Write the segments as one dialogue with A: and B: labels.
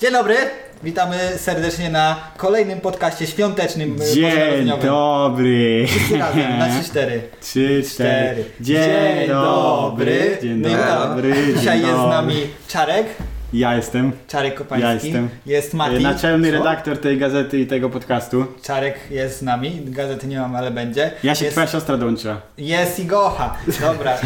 A: Dzień dobry, witamy serdecznie na kolejnym podcaście świątecznym. e,
B: Dzień
A: bożonarodzeniowym.
B: dobry.
A: Wszyscy razem, na 3-4.
B: Trzy, cztery.
A: Dzień dobry.
B: Dzień
A: No i witamy.
B: dobry. dzień
A: Dzisiaj jest z
B: dobry.
A: nami Czarek,
B: Ja jestem.
A: Czarek Kopański.
B: Ja jestem.
A: Jest
B: e,
A: Mati.
B: Naczelny
A: Co?
B: redaktor tej gazety i tego podcastu.
A: Czarek jest z nami, gazety nie mam, ale będzie.
B: Ja się
A: jest,
B: twoja siostra dołączyła.
A: jest Igocha, dobra. e,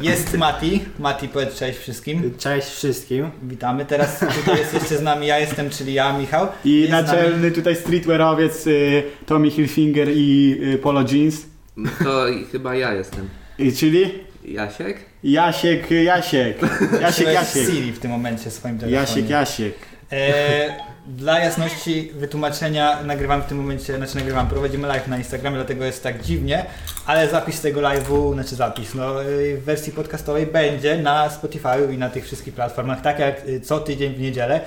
A: Jest Mati, Mati powiedz cześć wszystkim.
C: Cześć wszystkim.
A: Witamy, teraz tutaj jest jeszcze z nami ja jestem, czyli ja, Michał.
B: I
A: Jest z nami-
B: naczelny tutaj streetwearowiec y, Tommy Hilfinger i y, Polo Jeans.
D: No To i chyba ja jestem.
B: Y, czyli
D: Jasiek?
B: Jasiek, y, Jasiek. Jasiek,
A: Jasiek,
B: Jasiek.
A: Siri w tym momencie w swoim telefonie.
B: Jasiek, Jasiek.
A: E, dla jasności wytłumaczenia nagrywam w tym momencie, znaczy nagrywam, prowadzimy live na Instagramie, dlatego jest tak dziwnie, ale zapis tego live'u, znaczy zapis, no y, w wersji podcastowej będzie na Spotify i na tych wszystkich platformach, tak jak y, co tydzień w niedzielę.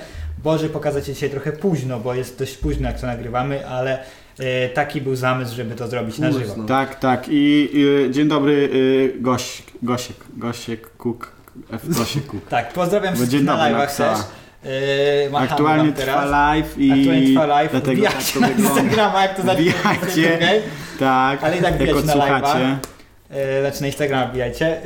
A: Boże, pokazać się dzisiaj trochę późno, bo jest dość późno jak to nagrywamy, ale y, taki był zamysł, żeby to zrobić na żywo.
D: Późno.
B: Tak, tak. I y, dzień dobry y, Goś, Gosiek, Gosiek Kuk, F, Gosiek Kuk.
A: Tak, pozdrawiam
B: Bo
A: wszystkich
B: dzień
A: na
B: dobry,
A: live'ach
B: napisała.
A: też. Y, machamy
B: Aktualnie
A: wam teraz.
B: trwa live i
A: Aktualnie trwa live,
B: dlatego tak
A: wbijacie
B: to
A: na
B: wygląda.
A: Instagrama, jak to zabijacie,
B: Wbijacie. Tak,
A: Ale i tak
B: jak
A: widać na live'a.
B: odsłuchacie.
A: E, Znaczy na Instagrama wbijajcie. E,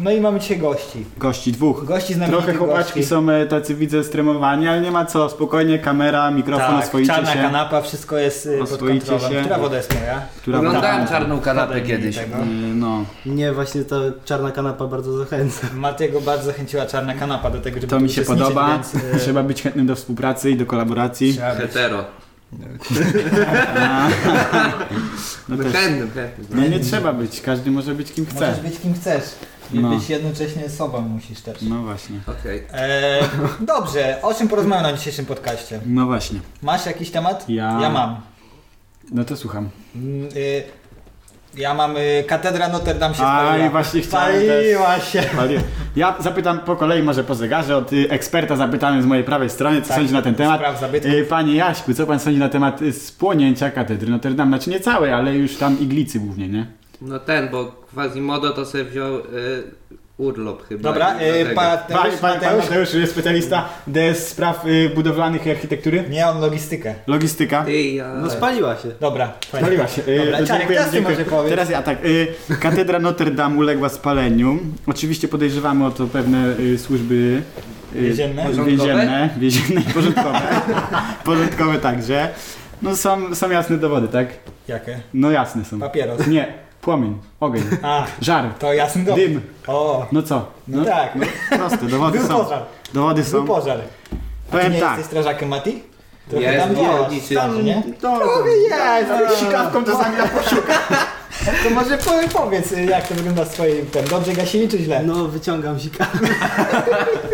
A: No i mamy dzisiaj gości.
B: Gości dwóch.
A: Gości znamienitych
B: Trochę chłopaczki
A: gości.
B: są e, tacy, widzę, stremowani, ale nie ma co, spokojnie, kamera, mikrofon,
A: Tak,
B: oswoicie
A: czarna
B: się.
A: kanapa, wszystko jest e, pod
B: Oswoicie
A: kontrolą.
B: się.
A: Która woda jest moja?
B: Która
D: Oglądałem
B: tam-
D: czarną kanapę
A: Woda nie
D: kiedyś.
A: tego.
B: Y, No,
C: Mnie właśnie ta czarna kanapa bardzo zachęca.
A: Matiego bardzo zachęciła czarna kanapa do tego, żeby
B: to
A: tu
B: mi się
A: uczestniczyć,
B: podoba.
A: Więc, e,
B: Trzeba być chętnym do współpracy i do kolaboracji.
A: trzeba być.
D: Hetero.
B: No
D: No
B: też.
D: chętnym, chętnym.
B: No nie trzeba być, każdy może być kim chce.
A: Możesz być kim chcesz. I
B: No.
A: być jednocześnie sobą musisz też.
B: No właśnie.
D: Okej.
A: E, dobrze, o czym porozmawiamy na dzisiejszym podcaście?
B: No właśnie.
A: Masz jakiś temat?
B: Ja-
A: ja mam.
B: No to słucham.
A: Mm, y, Ja mam y, katedra Notre Dame się
B: A,
A: spaliła.
B: i właśnie chciałem
A: Spaliła się.
B: Panie, Ja zapytam po kolei, może po zegarze, od y, eksperta zapytany z mojej prawej strony, co
A: Tak,
B: sądzi na ten temat.
A: spraw zabytków.
B: Y, Panie Jaśku, co pan sądzi na temat y, spłonięcia katedry Notre Dame? Znaczy nie całej, ale już tam iglicy głównie, nie?
D: No ten, bo Quasimodo to sobie wziął y, urlop chyba.
A: Dobra,
D: i
A: y,
D: dlatego.
B: Pan,
A: Mateusz,
B: pan, pan
A: Mateusz.
B: Mateusz jest specjalista DS spraw y, budowlanych i architektury?
A: Nie, on logistykę.
B: Logistyka?
D: Ty i ja.
C: No spaliła się.
A: Dobra, fajnie.
B: Spaliła się. Y,
A: Dobra, Czarek,
B: dziękuję,
A: teraz ty
B: dziękuję.
A: może powiedz.
B: Teraz ja tak. Y, Katedra Notre Dame uległa spaleniu. Oczywiście podejrzewamy o to pewne y, służby y,
A: Więzienne?
B: Więzienne, więzienne i porządkowe. porządkowe także. No są, są jasne dowody, tak?
A: Jakie?
B: No jasne są.
A: Papieros.
B: Nie, płomień, ogień,
A: A,
B: żar,
A: to jasny dom.
B: dym.
A: O,
B: No co?
A: no, tak.
B: Proste, dowody
A: Był
B: są.
A: pożar.
B: Dowody są.
A: Był pożar. A ty
B: Powiem
A: nie
B: tak.
A: jesteś strażakiem, Mati?
D: Ja
A: tam
D: jestem
A: działasz,
D: górniczy.
A: tam, nie?
B: To,
A: Jest, No.
B: Sikawką czasami na
A: to może powie- powiedz, y, jak to wygląda z twoim tem. Dobrze gasili czy źle?
C: No, wyciągam zika.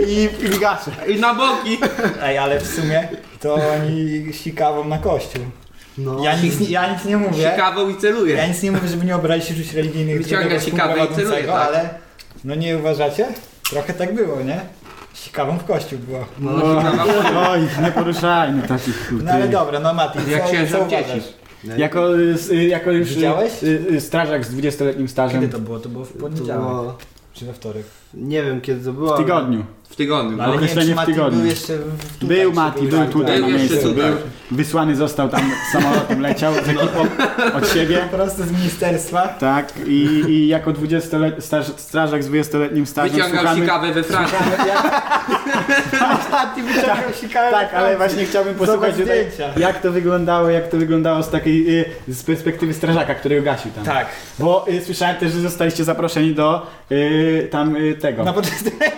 B: i, i gaszę.
D: I na boki!
A: Ej, ale w sumie to oni sikawą na kościół.
C: No.
A: Ja nic, nie- ja nic nie mówię.
D: Sikawą i
A: Ja
D: celuje.
A: nic nie mówię, żeby nie obrazić uczuć religijnych
D: Wyciąga
A: drugiego
D: sikawę i
A: współprowadzącego,
D: celuje, tak.
A: ale no nie uważacie? Trochę tak było, nie? Sikawą w kościół było.
D: No, sikawa-
B: Oj, nie poruszajmy takich
A: No ale
B: ty.
A: dobra, no Mati,
D: Jak
A: co,
D: księża
A: co
D: w dzieci.
A: uważasz?
C: No
B: Jako, y, s- y, jako już y,
A: Widziałeś?
B: y, y, strażak z 20-letnim
A: Kiedy
B: stażem
A: to było? To było w
C: To
A: poniedziałek
C: było,
A: czy we wtorek.
C: nie wiem kiedy to było.
B: w tygodniu.
D: w tygodniu.
A: No, ale nie wiem,
B: określenie
A: czy
B: w
A: Mati
B: tygodniu.
A: był jeszcze w, tutaj.
B: Był
A: czy
B: Mati, był
A: tak,
B: tutaj
D: Był
B: na
D: jeszcze
B: miejscu.
D: tutaj.
B: Był, wysłany został tam samolotem, leciał z ekipą od siebie.
A: tak. Po prostu z ministerstwa.
B: Tak, i, i jako 20 staż, strażak z 20-letnim stażem
D: Wyciągał
B: Tak, słuchamy...
D: sikawę we Francji.
A: Mati wyciągnął sikawę.
B: Tak, ale właśnie chciałbym posłuchać
A: Zobacz
B: tutaj,
A: zdjęcia.
B: jak to wyglądało, jak to wyglądało z takiej, y, z perspektywy strażaka, który gasił tam.
A: Tak,
B: Bo y, słyszałem też, że zostaliście zaproszeni do y, tam y, tego.
A: na początek.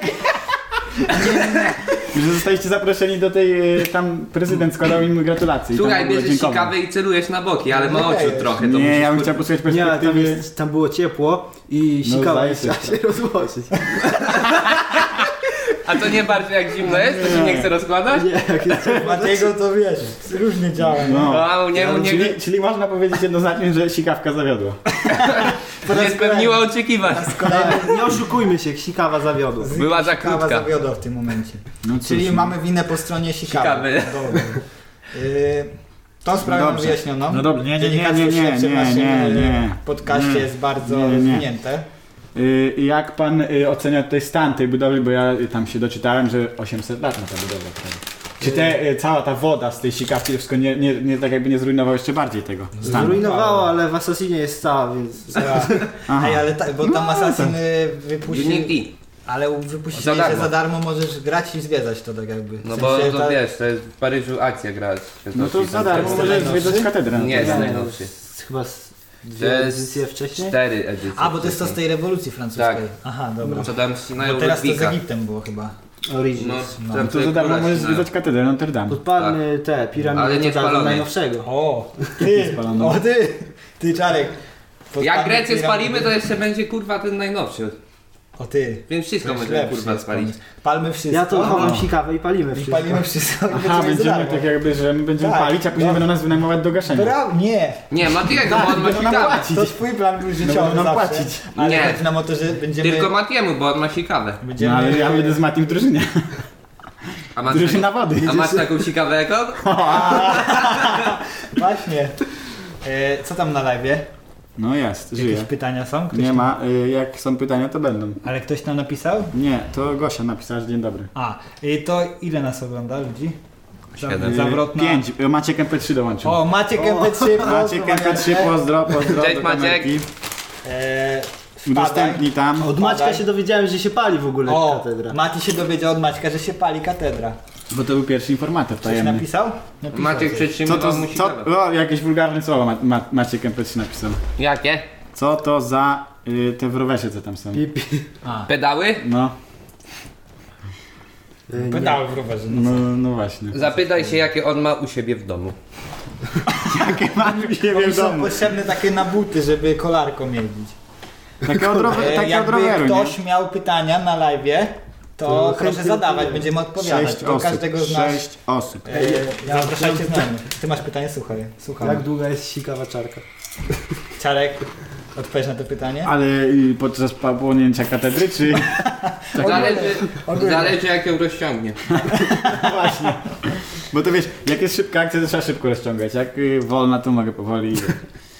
B: Że zostaliście zaproszeni do tej, y, tam prezydent składał im gratulacje. i tam
D: Słuchaj,
B: było
D: bierzesz
B: dziękowanie.
D: sikawę i celujesz na boki, ale ma
A: Nie,
D: oczu trochę. To
B: Nie,
D: musisz-
B: ja bym chciał posłuchać
C: Nie, ale tam,
B: perspektywy...
C: jest, tam było ciepło i
B: No,
C: sikała
B: zdaje
C: no,
B: się.
C: chciała się rozłożyć.
D: A to nie bardziej jak zimno jest? To się nie chce rozkładać?
C: Nie, jak jest ciepło.
A: Matiego to wiesz, różnie działa. nie?
B: No.
D: A, nie, nie, nie,
B: Czyli, czyli można powiedzieć jednoznacznie, że sikawka zawiodła.
D: nie spełniła oczekiwań.
C: Tak, nie oszukujmy się, sikawa zawiodła.
D: Była za
A: Sikawa
D: krótka.
A: zawiodła w tym momencie.
B: No
A: Czyli mamy winę po stronie sikawy.
D: Sikawy.
A: Dobra. Y, Tą sprawę mam
B: Dobrze.
A: wyjaśnioną.
B: No dobrze, nie, nie, nie,
A: Dziennikarstwo
B: nie, nie,
A: śledcze w
B: nie,
A: naszym,
B: nie,
A: y,
B: nie.
A: podcaście
B: Nie.
A: jest bardzo
B: Nie, nie, nie.
A: rozwinięte.
B: Y, jak pan y, ocenia tutaj stan tej budowli, bo ja y, tam się doczytałem, że 800 lat ma ta budowla. prawie. Czy te, e, cała ta woda z tej sikawki to wszystko nie, nie, nie tak jakby nie zrujnowało jeszcze bardziej tego stanu?
C: Zrujnowało, ale w Assassinie jest cała, więc...
B: Aha.
A: Ej, ale tak, bo tam
B: No,
A: Assassin
B: tak.
A: y,
D: Unity.
A: wypuścił, ale wypuścili,
D: Za darmo.
A: że za darmo możesz grać i zwiedzać to tak jakby. W
D: No bo
A: sensie
D: to
A: ta-
D: wiesz, to jest w Paryżu akcja gra.
B: No to za darmo
A: jest
B: możesz
A: najnowszy?
B: zwiedzać katedrę.
D: Nie, jest
B: Notre Dame.
D: najnowszy.
C: Z- Chyba z
D: To
C: dwie
D: jest
C: edycje wcześniej?
D: Cztery edycje.
A: A, bo to jest to z tej rewolucji
D: Tak.
A: francuskiej. Aha, dobra.
D: Co tam ścinają
A: Bo teraz to z
D: Ludwika.
A: Egiptem było chyba.
D: No,
C: Origins.
A: No,
D: tam
B: To za
D: sobie
B: darmo
D: króla
B: możesz
D: ścinają.
B: zwiedzać katedrę Notre Dame.
C: Podpalmy te piramidy
D: Ale nie
C: Notre Dame
D: spalonej.
C: najnowszego.
A: O, ty,
B: Spalono.
A: o ty, ty Czarek.
D: Jak
A: Podpalmy
D: Grecję
A: piramidy.
D: spalimy, to jeszcze będzie kurwa ten najnowszy.
A: O ty.
D: Więc wszystko
A: Weź
D: będziemy
A: lepszy
D: kurwa
A: jest
D: spalić.
A: pomysł. Palmy wszystko.
C: Ja tu chowam
A: No.
C: sikawę i palimy
A: I
C: wszystko.
A: palimy wszystko. i
B: Aha,
A: za
B: będziemy
A: darmo.
B: tak jakby, że my będziemy
A: Tak,
B: palić, a później
A: no.
B: będą nas wynajmować do gaszenia.
A: Pra- nie,
D: Nie, Matiego,
A: Tak,
D: bo on ma
B: Będą nam
D: sikawę.
B: płacić.
A: to twój plan był życiowy
B: nam
A: zawsze,
B: No, płacić.
A: Ale
D: Nie.
A: chodzi nam o to, że będziemy...
D: Tylko Matiemu, bo on ma sikawę.
A: będziemy
B: No ale ja będę z Matim w drużynie.
D: A masz, tak-
B: Drużyna wody.
D: a masz taką sikawę jak on?
A: Właśnie. E, co tam na live'ie?
B: No jest,
A: Jakieś
B: żyje.
A: pytania są? Ktoś
B: Nie
A: tam-
B: ma, y, jak są pytania to będą.
A: Ale ktoś tam napisał?
B: Nie, to Gosia napisała, że dzień dobry. Y,
A: A, i to ile nas ogląda ludzi? Za-
D: Siedem.
A: Zawrotna.
B: 5. y, Maciek MP3 dołączył.
A: O, Maciek
C: O,
A: MP3.
B: Maciek MP3, pozdro, pozdro
D: Cześć,
B: do
D: Maciek.
B: kamerki.
A: E,
B: Udostępnij tam.
C: Od Maćka
A: Spadaj.
C: się dowiedziałem, że się pali w ogóle
A: O,
C: katedra.
A: Mati się dowiedział od Maćka, że się pali katedra.
B: Bo to był pierwszy informator
A: Coś
B: tajemny.
A: napisał? napisał
D: Maciek
A: coś.
B: Co to,
D: przytrzymywał mu
B: z- co,
D: sikawę.
B: o, jakieś wulgarne słowa Ma, Ma, Maciek MP3 napisał.
D: Jakie?
B: Co to za y, te w rowerze, co tam są?
C: Pipi.
A: A,
D: Pedały?
B: No,
C: E, nie.
A: pedały w rowerze.
B: no, no właśnie.
D: Zapytaj się, jakie on ma u siebie w domu.
B: Jakie mam u siebie
A: Oni
B: w
A: są
B: domu?
A: potrzebne takie nabuty, żeby kolarką jeździć.
B: Takie od, rower,
A: E,
B: takie od
A: Jakby
B: No, tak roweru,
A: ktoś
B: nie?
A: miał pytania na live, to,
C: To
A: proszę
C: chętnie
A: zadawać,
C: odpowiemy.
A: będziemy odpowiadać.
B: Sześć
A: Do
B: osób,
A: każdego z nas.
B: sześć osób.
A: E, ja zapraszajcie z nami. Ty masz pytanie, słuchaj. Słucham.
C: Jak długa jest sikawa czarka?
A: Czarek, odpowiesz na to pytanie?
B: Ale y, podczas płonięcia katedry, czy...
D: Zależy,
A: Tak. Ogólnie.
D: zależy jak ją rozciągnie.
A: No
B: Właśnie. Bo to wiesz, jak jest szybka akcja, to trzeba szybko rozciągać. Jak y, wolna, to mogę powoli iść.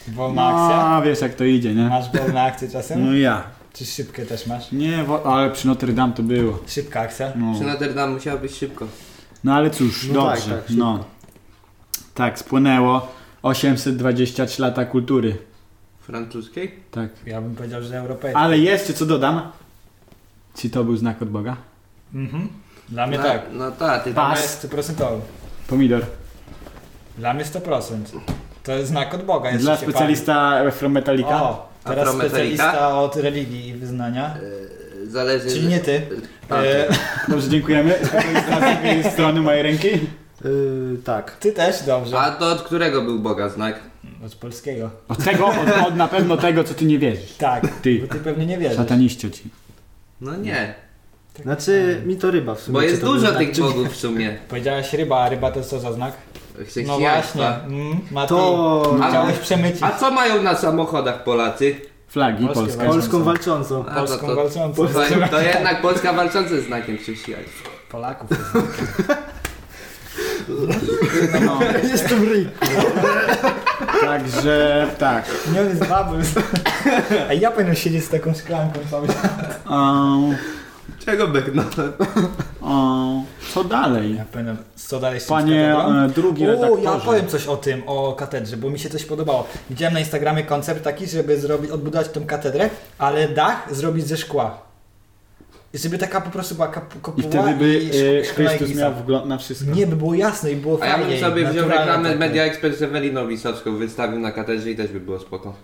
A: Wolna akcja?
B: No, wiesz jak to idzie, nie?
A: Masz wolne akcje czasem?
B: No ja.
A: Czy szybkie też masz?
B: Nie, wo- ale przy Notre Dame to było.
A: Szybka akcja?
B: No,
D: Przy Notre Dame musiała być szybko.
B: no ale cóż,
C: No
B: dobrze.
C: tak, tak, szybko.
B: no. Tak, spłynęło 823 lata kultury.
D: Francuskiej?
B: Tak.
A: Ja bym powiedział, że europejski.
B: Ale jeszcze co dodam? Czy to był znak od Boga?
A: Mhm. Dla mnie
D: no,
A: tak.
D: No tak, ty
A: Dla
B: Pas.
A: mnie 100%.
B: Pomidor.
A: Dla mnie 100%. To jest znak od Boga. jeszcze
B: Dla
A: się pali.
B: specjalista from Metallica.
A: O, teraz
D: Afrometalika?
A: specjalista od religii i wyznania.
D: Yy, Zależy...
A: Czyli nie ty.
D: Tak.
A: E,
B: Dobrze, dziękujemy. Specjalista z drugiej strony mojej ręki.
C: Yy, tak.
A: ty też, dobrze.
D: A to od którego był Boga znak?
A: Od polskiego.
B: Od tego, od, od na pewno tego, co ty nie wierzysz.
A: Tak, bo
B: Ty,
A: ty pewnie nie wierzysz.
B: sataniście ci.
D: No nie,
C: Znaczy mi to ryba w sumie.
D: bo
C: czy
D: jest
C: to był
D: dużo
C: znak,
D: tych
C: czy nie.
D: bogów w sumie.
A: Powiedziałaś ryba, a ryba to co za znak? No
D: Chrześcijaństwa.
A: właśnie. Mm, Mati,
C: To
D: A-
A: chciałeś przemycić
D: A co mają na samochodach Polacy?
B: Flagi
A: Polskie
B: Polska.
C: Polską walczącą.
D: A,
A: polską
D: to- to-
A: walczącą.
D: To, to jednak Polska walcząca jest znakiem chrześcijaństwa.
A: Polaków.
B: No,
C: Jestem ryj.
B: także tak.
A: Nie, on jest bubbles. A ja powinienem siedzieć z taką szklanką cały czas.
B: O,
D: Czego bekno?
B: o, co dalej?
A: Ja powinienem, co dalej z
B: Panie e,
A: O,
B: drugi
A: ja
B: redaktorze.
A: powiem coś o tym, o katedrze, bo mi się coś podobało. Widziałem na Instagramie koncept taki, żeby zrobić, odbudować tą katedrę, ale dach zrobić ze szkła. I żeby taka po prostu była kap-
B: I
A: kopuła
B: wtedy by e,
A: szk- szklana
B: Chrystus
A: giza.
B: miał wgląd na wszystko.
A: Nie, by było jasne i było
D: A ja
A: fajnie.
D: bym sobie
A: i
D: wziął
A: naturalne
D: reklamę
A: takie.
D: Media Expert Eweliną Wisocką, wystawił na katedrze i też by było spoko.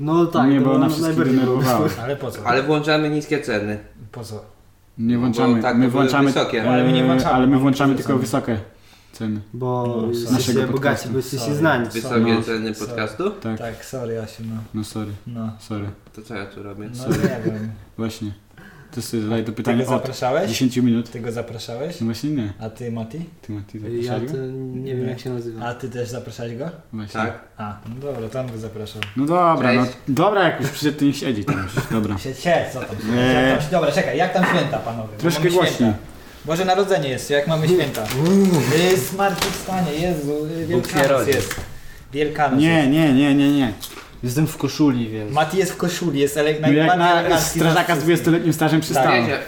C: No tak,
B: nie,
C: to
B: bo ona
C: no,
B: wszystkich
C: najbardziej było.
B: denerwowała.
A: Ale po co?
D: Ale włączamy niskie ceny.
A: Po co?
B: Nie włączamy,
D: Bo tak,
B: my
D: to były
B: włączamy,
D: wysokie.
B: e,
A: Ale my nie włączamy.
B: ale my włączamy
A: Wrzucamy.
B: tylko wysokie ceny.
C: Bo
A: No,
C: jesteście
B: naszego
C: bogaci,
B: podcastu.
C: bo jesteście
A: Sorry.
C: znani.
D: Wysokie
B: No.
D: ceny podcastu?
B: Tak,
A: Tak, sorry Jasiu, no.
B: no sorry,
A: No,
B: sorry,
D: To co ja tu robię?
A: no nie wiem.
B: właśnie. To sobie zadaj to
A: Ty
B: pytanie
A: go
B: od
A: zapraszałeś?
B: 10 minut.
A: Ty go zapraszałeś?
B: No właśnie nie,
A: A ty Mati?
B: ty Mati
C: Ja
B: zapraszali
C: to
B: go?
C: nie wiem jak się nazywa.
A: A ty też zapraszałeś go?
B: Właśnie.
D: Tak.
A: A, no dobra, to on go zapraszał.
B: No dobra, no,
D: Cześć.
B: dobra jak już przyszedł, to niech siedzi tam już, dobra.
A: Siecie, co tam?
B: Nie.
A: Jak tam się- Dobra, czekaj, jak tam święta panowie? Bo
B: Troszkę
A: mamy
B: głośniej.
A: Święta. Boże Narodzenie jest, jak mamy święta? Y, Zmartwychwstanie, Jezu, y,
D: się
A: Wielkanoc
D: rodzi.
A: jest. Wielkanoc
B: Nie,
A: jest.
B: nie, nie, nie, nie.
C: Jestem w koszuli, więc.
A: Mati jest w koszuli, jest ele-
B: No jak
A: najbardziej
B: na
A: elegancki Tak.
B: strażaka
A: nas
B: z 20-letnim stażem przystało.
D: Wiecie,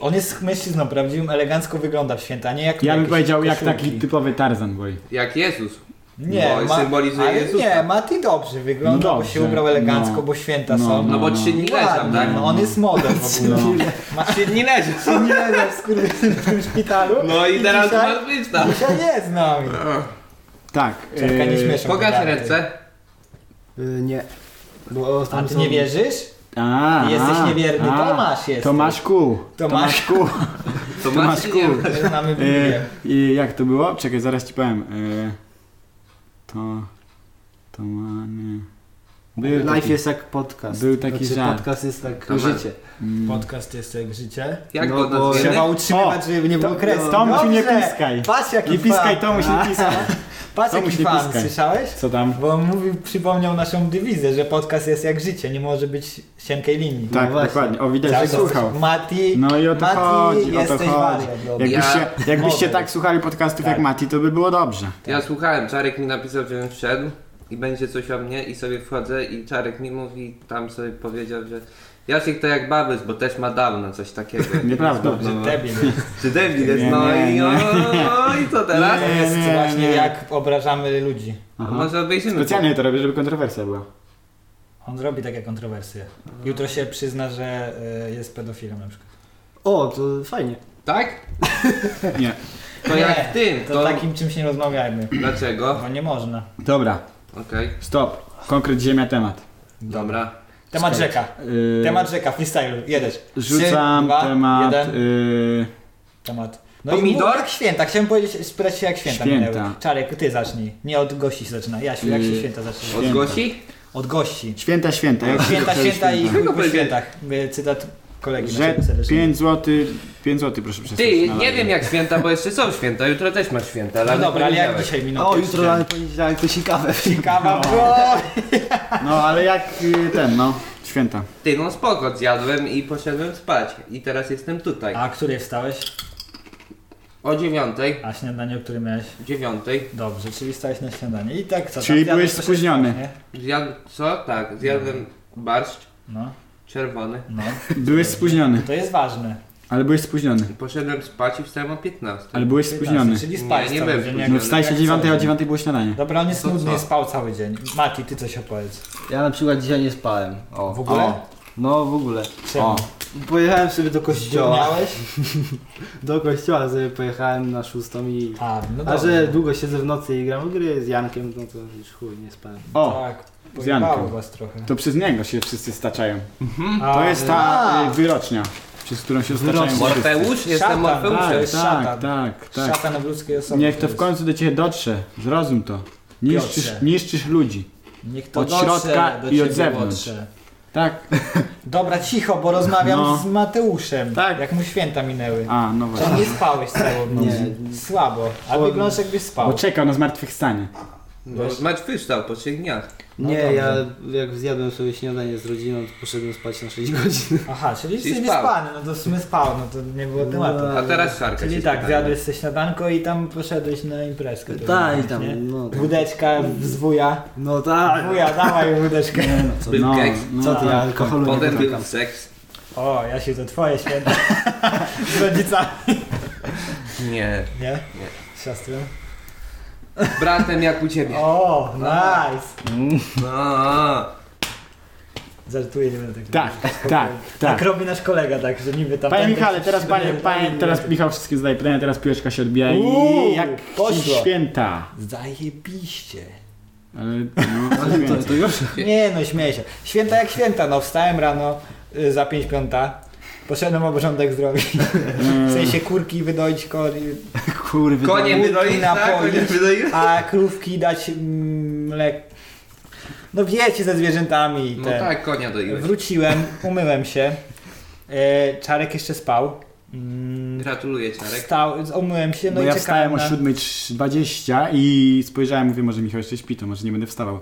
A: On jest mężczyzną prawdziwym, elegancko wygląda w święta, nie jak
B: Ja bym
A: jakieś
B: powiedział jak
A: koszulki.
B: taki typowy Tarzan boy.
D: Jak Jezus.
A: Nie,
D: Bo
A: ma,
D: No symbolizuje
A: ale
D: Jezusa.
A: nie, Mati dobrze wygląda,
B: No
A: bo
B: dobrze,
A: się ubrał elegancko,
B: no.
A: bo święta
B: No,
A: są.
D: No bo
B: no.
D: trzy dni leżał,
A: Ładny,
D: tak?
A: no, on jest model w ogóle.
B: No.
A: Ma
D: Trzy dni leży.
A: się nie leżał w skurwysynu w tym szpitalu.
D: No i teraz
A: dzisiaj,
D: masz być tam.
A: dzisiaj jest z nami.
B: Tak.
A: Czekaj, nie
B: e,
A: śmiesz.
D: Pokaż ręce.
C: Y, nie. Bo
A: A
C: tam
A: ty
C: są-
A: nie wierzysz?
B: A,
A: Jesteś niewierny,
B: a,
A: Tomasz jest.
B: Tomaszku.
A: Tomasz.
B: Tomaszku.
D: To masz
B: Tomaszku.
D: nie
A: Znamy Biblię.
B: E, I jak to było? Czekaj, zaraz ci powiem. E, to... To ma... Nie. Był
C: Life
B: taki-
C: jest jak podcast.
B: Był taki
C: znaczy,
B: żart.
C: podcast jest jak
D: To ma-
C: życie.
B: Mm.
A: Podcast jest jak życie.
D: Jak
C: No
D: go
C: bo-
D: nazwiemy?
A: Trzeba utrzymywać,
B: O,
A: żeby nie było
B: to-
A: kresu.
B: Tomusiu, nie
A: Dobrze.
B: piskaj.
A: Patrz jaki
B: Nie piskaj,
A: fan.
B: Tomuś, nie piskaj.
A: Patrz
B: Tomuś,
A: jaki
B: nie
A: fan,
B: piskaj.
A: słyszałeś?
B: Co tam?
A: Bo on mówił, przypomniał naszą dywizję, że podcast jest jak życie, nie może być cienkiej linii. No
B: Tak,
C: właśnie.
B: dokładnie. O, widać,
A: Cały
B: że
A: czas
B: słuchał.
A: Mati,
B: No i o to
A: Mati
B: chodzi, o to
A: jesteś
B: chodzi.
A: wariat, dobra.
B: Jakbyście, jakbyście
A: Mogę.
B: tak słuchali podcastów
A: Tak. No
B: jak Mati, to by było dobrze.
D: Ja słuchałem, Czarek mi napisał, że on wszedł i będzie coś o mnie i sobie wchodzę i Czarek mi mówi, tam sobie powiedział, że Jacek to jak babys, bo też ma dawno coś takiego.
B: Nieprawda.
A: Że
D: No,
A: debil.
D: czy debil jest?
B: Nie,
D: No
B: nie,
D: i
B: nie.
D: o, no i co teraz?
A: To
B: Nie,
A: jest
B: nie,
A: właśnie
B: nie.
A: jak obrażamy ludzi.
D: A
B: Aha.
D: Może obejrzymy.
B: Specjalnie to robię, żeby kontrowersja była.
A: On robi takie kontrowersje. Jutro się przyzna, że y, jest pedofilem na przykład.
C: O, to fajnie.
D: Tak?
B: Nie.
D: To
A: Nie,
D: jak w tym,
A: To
D: to...
A: takim czymś nie rozmawiajmy,
D: Dlaczego?
A: bo nie można.
B: Dobra,
D: Okej,
B: stop. Konkret ziemia temat.
D: dobra.
A: Temat
B: Skąd?
A: rzeka.
B: Yy,
A: Temat rzeka, freestyle, jedziesz.
B: Rzucam
A: Trzy, dwa,
B: temat
A: jeden.
B: yy,
A: Temat. No
D: Pomidor?
A: mów jak Tak, święta, chciałem powiedzieć, spytać się jak święta,
B: Święta.
A: minęły. Czarek, ty zacznij. Nie od gości się zaczyna. Jasiu, jak się
B: Yy.
A: święta zaczyna?
B: Święta.
D: Odgłosi?
A: Od gości.
B: święta, święta. Jak
A: Święta,
B: się
A: święta i
D: Dlaczego
A: chuj po
D: powiedzieć?
A: świętach. Y, Cytat kolegi
B: Że
A: naszego serdecznie.
B: 5 zł, 5 zł proszę przestać.
D: Ty,
B: na
D: nie
B: live.
D: wiem jak święta, bo jeszcze są święta, jutro też masz święta.
A: No
D: lany
A: dobra, ale jak
D: poniedziałek.
A: dzisiaj minął?
C: O, jutro na poniedziałek to ciekawe.
A: Ciekawa,
B: No. No ale jak y, ten, no, święta.
D: Ty, no spoko, zjadłem i poszedłem spać. I teraz jestem tutaj.
A: A której wstałeś?
D: O dziewiątej.
A: A śniadanie, o którym miałeś?
D: Dziewiątej.
A: Dobrze, czyli wstałeś na śniadanie. I tak co tam?
B: Czyli
A: Zjadłeś
B: byłeś
A: coś
B: spóźniony.
A: jeszcze, nie?
D: Zjadłem, co? Tak, zjadłem barszcz
A: No,
D: czerwony.
A: no.
B: Byłeś spóźniony,
A: To jest ważne.
B: ale byłeś spóźniony.
D: Poszedłem spać i wstałem o 15.
B: Ale byłeś
A: 15,
B: spóźniony.
A: Czyli
D: Nie,
A: spałeś
D: nie
A: cały
D: byłem
A: dzień.
D: spóźniony.
A: jak-
B: No wstałeś o
A: jak
B: 9,
A: co
B: a o
A: dzień.
B: 9 było śniadanie.
A: Dobra, on jest
D: To
A: nudny
D: co?
A: i spał cały dzień. Mati, ty coś opowiedz.
C: Ja na przykład dzisiaj nie spałem. O.
A: W ogóle?
B: O.
C: No w ogóle.
A: Czemu?
B: O.
C: Pojechałem sobie do kościoła.
A: Miałeś?
C: Do kościoła sobie pojechałem na szóstą i...
A: A, no
C: A
A: dobrze.
C: że długo siedzę w nocy i gram w gry z Jankiem, no to już chuj, nie spałem.
B: O,
A: Tak,
B: z
A: pojebało
B: Jankiem.
A: was trochę.
B: to przez niego się wszyscy staczają.
A: A, tak.
B: To jest ta
A: a,
B: y, wyrocznia, przez którą się staczają
C: Wyrocznia.
B: wszyscy.
D: Morfeusz? Jestem
A: Szatan,
D: Morfeuszem.
B: Tak,
A: Szatan.
B: tak, tak, tak.
A: Szatan w ludzkiej osobie.
B: Niech to
A: jest.
B: w końcu do ciebie dotrze, zrozum to. Niszczysz,
A: Piotrze.
B: niszczysz ludzi.
A: Niech to
B: Od
A: dotrze
B: środka
A: do
B: i
A: ciebie,
B: od zewnątrz.
A: Łotrze.
B: Tak?
A: Dobra, cicho, bo rozmawiam
B: No.
A: z Mateuszem.
B: Tak.
A: Jak mu święta minęły.
B: A, no
A: Czy
B: właśnie.
A: nie spałeś całą noc?
C: Nie.
A: Słabo. A
C: Słabo.
A: wyglądasz jakbyś spał.
B: Bo czekał na zmartwychwstanie.
D: No, Mać wyszczał po trzech dniach.
A: No
C: nie,
A: dobrze.
C: ja jak zjadłem sobie śniadanie z rodziną, to poszedłem spać na 6 godzin.
A: Aha, czyli jesteś
D: Czyli
A: wyspany, no to w sumie spał, no to nie było tematu.
C: No.
D: A teraz szarka się
A: Czyli tak,
D: spytałem.
A: zjadłeś sobie śniadanko i tam poszedłeś na imprezkę.
C: Tak, i
A: pewnie, nie?
C: tam, no tak.
A: Wódeczka z wuja.
C: No tak.
A: Wuja, dawaj wódeczkę.
C: Co,
B: No,
D: Był keks,
C: co
B: tak.
C: ty, ja alkoholu nie
D: potem
C: potykam.
D: był seks.
A: O, ja się to twoje święta. z rodzicami.
D: Nie.
A: Nie?
D: Nie.
A: Z siostrą?
D: Z bratem jak u ciebie.
A: O, nice!
D: No.
A: Żartuję, nie będę tak
B: Tak,
A: mówił.
B: tak,
A: Tak
B: tak.
A: robi nasz kolega, tak, że niby tam...
B: Panie
A: ten
B: Michale,
A: też-
B: teraz, panie,
A: ten-
B: panie, teraz Michał wszystkie zadaje pytania, teraz piłeczka się odbija
A: Uuu,
B: i jak
A: poszło.
B: święta.
A: Zajebiście.
B: Ale, no,
C: Ale to, to już.
A: Nie no, śmieję się. Święta jak święta, no. Wstałem rano y, za pięć piąta. Poszedłem obrządek zrobić. W sensie kurki wydoić, koli,
B: Kurwy.
D: Konie
A: Wódki
D: wydoić, tak?
A: napoić.
D: Konie wydoić.
A: a krówki dać mm, mlek. No wiecie, ze zwierzętami. i
D: No
A: ten.
D: tak, konia doiłeś.
A: Wróciłem, umyłem się. E, Czarek jeszcze spał. Mm,
D: Gratuluję, Czarek.
A: Wstał, umyłem się, no
B: Bo
A: i
B: ja
A: czekałem
B: wstałem o
A: na...
B: 7.20 i spojrzałem, mówię, może Michał jeszcze śpi, to może nie będę wstawał.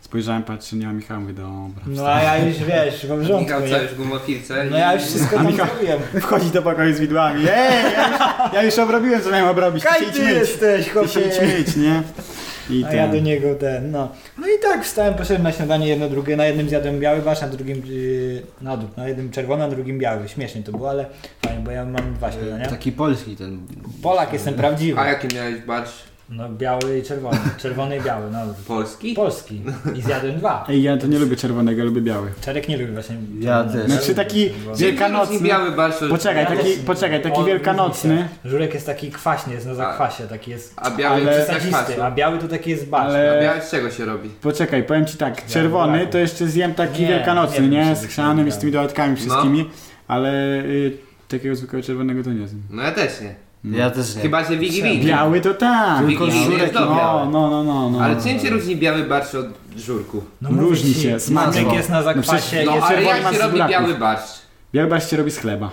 B: Spojrzałem, patrzę, nie ma Michała, mówię, dobra.
A: No a ja już wiesz, w obrządku,
D: Michał
A: nie?
D: cały już gumofilce.
A: No ja już wszystko tam
B: Michał-
A: zrobiłem.
B: Wchodzi do pokoju z widłami, ej, ja już, ja już obrobiłem, co miałem obrobić, ty się
A: Kaj
B: idź
A: ty
B: myć,
A: jesteś,
B: ty się idź
A: chłopie!
B: myć, nie? I
A: A ja do
B: ten.
A: niego ten, no. No i tak wstałem, poszedłem na śniadanie jedno, drugie. Na jednym zjadłem biały wasz, na drugim, yy, na, dół, na jednym czerwony, na drugim biały. Śmiesznie to było, ale fajnie, bo ja mam dwa śniadania.
B: Yy, tak.
C: Taki polski ten.
A: Polak jestem prawdziwy.
D: A jaki miałeś barsz?
A: No biały i czerwony, czerwony i biały, no.
D: Polski?
A: Polski. I zjadłem dwa.
B: Ej, ja to nie lubię czerwonego, lubię biały.
A: Czarek nie lubi właśnie.
C: Ja też.
B: Znaczy taki
D: Czyli
B: wielkanocny.
D: biały barsz.
B: Poczekaj, taki, poczekaj, taki
A: On
B: wielkanocny,
A: różni się. Żurek jest taki kwaśny, jest na zakwasie, taki jest
D: A biały
B: Ale-
D: ale... tak
A: przesadzisty, a
D: kwasu.
A: biały to taki jest basz.
B: ale-
D: A biały z czego się robi?
B: Poczekaj, powiem ci tak, czerwony to jeszcze zjem taki
A: Nie, nie
B: wielkanocny, nie?
A: wiem, czy No.
B: Z
A: to
B: chrzanem i z tymi dodatkami wszystkimi, ale y, takiego zwykłego czerwonego to nie zjem.
D: No ja też nie.
C: Ja też nie.
D: Chyba, że wigi wigi.
B: Biały to tak!
D: Tylko
B: no,
D: żurek jest to
B: no,
D: biały.
B: no, no, no, no.
D: Ale czym się różni biały barsz od żurku?
A: No mówię
B: Różni
A: ci,
B: się, smakowo.
A: Żurek jest na
B: No
A: zakwasie.
B: przecież-
D: No
A: jest...
D: ale
B: czerwony ma
D: jak się robi
B: zblaków.
D: biały barsz?
B: Biały barszcz się robi z chleba.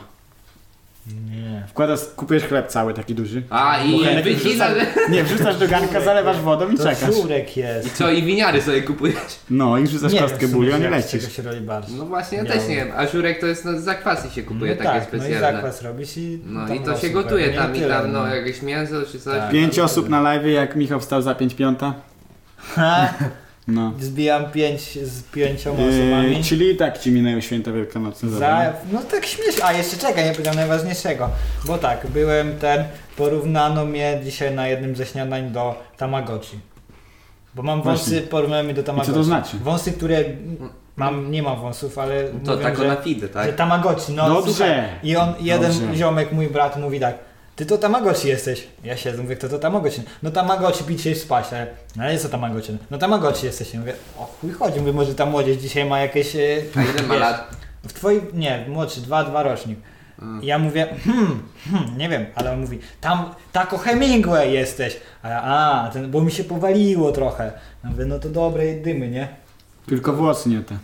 A: Nie.
B: Wkładasz, kupujesz chleb cały taki duży.
D: A i
A: Bochenek
D: wycina, że...
B: Nie, wrzucasz do garnka, zalewasz wodą i
A: To
B: czekasz.
A: żurek
D: I
A: jest.
D: co, i winiary sobie kupujesz?
B: No i rzucasz
A: Nie wiem
B: kostkę
A: w sumie,
B: bulion i
A: jak z
B: lecisz.
A: czego się robi barsz.
D: No właśnie, ja
A: Biały.
D: też nie wiem. A żurek to jest, no, z zakwasy się kupuje
A: no
D: takie
A: tak, No i
D: specjalne.
A: zakwas robisz i...
D: No
A: tam
D: i to się
A: osób
D: gotuje
A: pewnie
D: tam i
A: tyle,
D: tam, no jakieś mięso czy coś.
A: Tak.
B: Pięć osób na live, jak Michał wstał za pięć piąta.
A: Ha,
B: No.
A: Zbijam pięć z pięcioma
B: Yy,
A: osobami.
B: czyli tak ci minęły święta wielkanocne.
A: Za,
B: Za...
A: no tak śmiesznie. A jeszcze czekaj, nie powiedziałem najważniejszego. Bo tak, byłem ten, porównano mnie dzisiaj na jednym ze śniadań do Tamagotchi. Bo mam wąsy,
B: Właśnie.
A: porównano mnie do
B: I
A: Tamagotchi.
B: co to znaczy?
A: Wąsy, które mam, nie mam wąsów, ale
D: No. To
A: mówią,
D: tak
A: że,
D: na fidę,
A: że
D: tak?
A: Tamagotchi. No słuchaj.
B: Dobrze!
A: I on, jeden
B: Dobrze.
A: ziomek, mój brat, mówi tak. Ty to Tamagotchi jesteś. Ja siedzę, mówię, kto to Tamagotchi? No Tamagotchi, pić się i spać, ale, no, ale jest to Tamagotchi. No Tamagotchi jesteś. Ja mówię, o chuj chodzi, mówię, może ta młodzież dzisiaj ma jakieś... e,
D: A ile ma
A: wiesz,
D: lat?
A: w twoim, nie, młodszy, dwa, dwa rocznik.
D: Mm.
A: I Ja mówię, hmm, hmm, nie wiem, ale on mówi, tam tako Hemingway jesteś. A, ja, a ten, bo mi się powaliło trochę. Ja mówię, no to dobre dymy, nie?
B: Tylko włosy nie te.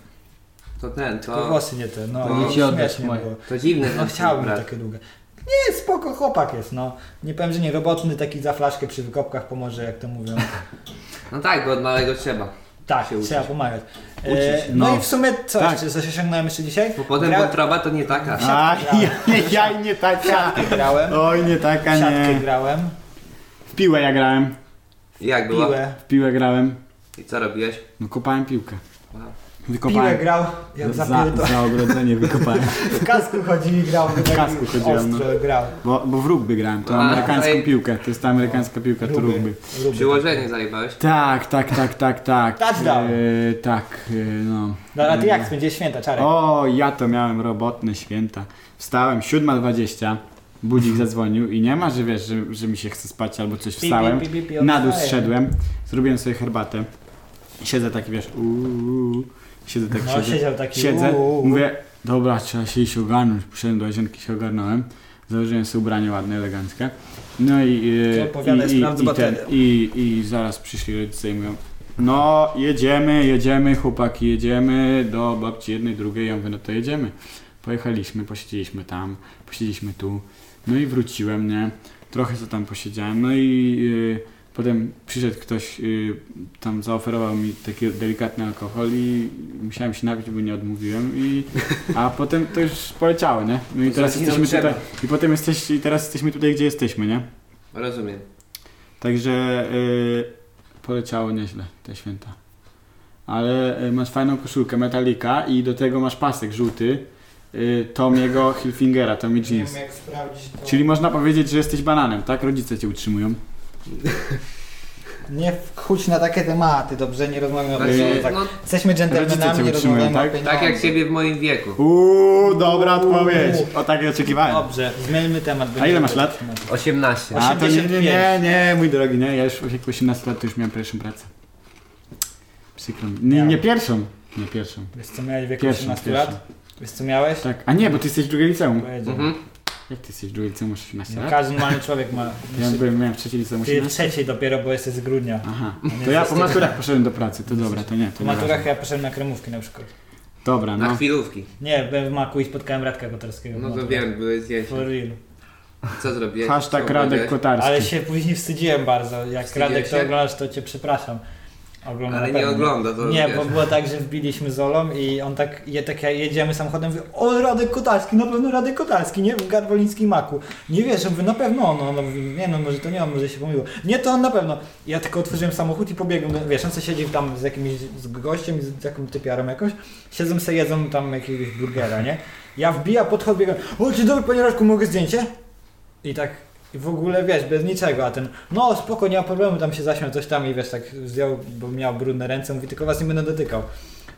D: To ten,
A: Tylko
D: to...
A: włosy nie te, no,
D: to nie
A: i
C: ci oddać
A: śmiesznie
C: moje.
A: było.
D: To dziwne.
A: No
D: że
A: chciałbym
D: brat.
A: takie długie. Nie, spoko, chłopak jest, no. Nie powiem, że nie robotny, taki za flaszkę przy wykopkach pomoże, jak to mówią.
D: No tak, bo od małego trzeba.
A: Tak,
D: Się uczyć.
A: trzeba pomagać.
D: Uczyć,
A: no.
B: no.
A: i w sumie coś,
B: Tak.
A: co się osiągnąłem jeszcze dzisiaj?
D: Bo potem
A: Gra-
D: wątroba to nie taka.
B: A, ja, ja nie taka!
A: grałem,
B: Oj, nie taka,
A: siatkę
B: nie.
A: grałem,
B: W piłę ja grałem.
D: I Jak było?
A: piłę.
B: W piłę grałem.
D: I co robiłeś?
B: No kopałem piłkę.
D: Wow.
A: Piłę
B: Wykopałem.
A: grał, jak
B: za,
A: zapił to.
B: za ogrodzenie wykopałem.
A: W kasku chodził i grał. W
B: kasku chodziłem, no.
A: Ostro grał.
B: Bo, bo w rugby grałem, to
D: A,
B: amerykańską
D: ej.
B: piłkę. To jest ta amerykańska piłka, to rugby.
A: Ruby.
D: Przyłożenie zajebałeś?
B: Tak, tak, tak, tak, tak.
A: Touchdown.
B: E, tak, e, no.
A: No ale ty jak spędzisz święta, Czarek?
B: O, ja to miałem robotne święta. Wstałem 7.20, budzik zadzwonił i nie ma, że wiesz, że, że mi się chce spać albo coś wstałem.
A: Pi, pi, pi, pi,
B: Na dół
A: odstaję.
B: zszedłem, zrobiłem sobie herbatę. Siedzę taki, wiesz, uuu, siedzę tak,
A: No
B: siedzę,
A: siedział taki.
B: siedzę,
A: uuu.
B: mówię, dobra, trzeba się iść ogarnąć, poszedłem do łazienki, się ogarnąłem, założyłem sobie ubranie ładne, eleganckie, no i,
A: To opowiadaj,
B: i, i,
A: sprawdź
B: i, ten,
A: baterię.
B: i, i zaraz przyszli rodzice i mówią, no jedziemy, jedziemy chłopaki, jedziemy do babci jednej, drugiej, ja mówię, no to jedziemy. Pojechaliśmy, posiedzieliśmy tam, posiedzieliśmy tu, no i wróciłem, nie, trochę co tam posiedziałem, no i yy, potem przyszedł ktoś, yy, tam zaoferował mi taki delikatny alkohol i musiałem się napić, bo nie odmówiłem i a potem to już poleciało, nie? No i
D: To
B: teraz
D: zaginął
B: jesteśmy
D: drzewo.
B: tutaj, i potem jesteś, i teraz jesteśmy tutaj, gdzie jesteśmy, nie?
D: Rozumiem.
B: Także yy, poleciało nieźle te święta. Ale y, masz fajną koszulkę Metallica i do tego masz pasek żółty y, Tomiego Hilfingera, Tommy
A: Nie
B: Jeans.
A: wiem, jak sprawdzić to.
B: Czyli można powiedzieć, że jesteś bananem, tak? Rodzice cię utrzymują.
A: Nie wchódź na takie tematy, dobrze? Nie rozmawiamy o
D: Znaczy,
B: tak-
A: pieniądzach.
D: no,
A: Jesteśmy
B: Rodzice cię
A: dżentelmenami, nie
B: utrzymują,
A: rozmawiamy
B: tak?
A: o pieniądzach.
D: tak jak ciebie w moim wieku.
B: Uuu, dobra
A: Uuu.
B: odpowiedź! O takiej oczekiwałem.
A: Dobrze, zmieńmy temat.
B: A ile masz
A: będziemy-
B: lat?
D: 18.
B: A to nie, nie,
A: 85.
B: nie, nie, mój drogi, nie, ja już jak 18 lat to już miałem pierwszą pracę. Przykro mi. Nie, nie pierwszą, nie pierwszą.
A: Wiesz co miałeś w wieku
B: Pierwszą,
A: 18
B: pierwszą.
A: lat? Wiesz co miałeś?
B: Tak, a nie, bo ty jesteś w drugiej liceum.
A: Powiedział.
D: Mhm.
B: Jak ty jesteś w drugiej liceum, masz 18
A: No,
B: lat?
A: Każdy normalny człowiek ma.
B: Ja byłem, miałem w trzeciej liceum
A: Ty w
B: 18
A: trzeciej dopiero, bo jesteś z grudnia.
B: Aha,
A: Nie
B: to ja po
A: jesteś-
B: maturach poszedłem do pracy, to dobra, to nie,
A: Po
B: to nie
A: maturach Tak,
B: ważne.
A: ja poszedłem na kremówki na przykład.
B: Dobra,
D: Na
B: no.
D: chwilówki.
A: Nie, byłem w Maku i spotkałem Radka Kotarskiego.
D: No
A: w
D: to
A: maturach.
D: wiem, były zdjęcia.
A: For real.
D: Co zrobiłeś?
B: Hashtag
D: Co
B: Radek
D: powiedziałeś?
B: Kotarski.
A: Ale się później wstydziłem bardzo. Jak
D: Wstydziłeś
A: Radek to
D: się?
A: oglądasz, to cię przepraszam. Ogląda
D: Ale
A: na
D: nie
A: pewno.
D: ogląda, to
A: Nie,
D: wiesz.
A: bo było tak, że wbiliśmy Zolą i on tak, je, tak ja jedziemy samochodem, mówię, o Radek Kotarski, na pewno Radek Kotarski, nie? W Garwolińskim Maku. Nie wiesz, mówię, na pewno on, on mówi, nie no, może to nie on, może się pomyliło. Nie, to on na pewno. Ja tylko otworzyłem samochód i pobiegłem, do- wiesz, on se siedzi tam z jakimś z gościem, z jakąś typiarą jakąś, siedzą se, jedzą tam jakiegoś burgera, nie? Ja wbija, podchodzę, biegam, o, dzień dobry panie Radku, mogę zdjęcie? I tak i w ogóle wiesz, bez niczego, a ten, no spoko, nie ma problemu, tam się zaśmiał coś tam i wiesz, tak zdjął, bo miał brudne ręce, mówi, tylko was nie będę dotykał.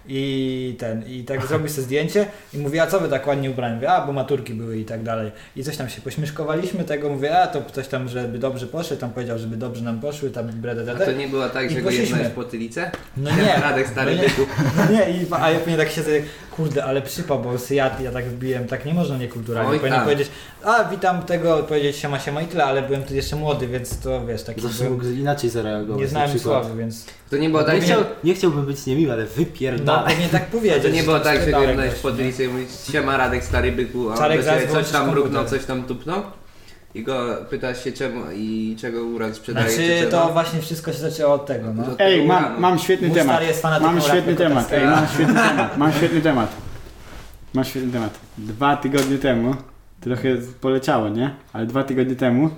A: I ten, i tak zrobił sobie zdjęcie i mówi, a co wy tak ładnie ubrani? Mówię, a bo maturki były i tak dalej. I coś tam się pośmieszkowaliśmy tego, mówię, a to ktoś tam, żeby dobrze poszedł, tam powiedział, żeby dobrze nam poszły, tam
D: A
A: brededede.
D: to nie było tak,
A: I
D: że go
A: poszliśmy.
D: jednałeś po tylicę?
A: No nie,
D: Radek stary
A: no nie.
D: byku.
A: no nie, i, a ja pewnie tak siedzę, kurde, ale przypał, bo ja, ja tak wbiłem, tak nie można niekulturalnie,
D: Oj,
A: powinienem
D: tak.
A: powiedzieć, a witam tego, powiedzieć siema, siema i tyle, ale byłem tu jeszcze młody, więc to wiesz, taki
C: Zawsze
A: byłem,
C: mógł inaczej zareagować.
A: nie
C: na
A: znałem
C: przykład.
A: sławy, więc
D: To nie było
C: Nie,
D: tak, że...
C: chciał, nie chciałbym być niemiły, ale
A: no,
C: wypierdalaj.
A: pewnie tak
D: A
A: powiedzieć.
D: To nie było tak, że go
A: Dalej
D: jednałeś
A: gość,
D: po
A: nie?
D: tylicę i mówisz, siema Radek stary byku, a on
A: Czarek,
D: do
A: zaraz
D: ciebie coś
A: włączysz
D: tam
A: komputer.
D: mruknął, coś tam tupnął? I go pytasz się czemu i czego uran sprzedaje, czy
A: Znaczy,
D: czego?
A: to właśnie wszystko się zaczęło od tego, no.
D: Od
B: Ej,
D: tego
B: mam,
D: uranu.
B: mam świetny
A: Mój
B: temat.
A: stary jest fanatykiem
B: Mam świetny
A: Radka
B: temat,
A: Kotarskiego.
B: ej, mam świetny temat, mam świetny temat. Mam świetny temat. Dwa tygodnie temu, trochę poleciało, nie? Ale dwa tygodnie temu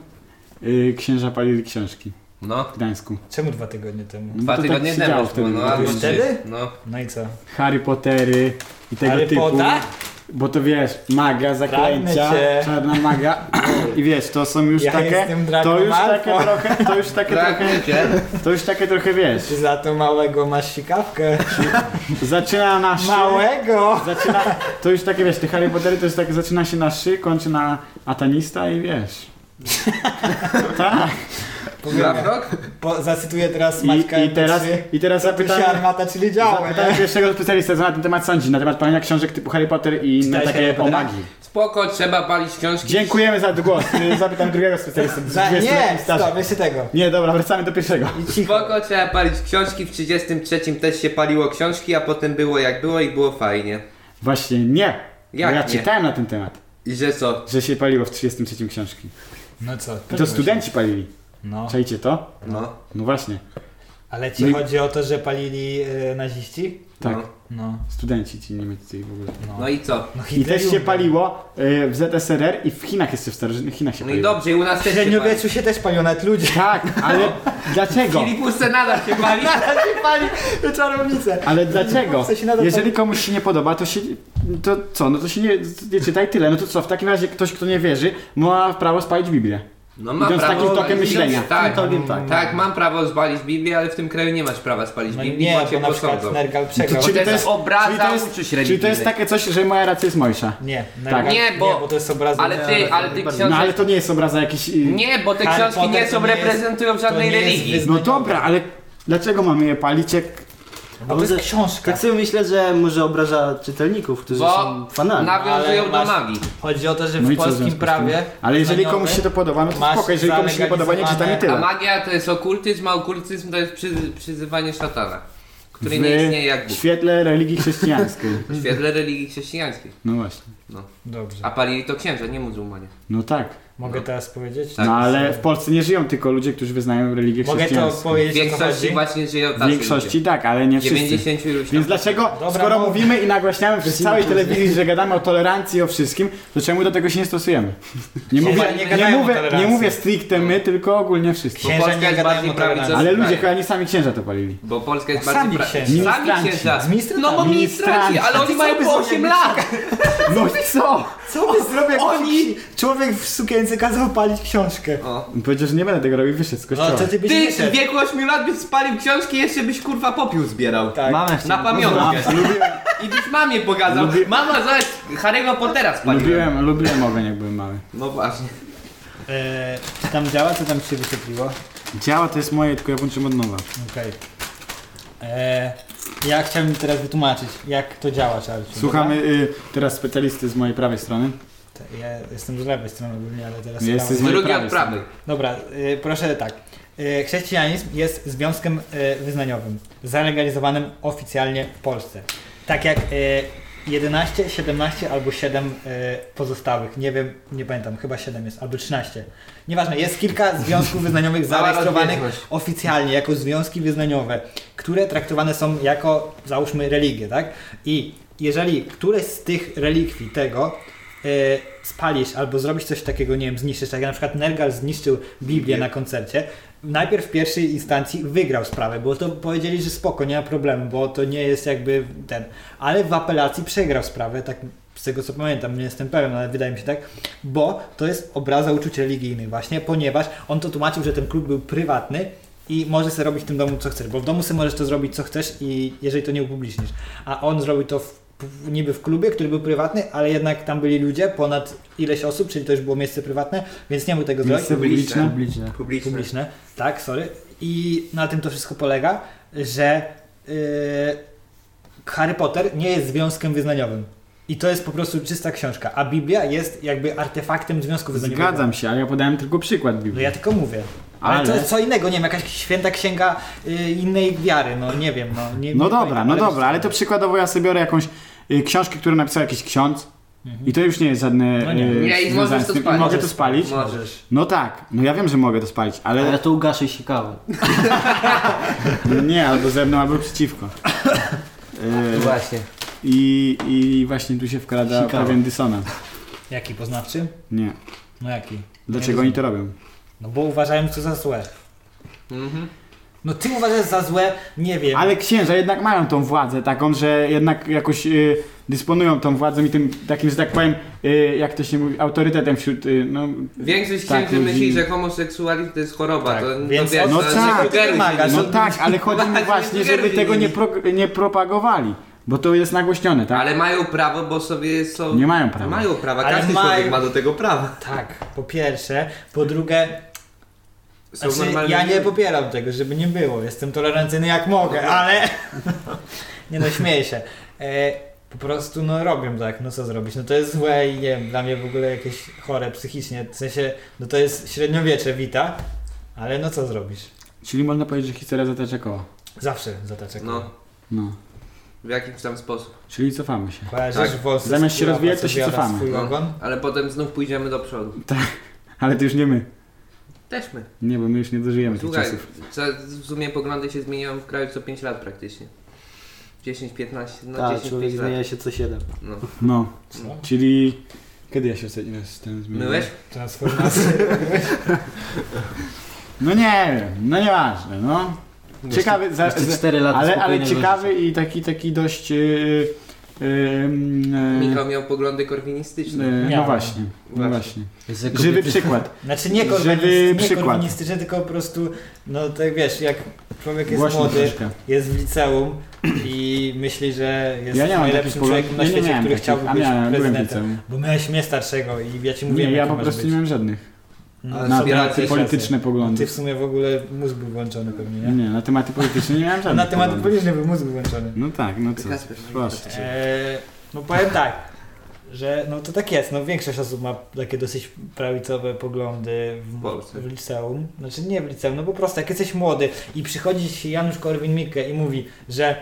B: yy, księża palili książki
D: No.
B: w Gdańsku.
A: Czemu dwa tygodnie temu?
B: No
D: Dwa
B: to tak
D: tygodnie
B: się
D: temu,
B: działo
D: już było, no
B: wtedy.
D: albo
A: Już
D: trzy.
A: wtedy?
D: No.
A: No i co?
B: Harry Pottery i tego
A: Harry
B: typu.
A: Potter?
B: Bo to wiesz, maga, zaklęcia,
A: cię.
B: czarna maga i wiesz, to są już
A: Ja
B: takie,
A: jestem Draco
B: to już takie
A: Malfoy.
B: trochę, to już takie
D: Tak,
B: trochę,
D: wiecie?
B: to już takie trochę wiesz,
A: Czy za to małego masz sikawkę?
B: zaczyna na szy,
A: Małego!
B: zaczyna, to już takie wiesz, te Harry Pottery to jest takie, zaczyna się na szy, kończy na atanista i wiesz. tak.
A: Powiem,
D: Rok?
A: po, zacytuję teraz Maćka
B: I, i teraz,
A: MP3.
B: i teraz
A: Zapytałem,
B: zapytałem,
A: armata, czyli działa.
B: zapytałem pierwszego specjalista na ten temat sądzi, na temat palenia książek typu Harry Potter i inne
A: Czytałeś Harry
B: takie o
A: Pottera?
B: magii.
D: Spoko, trzeba palić książki.
B: Dziękujemy za głos, Y, zapytam drugiego specjalistę.
A: Za,
B: Wiesz,
A: nie,
B: jaki staż-
A: stop, jeszcze tego.
B: Nie, dobra, wracamy do pierwszego.
A: I cicho.
D: Spoko, trzeba palić książki, w 33 też się paliło książki, a potem było jak było i było fajnie.
B: Właśnie nie.
D: Jak
B: Bo ja tak-
D: nie?
B: czytałem na ten temat,
D: I że co?
B: że się paliło w 33 książki.
A: No co?
B: I to studenci palili.
A: No.
B: Czajcie to?
D: No.
B: No właśnie.
A: Ale ci
B: No i-
A: chodzi o to, że palili y, naziści?
B: Tak,
D: No.
A: No.
B: studenci ci niemieccy i w ogóle.
A: No,
D: No i co?
B: I
A: Hitler
B: też się
A: lubił.
B: paliło y, w ZSRR i w Chinach jeszcze w starożytnych Chinach się
D: No i
B: paliło.
D: dobrze, i u nas
A: W
D: też się pali.
A: średniowieczu się też palią nawet ludzie.
B: Tak, ale dlaczego?
D: Filipusce nadal się pali.
A: Pali czarownicę.
B: Ale dlaczego?
A: Chce się nadal
B: Jeżeli komuś się nie podoba, to się. To co? No to się nie, nie czytaj tyle. No to co? W takim razie ktoś, kto nie wierzy, ma prawo spalić Biblię.
D: No ma
B: Idąc
D: prawo
B: takim tokiem
D: spalić-
B: myślenia.
D: Tak,
B: Tym tokiem, tak.
D: tak, mam prawo spalić Biblię, ale w tym kraju nie masz prawa spalić
A: No
D: Biblii,
A: nie,
D: bo cię
A: bo na przykład
D: posądzą.
A: Nergal przegrał.
D: Czy- to jest obraza
B: czyli to jest,
D: uczuć
B: czyli to jest
D: religijnych.
B: takie coś, że moja racja jest mojsza.
A: Nie, Nergal,
D: Nie, bo-
A: nie, bo to jest obraza.
D: Ale ty, ale ty
B: No ale
D: książki...
B: to nie jest obraza jakiś. y,
D: Nie, bo te
A: Harry
D: książki
A: Potter
D: nie są
A: to nie jest-
D: reprezentują żadnej
A: to nie jest
D: religii.
A: wyznanie.
B: No dobra, ale dlaczego mamy je palić jak...
A: Bo No to jest książka.
C: Tak sobie myślę, że może obraża czytelników, którzy
D: Bo
C: są fanami.
D: Nawiązują
A: Ale
D: do
A: masz-
D: magii.
A: Chodzi o to, że
B: No i
A: w
B: co w związku z
A: polskim
B: tym?
A: prawie...
B: Ale jeżeli
A: wyznaniowy-
B: komuś się to podoba, no to
A: masz
B: spoko, jeżeli komuś się nie podoba, nie czytam i
A: zalegalizowane-
D: A
B: tyle.
D: magia to jest okultyzm, a okultyzm to jest przy, przyzywanie szatana, który nie istnieje jak
B: W
D: Bóg.
B: świetle religii chrześcijańskiej.
D: W świetle religii chrześcijańskiej.
B: No właśnie.
A: Dobrze.
D: A palili to księża, nie muzułmanie.
B: No tak.
A: Mogę teraz powiedzieć?
D: Tak.
B: No ale w Polsce nie żyją tylko ludzie, którzy wyznają religię
A: Mogę to
B: chrześcijańską.
D: W
A: powiedzieć, o co
D: większości
A: chodzi?
D: właśnie żyją
B: W
D: tacy
B: większości tak, ale nie
D: ludzie.
B: wszyscy.
D: 90 już
B: Więc dlaczego,
A: Dobra,
B: skoro
A: bo-
B: mówimy i nagłaśniamy przez całej
C: Musimy-
B: telewizji, że gadamy o tolerancji i o wszystkim, to czemu do tego się nie stosujemy? Nie
A: Chyba
B: mówię,
A: nie
B: nie,
A: gadają o
B: mówię, nie
A: tolerancji.
B: mówię stricte my, tylko ogólnie wszyscy.
D: Bo
A: Księża nie tak,
D: Polska jest
A: gadają
D: bardziej
A: o tolerancji.
D: prawicowa.
B: Ale ludzie chyba nie sami księża to palili.
D: Bo Polska jest
A: A
D: bardziej...
A: sami
D: pra-
A: księża.
D: Sami
B: Ministranci.
D: księża.
A: Z ministrantami.
D: No bo ministranci, ale
A: A ty
D: oni
A: co
D: mają
A: by
D: po
A: zrobił?
D: 8 lat.
B: No co?
A: Co by zrobił?
D: Oni-
A: Oni! Człowiek w sukience kazał palić książkę.
D: O.
B: Powiedział, że nie będę tego robił, wyszedł z kościoła.
A: No, to ty byś
D: No, Ty
A: nie
D: w
A: szedł.
D: wieku 8 lat byś spalił książki, jeszcze byś kurwa popiół zbierał.
A: Tak.
C: Mamy
D: Na pamiątkę. I byś mamie pokazał.
B: Lubię-
D: Mama, zaś Harry'ego Pottera spaliłem.
B: Lubiłem, lubiłem ogień jak byłem mały.
D: No właśnie.
A: E, czy tam działa? Co tam ci się wyświetliło?
B: Działa to jest moje, tylko ja włączyłem od nowa.
A: Okej. E, Ja chciałem teraz wytłumaczyć, jak to działa, Charles.
B: Słuchamy y, teraz specjalisty z mojej prawej strony.
A: Te- Ja jestem z lewej strony ogólnie, ale teraz...
B: Jesteś
A: prawej.
B: z mojej
D: Drugi
B: prawej
D: od prawej.
A: Dobra, y, proszę tak. Y, Chrześcijanizm jest związkiem y, wyznaniowym, zalegalizowanym oficjalnie w Polsce. Tak jak y, 11, 17 albo 7 y, pozostałych. Nie wiem, nie pamiętam, chyba 7 jest, albo 13. Nieważne, jest kilka związków wyznaniowych
D: Mała
A: zarejestrowanych
D: rozbieżność.
A: oficjalnie jako związki wyznaniowe, które traktowane są jako, załóżmy, religie, tak? I jeżeli któreś z tych relikwii tego e, spalisz albo zrobisz coś takiego, nie wiem, zniszczysz, tak jak na przykład Nergal zniszczył Biblię na koncercie, najpierw w pierwszej instancji wygrał sprawę, bo to powiedzieli, że spoko, nie ma problemu, bo to nie jest jakby ten, ale w apelacji przegrał sprawę, tak z tego co pamiętam, nie jestem pewien, ale wydaje mi się tak, bo to jest obraza uczuć religijnych właśnie, ponieważ on to tłumaczył, że ten klub był prywatny i możesz sobie robić w tym domu co chcesz, bo w domu sobie możesz to zrobić co chcesz i jeżeli to nie upublicznisz, a on zrobił to w, w, niby w klubie, który był prywatny, ale jednak tam byli ludzie, ponad ileś osób, czyli to już było miejsce prywatne, więc nie mógł tego zrobić.
B: Miejsce publiczne?
C: Publiczne.
D: Publiczne.
A: Publiczne, tak, sorry. I na tym to wszystko polega, że yy, Harry Potter nie jest związkiem wyznaniowym. I to jest po prostu czysta książka, a Biblia jest jakby artefaktem związku wyznaniowego.
B: Zgadzam się, ale ja podałem tylko przykład
A: No
B: Biblii.
A: ja tylko mówię. Ale,
B: Ale...
A: co, co innego, nie wiem, jakaś święta księga y, innej wiary, no nie wiem, no nie
B: No
A: nie
B: dobra,
A: pamiętam,
B: no dobra, ale to przykładowo ja sobie biorę jakąś y, książkę, którą napisał jakiś ksiądz
A: Mhm.
B: i to już nie jest żadne...
A: No nie.
B: y,
D: Nie, i
B: związane
D: możesz
B: z
D: to
B: tym. I
D: spalić.
B: Mogę to spalić?
D: Możesz.
B: No tak, no ja wiem, że mogę to spalić,
C: Ale
B: ale
C: to ugaszę się kawę.
B: no nie, albo ze mną, albo przeciwko. Y,
D: Właśnie.
B: I, I właśnie tu się wkrada
C: Sikało.
B: pewien dysonans.
A: Jaki poznawczy?
B: Nie.
A: No jaki?
B: Dlaczego oni to robią?
A: No bo uważałem to za złe.
D: Mhm.
A: No ty uważasz za złe, nie wiem.
B: Ale księża jednak mają tą władzę taką, że jednak jakoś y, dysponują tą władzą i tym takim, że tak powiem, y, jak to się mówi, autorytetem wśród, y, no...
D: Większość
B: Tak,
D: księży
B: ludzi-
D: myśli, że homoseksualizm to jest choroba.
A: Tak,
D: To,
A: więc
D: to wiesz,
A: od-
B: No
D: to- znaczy
B: tak,
D: to germi.
A: wymaga,
B: No
A: że-
B: tak, ale chodzi mi
D: Właśnie,
B: właśnie,
D: zgierwi
B: żeby tego nie,
D: nimi.
B: pro, nie propagowali, bo to jest nagłośnione, tak?
D: Ale mają prawo, bo sobie są...
B: Nie mają prawa.
D: Mają prawa,
A: Ale
D: każdy
A: mają.
D: człowiek ma do tego prawa.
A: Tak, po pierwsze. Po drugie,
D: Są
A: znaczy,
D: normalni
A: ja nie
D: ludzie.
A: popieram tego, żeby nie było. Jestem tolerancyjny jak
D: No,
A: mogę, ale... nie no, śmieję się. E, po prostu, no robią tak, no co zrobić. No to jest złe i nie wiem, dla mnie w ogóle jakieś chore psychicznie. W sensie, no to jest średniowiecze, wita. Ale no co zrobisz?
B: Czyli można powiedzieć, że historia zatacza koła.
A: Zawsze zataczek.
D: No,
B: No.
D: w jakiś tam sposób.
B: Czyli cofamy się.
A: Kojarzysz
D: Tak.
A: włosy
B: Zamiast się
A: skóra
B: rozwijać, to się
A: fasowiana,
B: cofamy.
A: swój
D: No.
A: ogon?
D: Ale potem znów pójdziemy do przodu.
B: Ale to już nie my.
D: Też my.
B: Nie, bo my już nie dożyjemy tych
D: Słuchaj,
B: czasów.
D: co, w sumie poglądy się zmieniają w kraju co 5 lat praktycznie. 10-15, no
C: tak,
D: 10-15
C: człowiek
D: lat.
C: zmienia się co 7.
D: No.
B: No,
A: Co?
B: czyli... Kiedy ja się ostatni raz z tym zmieniłem?
D: Myłeś?
A: Transformacja.
B: No nie wiem, no nieważne, no. Ciekawy, za,
C: Jeszcze
B: za,
C: 4 lata
B: Tak, ale, ale
C: spokojnego
B: ciekawy i taki, taki dość... Yy, yy,
D: Michał miał poglądy korwinistyczne.
B: no
A: Miałem.
B: właśnie, no
D: Właśnie.
B: właśnie.
C: życia. Że
B: Żywy
C: kobiety-
B: przykład.
A: Znaczy nie, korwinist,
B: Żywy
A: nie
B: przykład.
A: korwinistyczny, tylko po prostu, no tak wiesz, jak człowiek jest
B: Głośno
A: młody,
B: troszkę.
A: jest w liceum i myśli, że jest
B: Ja nie mam takich
A: najlepszym człowiekiem
B: poglądów.
A: na
B: Ja nie
A: świecie,
B: miałem
A: który
B: takich.
A: chciałby
B: A
A: być
B: miałem, byłem w
A: prezydentem.
B: liceum.
A: Bo miałeś mnie starszego i ja ci mówiłem,
B: Nie, ja
A: jaki
B: po
A: masz
B: prostu
A: być.
B: nie miałem żadnych.
A: No,
D: Ale
A: są
D: sobie
A: tacy
D: raczej
B: Tematy
D: Racja,
B: polityczne
A: Ty
B: poglądy.
A: w sumie w ogóle mózg był włączony pewnie, nie?
B: Nie, na tematy polityczne nie miałem żadnych.
A: Na temat
B: poglądów.
A: polityczny był mózg włączony.
B: No tak, no co.
D: Kasper,
B: Proszę. cię.
A: Eee, no powiem tak, że no to tak jest, no większość osób ma takie dosyć prawicowe poglądy w,
D: W Polsce.
A: w liceum, znaczy nie w liceum, no po prostu jak jesteś młody i przychodzi ci Janusz Korwin-Mikke i mówi, że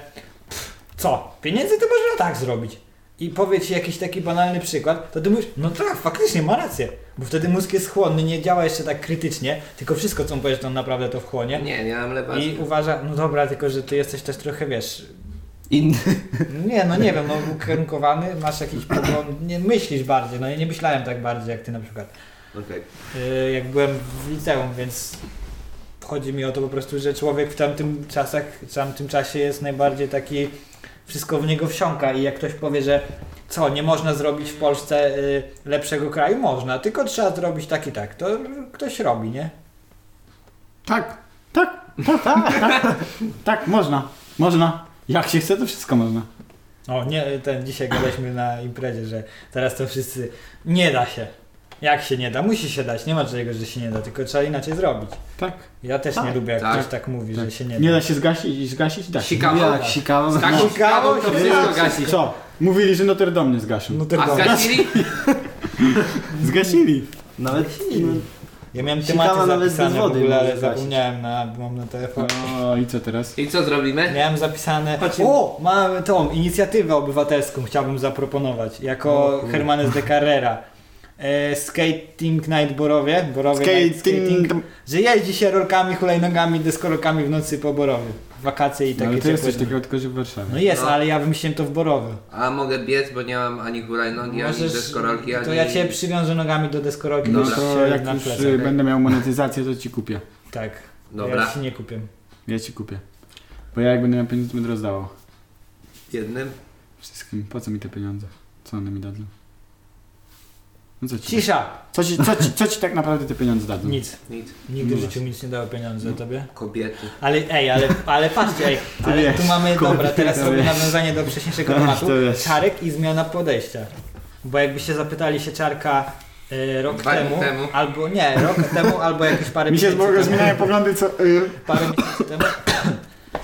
A: pff, co, pieniędzy to można tak zrobić i powie ci jakiś taki banalny przykład, to ty mówisz, no tak, faktycznie ma rację, bo wtedy mózg jest chłonny, nie działa jeszcze tak krytycznie, tylko wszystko co mu powiesz, to on naprawdę to wchłonie.
D: Nie, nie mam lewa.
A: I uważa, no dobra, tylko że ty jesteś też trochę, wiesz,
C: Inny.
A: nie, no nie wiem, no ukierunkowany, masz jakiś pogląd, nie myślisz bardziej, no ja nie myślałem tak bardziej jak ty na przykład,
D: Okej.
A: yy, jak byłem w liceum, więc chodzi mi o to po prostu, że człowiek w tamtym czasach, w tamtym czasie jest najbardziej taki, wszystko w niego wsiąka i jak ktoś powie, że co, nie można zrobić w Polsce yy, lepszego kraju? Można, tylko trzeba zrobić tak i tak, to ktoś robi, nie?
B: Tak, tak, tak, tak, tak, tak, można, można. Jak się chce, to wszystko można.
A: O, nie, ten dzisiaj gadaliśmy na imprezie, że teraz to wszyscy nie da się. Jak się nie da? Musi się dać. Nie ma czegoś, że się nie da, tylko trzeba inaczej zrobić.
B: Tak.
A: Ja też nie
B: Tak.
A: lubię, jak
D: Tak.
A: ktoś tak mówi,
B: Tak.
A: że się nie,
B: Nie
A: da.
B: da się zgasić i zgasić? Da się.
D: Sika- Sikawą.
C: Jak sikawą.
D: Tak,
A: No.
D: sikawą to wszystko gasi.
B: Co? Mówili, że Notre Dame nie zgaszą.
A: No tylko.
D: A zgasili?
B: Zgasili.
C: Nawet
A: Ja miałem
C: Sikawa
A: tematy
C: nawet bez
A: zapisane w
C: wody
A: ogóle,
C: może
A: ale
C: zgasić.
A: zapomniałem na, mam na telefonie.
B: O, No, i co teraz?
D: I co zrobimy?
A: Miałem zapisane.
D: Chodźmy.
A: O! Mamy tą inicjatywę obywatelską chciałbym zaproponować jako Hermanes de Carrera. e, Skating Night Borowie. Borowie Night
B: Skating.
A: Że jeździ się rolkami, hulajnogami, deskorolkami w nocy po Borowie. Wakacje i
B: No,
A: takie
B: ale to jest
A: ciepłe
B: coś
A: dni.
B: takiego, tylko że w Warszawie.
A: No jest,
D: No.
A: ale ja wymyśliłem to w Borowie.
D: A mogę biec, bo nie mam ani hulajnogi, ani deskorolki, ani...
A: to ja cię przywiążę nogami do deskorolki,
B: No
A: no,
D: Dobra.
B: to
A: się
B: jak
A: na
B: już
A: plecach.
B: y, będę miał monetyzację, to ci kupię.
A: Tak, ja
D: Dobra,
A: ci nie kupię.
B: Ja ci kupię. Bo ja jak będę miał pieniądze, to będę rozdawał.
D: jednym.
B: Wszystkim. Po co mi te pieniądze? Co one mi dadzą? No co ci?
A: Cisza!
B: Co ci, co ci, co ci tak naprawdę te pieniądze dadzą?
A: Nic.
D: Nic.
A: Nigdy w
B: No
A: życiu mi nic nie dało pieniądze tobie.
D: Kobiety.
A: Ale ej, ale, ale patrzcie, ej,
B: Ty
A: ale
B: wiesz,
A: tu mamy,
B: kurde,
A: dobra, teraz
B: to
A: robię
B: wiesz.
A: nawiązanie do wcześniejszego
B: Ach,
A: tematu.
B: to wiesz.
A: Czarek i zmiana podejścia. Bo jakbyście zapytali się Czarka e, rok
D: Dwa dni
A: temu,
D: temu.
A: albo nie, rok temu, albo jakieś parę
B: Mi się z
A: miesięcy
B: Boga
A: temu,
B: zmieniają poglądy, co... y,
A: parę miesięcy temu,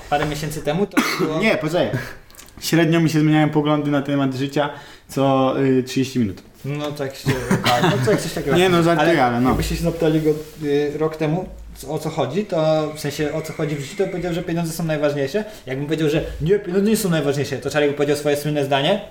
A: parę miesięcy temu to było...
B: Nie, poczekaj. Średnio mi się zmieniają poglądy na temat życia co y, 30 minut.
A: No tak się, tak, no coś, coś takiego.
B: Nie no, żartuję, ale no.
A: Jakbyście się zapytali go y, rok temu co- o co chodzi, to w sensie o co chodzi w życiu, to powiedział, że pieniądze są najważniejsze. Jakbym powiedział, że nie, pieniądze nie są najważniejsze, to Czarek by powiedział swoje słynne zdanie.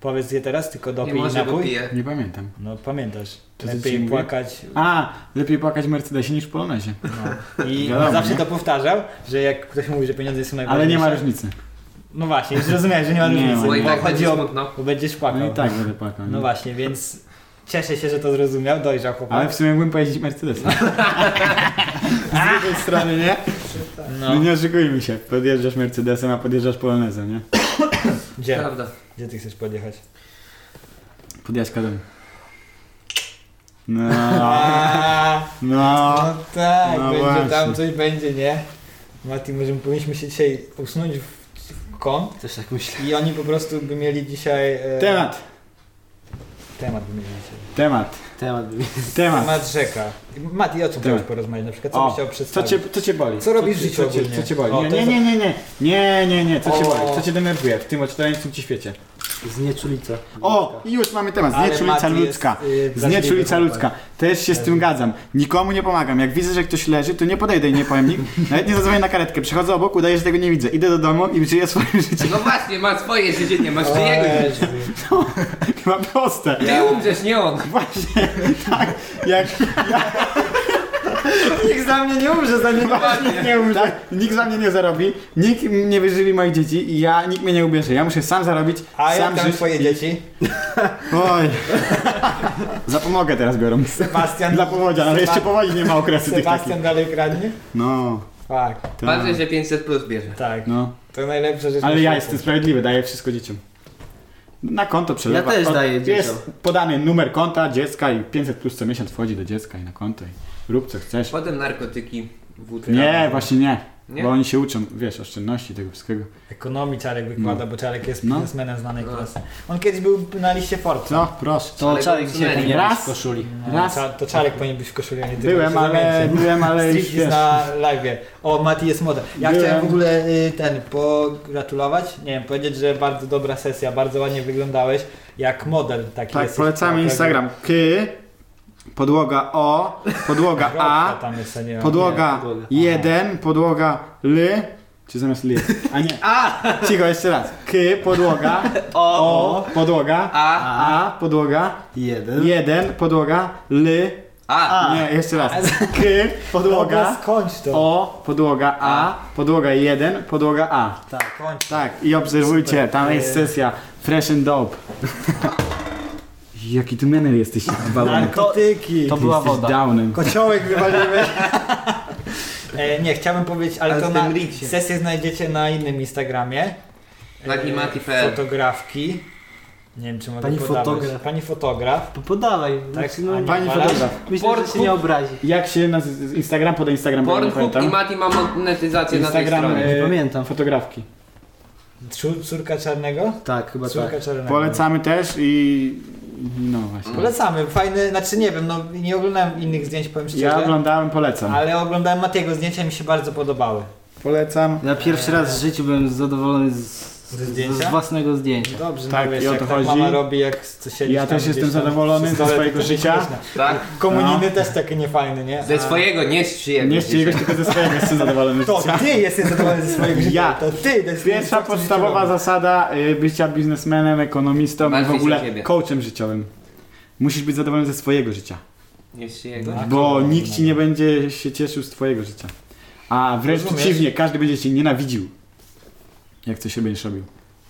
A: Powiedz je teraz, tylko
D: Nie
A: dopij i
D: może, bo
A: napój.
D: piję.
B: Nie pamiętam.
A: No pamiętasz,
B: To co ci
A: lepiej
B: mówię?
A: płakać.
B: A, lepiej płakać w Mercedesie niż w Polonezie.
A: No. I
B: Wiadomo,
A: zawsze
B: nie?
A: to powtarzał, że jak ktoś mówi, że pieniądze są najważniejsze.
B: Ale nie ma różnicy.
A: No właśnie, już zrozumiałeś, że nie ma
B: Nie
A: różnicy,
B: ma.
D: Bo i
A: bo
D: tak
A: chodzi
D: będzie
A: o...
D: smutno.
A: Bo będziesz płakał.
B: No i tak będę płakał.
A: No
B: nie?
A: właśnie, więc cieszę się, że to zrozumiał, dojrzał chłopak.
B: Ale w sumie mógłbym pojeździć Mercedesem.
A: No.
B: Z drugiej strony, nie?
A: No,
B: No. nie oszukujmy się. Podjeżdżasz Mercedesem, a podjeżdżasz Polonezem, nie?
A: gdzie?
D: Prawda.
A: Gdzie ty chcesz podjechać?
B: Podjazd kadem. No,
A: A,
B: no.
A: no tak,
B: no
A: będzie
B: właśnie.
A: tam coś będzie, nie? Mati, może powinniśmy się dzisiaj usunąć w, w kąt
C: Też tak myślę.
A: i oni po prostu by mieli dzisiaj... E,
B: Temat,
A: Temat by mieli dzisiaj.
B: temat,
C: Temat by mi...
B: temat.
A: Temat rzeka. Mati, o co
B: Temat.
A: chciałeś porozmawiać na przykład? Co
B: O,
A: byś chciał
B: Co
A: przedstawić?
B: cię, co cię boli?
A: Co robisz w
B: cię-
A: życiu
B: co cię,
A: ogólnie?
B: co cię boli?
A: O, to
B: nie, nie,
A: jest-
B: nie, nie, nie, nie, nie, nie, co cię
A: O.
B: boli? Co cię denerwuje w tym oczarającym ci świecie?
C: Znieczulica.
B: O, i już mamy temat,
A: Ale
B: znieczulica
A: Mati jest,
B: ludzka.
A: y, wrażliwy
B: Znieczulica
A: chłopak.
B: ludzka. Też się z tym gadzam. Nikomu nie pomagam. Jak widzę, że ktoś leży, to nie podejdę i nie powiem nikt. Nawet nie zadzwonię na karetkę. Przechodzę obok, udaję, że tego nie widzę. Idę do domu i żyję swoje życie.
D: No właśnie, ma swoje życie, nie masz
A: O,
D: czyjego.
A: Jezu.
B: Chyba proste.
D: Ty umrzesz, nie on.
B: Właśnie, tak, jak...
A: Nikt za mnie nie umrze, za niego.
B: Nikt nie umrze. Tak? Nikt za mnie nie zarobi, nikt nie wyżywi moich dzieci i ja, nikt mnie nie ubierze. Ja muszę sam zarobić,
A: A
B: sam
A: jak tam
B: żyć.
A: twoje dzieci?
B: Oj. Zapomogę teraz biorą.
A: Sebastian...
B: Dla powodzia, ale jeszcze powodzi nie ma okresu tych takich.
A: Sebastian dalej kradnie?
B: No.
A: Tak,
B: tak.
D: Patrzę, że 500 plus bierze.
A: tak.
B: No.
A: To najlepsza rzecz. na
B: Ale ja
A: świecie.
B: jestem sprawiedliwy, daję wszystko dzieciom. Na konto przelewa.
C: Ja też daję
B: Jest
C: dzieciom.
B: podany numer konta dziecka i 500 plus co miesiąc wchodzi do dziecka i na konto i rób co chcesz.
D: Potem narkotyki, włócznia.
B: Nie, właśnie nie.
D: Nie?
B: Bo oni się uczą, wiesz, oszczędności tego wszystkiego.
A: Ekonomii Czarek wykłada, bo Czarek jest
B: No.
A: biznesmenem znanej
D: No.
A: klasy. On kiedyś był na liście Forbes.
B: No, proszę.
C: To
D: Ale
C: Czarek
D: to
C: dzisiaj
D: nie
C: powinien
B: raz.
C: raz w koszuli.
A: No,
B: Raz.
A: Cza- to Czarek powinien być w koszuli, a nie ty.
B: Byłem,
A: bo się
B: ale,
A: zamieńcie.
B: byłem, ale już,
A: Street
B: wiesz,
A: jest na live. O, Mati jest moda. Ja
B: Byłem.
A: chciałem w ogóle y, ten pogratulować. Nie wiem, powiedzieć, że bardzo dobra sesja, bardzo ładnie wyglądałeś. Jak model taki
B: Tak,
A: jesteś.
B: polecamy
A: Tak,
B: Instagram. K, podłoga O, podłoga
A: Kropka
B: A,
A: tak, tam jest, a nie ma.
B: Podłoga
C: Nie, podłoga.
B: 1, podłoga L, czy zamiast L? A nie. Cicho, jeszcze raz. K, podłoga, O, podłoga,
D: A.
B: A, podłoga,
C: Jeden.
B: 1, podłoga L,
D: A.
B: nie, jeszcze raz. K, podłoga,
A: Dobra, No, skończ to.
B: O, podłoga A, podłoga 1, podłoga A.
A: Tak, kończ.
B: Tak, i obserwujcie, tam jest sesja Fresh and Dope. Jaki ty mener jesteś, balon.
A: Narkotyki.
C: To była
B: jesteś
C: woda.
B: Downem.
A: Kociołek wywalimy. e, nie, chciałbym powiedzieć, ale,
D: Ale
A: to
D: w
A: na
D: tym reelsie.
A: sesję znajdziecie na innym Instagramie. E,
D: Nagimati.pl.
A: Fotografki. Nie wiem, czy mogę
C: Pani
A: podawać.
C: fotograf.
A: Pani fotograf.
C: Po- Podawaj.
A: Tak,
C: Znaczy, no,
A: Ania.
B: Pani
A: Walasz?
B: fotograf.
C: myślę, że się
D: Pornhub.
C: nie obrazi.
B: Jak się nazywa? Instagram? Podaj Instagram, bo ja nie
D: Pornhub i
B: pamiętam.
D: Mati ma monetyzację
B: Instagram,
D: na tej stronie.
B: e,
C: Nie pamiętam.
B: Fotografki.
A: Czu- Córka czarnego?
C: Tak, chyba
A: Córka
C: tak.
A: czarnego.
B: Polecamy też i... i No właśnie.
A: Polecamy. Fajny, znaczy nie wiem, no nie oglądałem innych zdjęć, powiem szczerze.
B: Ja oglądałem, polecam.
A: ale oglądałem Matiego zdjęcia mi się bardzo podobały.
B: Polecam.
C: Ja pierwszy raz w życiu byłem zadowolony z,
A: Ze
C: z,
A: zdjęcia?
C: z własnego zdjęcia.
A: Dobrze,
B: Tak,
A: no wiesz,
B: i o
A: jak
B: to
A: tak
B: chodzi.
A: mama robi, jak co siedzi
B: Ja
A: tam
B: też
A: gdzieś
B: jestem
A: tam
B: zadowolony
A: przy
B: ze
A: stole,
B: swojego
A: to też
B: życia.
A: śmieszne.
D: Tak?
A: Komuniny
B: No.
A: też takie niefajne, nie?
D: Ze
A: A-
D: swojego, nie z czyjego.
B: Tak. Nie z czyjegoś, tylko ze swojego jestem zadowolony.
A: To ty jesteś zadowolony ze swojego życia.
B: Ja.
A: To ty. To jest
B: Pierwsza
A: to, co
B: podstawowa
A: życie robi.
B: zasada y, bycia biznesmenem, ekonomistą i
D: Martwić
B: w
D: się
B: ogóle
D: siebie.
B: coachem życiowym. Musisz być zadowolony ze swojego życia.
D: Jeśli jego.
A: Tak.
B: Bo nikt ci nie będzie się cieszył z twojego życia. A wręcz
A: Rozumiesz?
B: przeciwnie, każdy będzie cię nienawidził. Jak coś się będziesz robił.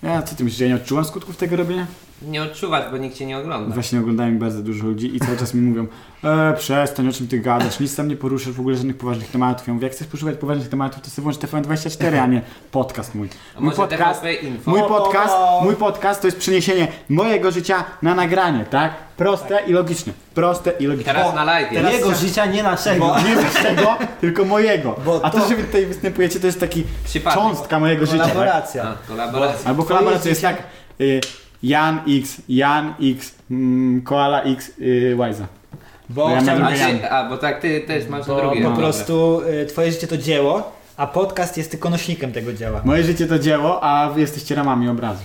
B: Ja co ty myślisz, że ja nie odczułam skutków tego robienia?
D: Nie odczuwać, bo nikt cię nie ogląda.
B: Właśnie oglądają bardzo dużo ludzi i cały czas mi mówią e, przestań, o czym ty gadasz, nic tam nie poruszasz, w ogóle żadnych poważnych tematów. Ja mówię, jak chcesz poszukać poważnych tematów, to sobie włącz TVN24, a nie podcast mój.
D: A
B: Mój
D: może
B: podcast,
D: TVP Info.
B: mój podcast, mój podcast to jest przeniesienie mojego życia na nagranie, tak? Proste i logiczne. Proste i logiczne.
D: Teraz na live.
A: teraz-
C: Jego życia, nie naszego.
A: Bo-
B: Nie waszego, tylko mojego.
A: Bo
B: A to,
A: to-
B: że wy tutaj występujecie, to jest taki
D: Przypadek.
B: cząstka mojego życia. Tak?
D: A,
A: Kolaboracja.
D: kolaboracja.
B: Albo kolaboracja jest tak. Y, Jan X, Jan X, mm, Koala X, y, Wajza.
A: Bo
B: Ja mam
A: chciałbym
D: A,
B: drugie
D: ty, a, bo tak, ty też masz
A: Bo
D: drugie.
A: po
D: Dobra.
A: prostu y, twoje życie to dzieło, a podcast jest tylko nośnikiem tego dzieła.
B: Moje życie to dzieło, a wy jesteście ramami obrazu.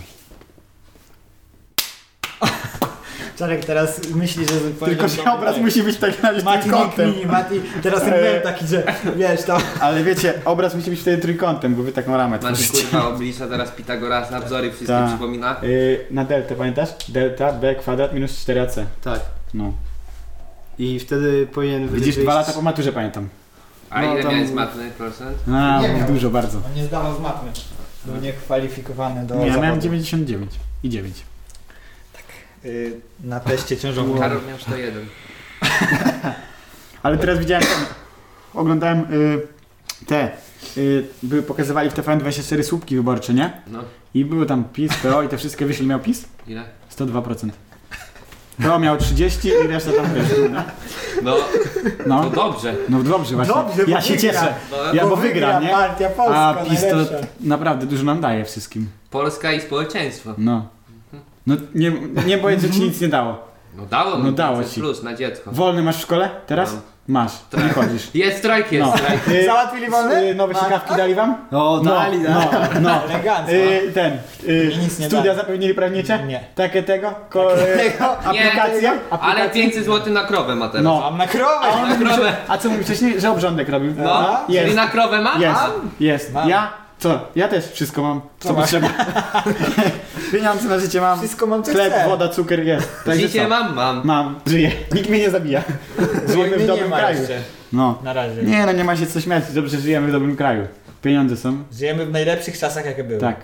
A: Czarek teraz myśli, że...
B: Tylko, że obraz musi być tak na
A: Mati,
B: trójkątem.
A: Mati, Mati, teraz
B: E.
A: ten byłem taki, że wiesz, tam...
B: Ale wiecie, obraz musi być wtedy trójkątem, bo wy taką ramę
D: Masz
B: tworzycie.
D: kurwa oblicza teraz Pitagorasa, wzory wszystkie
B: Tak.
D: przypomina.
B: Y, na deltę, pamiętasz? Delta B kwadrat minus 4ac.
C: Tak.
B: No.
C: I wtedy powinien
B: Widzisz,
C: wyjść-
B: dwa lata po maturze pamiętam.
D: A
C: No,
D: ile
C: tam-
D: miałeś matny procent?
B: A,
A: Nie miał.
B: dużo bardzo.
A: On nie zdawał z matmy. Był niekwalifikowany do
B: Nie, ja miałem
A: zawodu.
B: 99 i 9.
A: Y, Na teście ciężowym.
D: Karol miał 101.
B: Ale teraz widziałem, oglądałem y, te, y, były, pokazywali w TVN24 słupki wyborcze, nie?
D: No,
B: I były tam PiS, PO i te wszystkie wyszli, miał PiS?
D: ile?
B: 102%. PO miał 30 i reszta tam też. No,
D: No, to
B: no,
D: dobrze.
B: no dobrze właśnie,
A: Dobrze, bo
B: ja się
A: wygra.
B: cieszę.
D: No,
B: Ja bo wygra, nie?
A: Partia Polska,
B: A PiS to
A: najlepsza.
B: naprawdę dużo nam daje wszystkim.
D: Polska i społeczeństwo.
B: No. No nie, nie powiedz, że ci nic nie dało.
D: No dało mi
B: No dało
D: 500
B: ci.
D: plus na dziecko.
B: Wolny masz w szkole? Teraz?
D: No.
B: Masz, nie chodzisz.
D: Jest strajk, jest
B: No.
D: strajk.
B: Y,
A: Załatwili wolny?
B: y, Nowe sikawki dali wam?
C: O, dali, tak.
B: no, no,
C: dali.
B: no.
A: Elegancko.
B: Y, ten, y,
A: I nic nie
B: studia
A: dali.
B: zapewnili prawnicie?
A: Nie.
B: Takie tego? Ko,
A: Tego?
B: aplikacja?
D: Ale
B: aplikacja?
D: 500 zł na krowę ma teraz.
B: No.
A: Mam na krowę!
D: A on-
B: Mówił,
D: krowę.
B: że- A co mówił wcześniej? Że obrządek robił.
D: No,
B: jest,
D: czyli na krowę ma?
B: jest,
D: A?
B: jest.
A: Mam.
B: Ja, co? Ja też wszystko mam, co,
A: Co masz?
B: potrzeba. Pieniądze na życie mam,
A: Wszystko mam co
B: chleb,
A: chcę.
B: woda, cukier jest. Także
D: Dzisiaj
B: co?
D: mam, mam.
B: Mam, żyję. Nikt mnie nie zabija. Żyjemy w
A: Wojny
B: dobrym
A: nie ma
B: kraju.
A: jeszcze.
B: No.
A: Na razie.
B: Nie no, nie ma się co śmiać, dobrze żyjemy w dobrym kraju. Pieniądze są,
A: Żyjemy w najlepszych czasach, jakie były.
B: tak.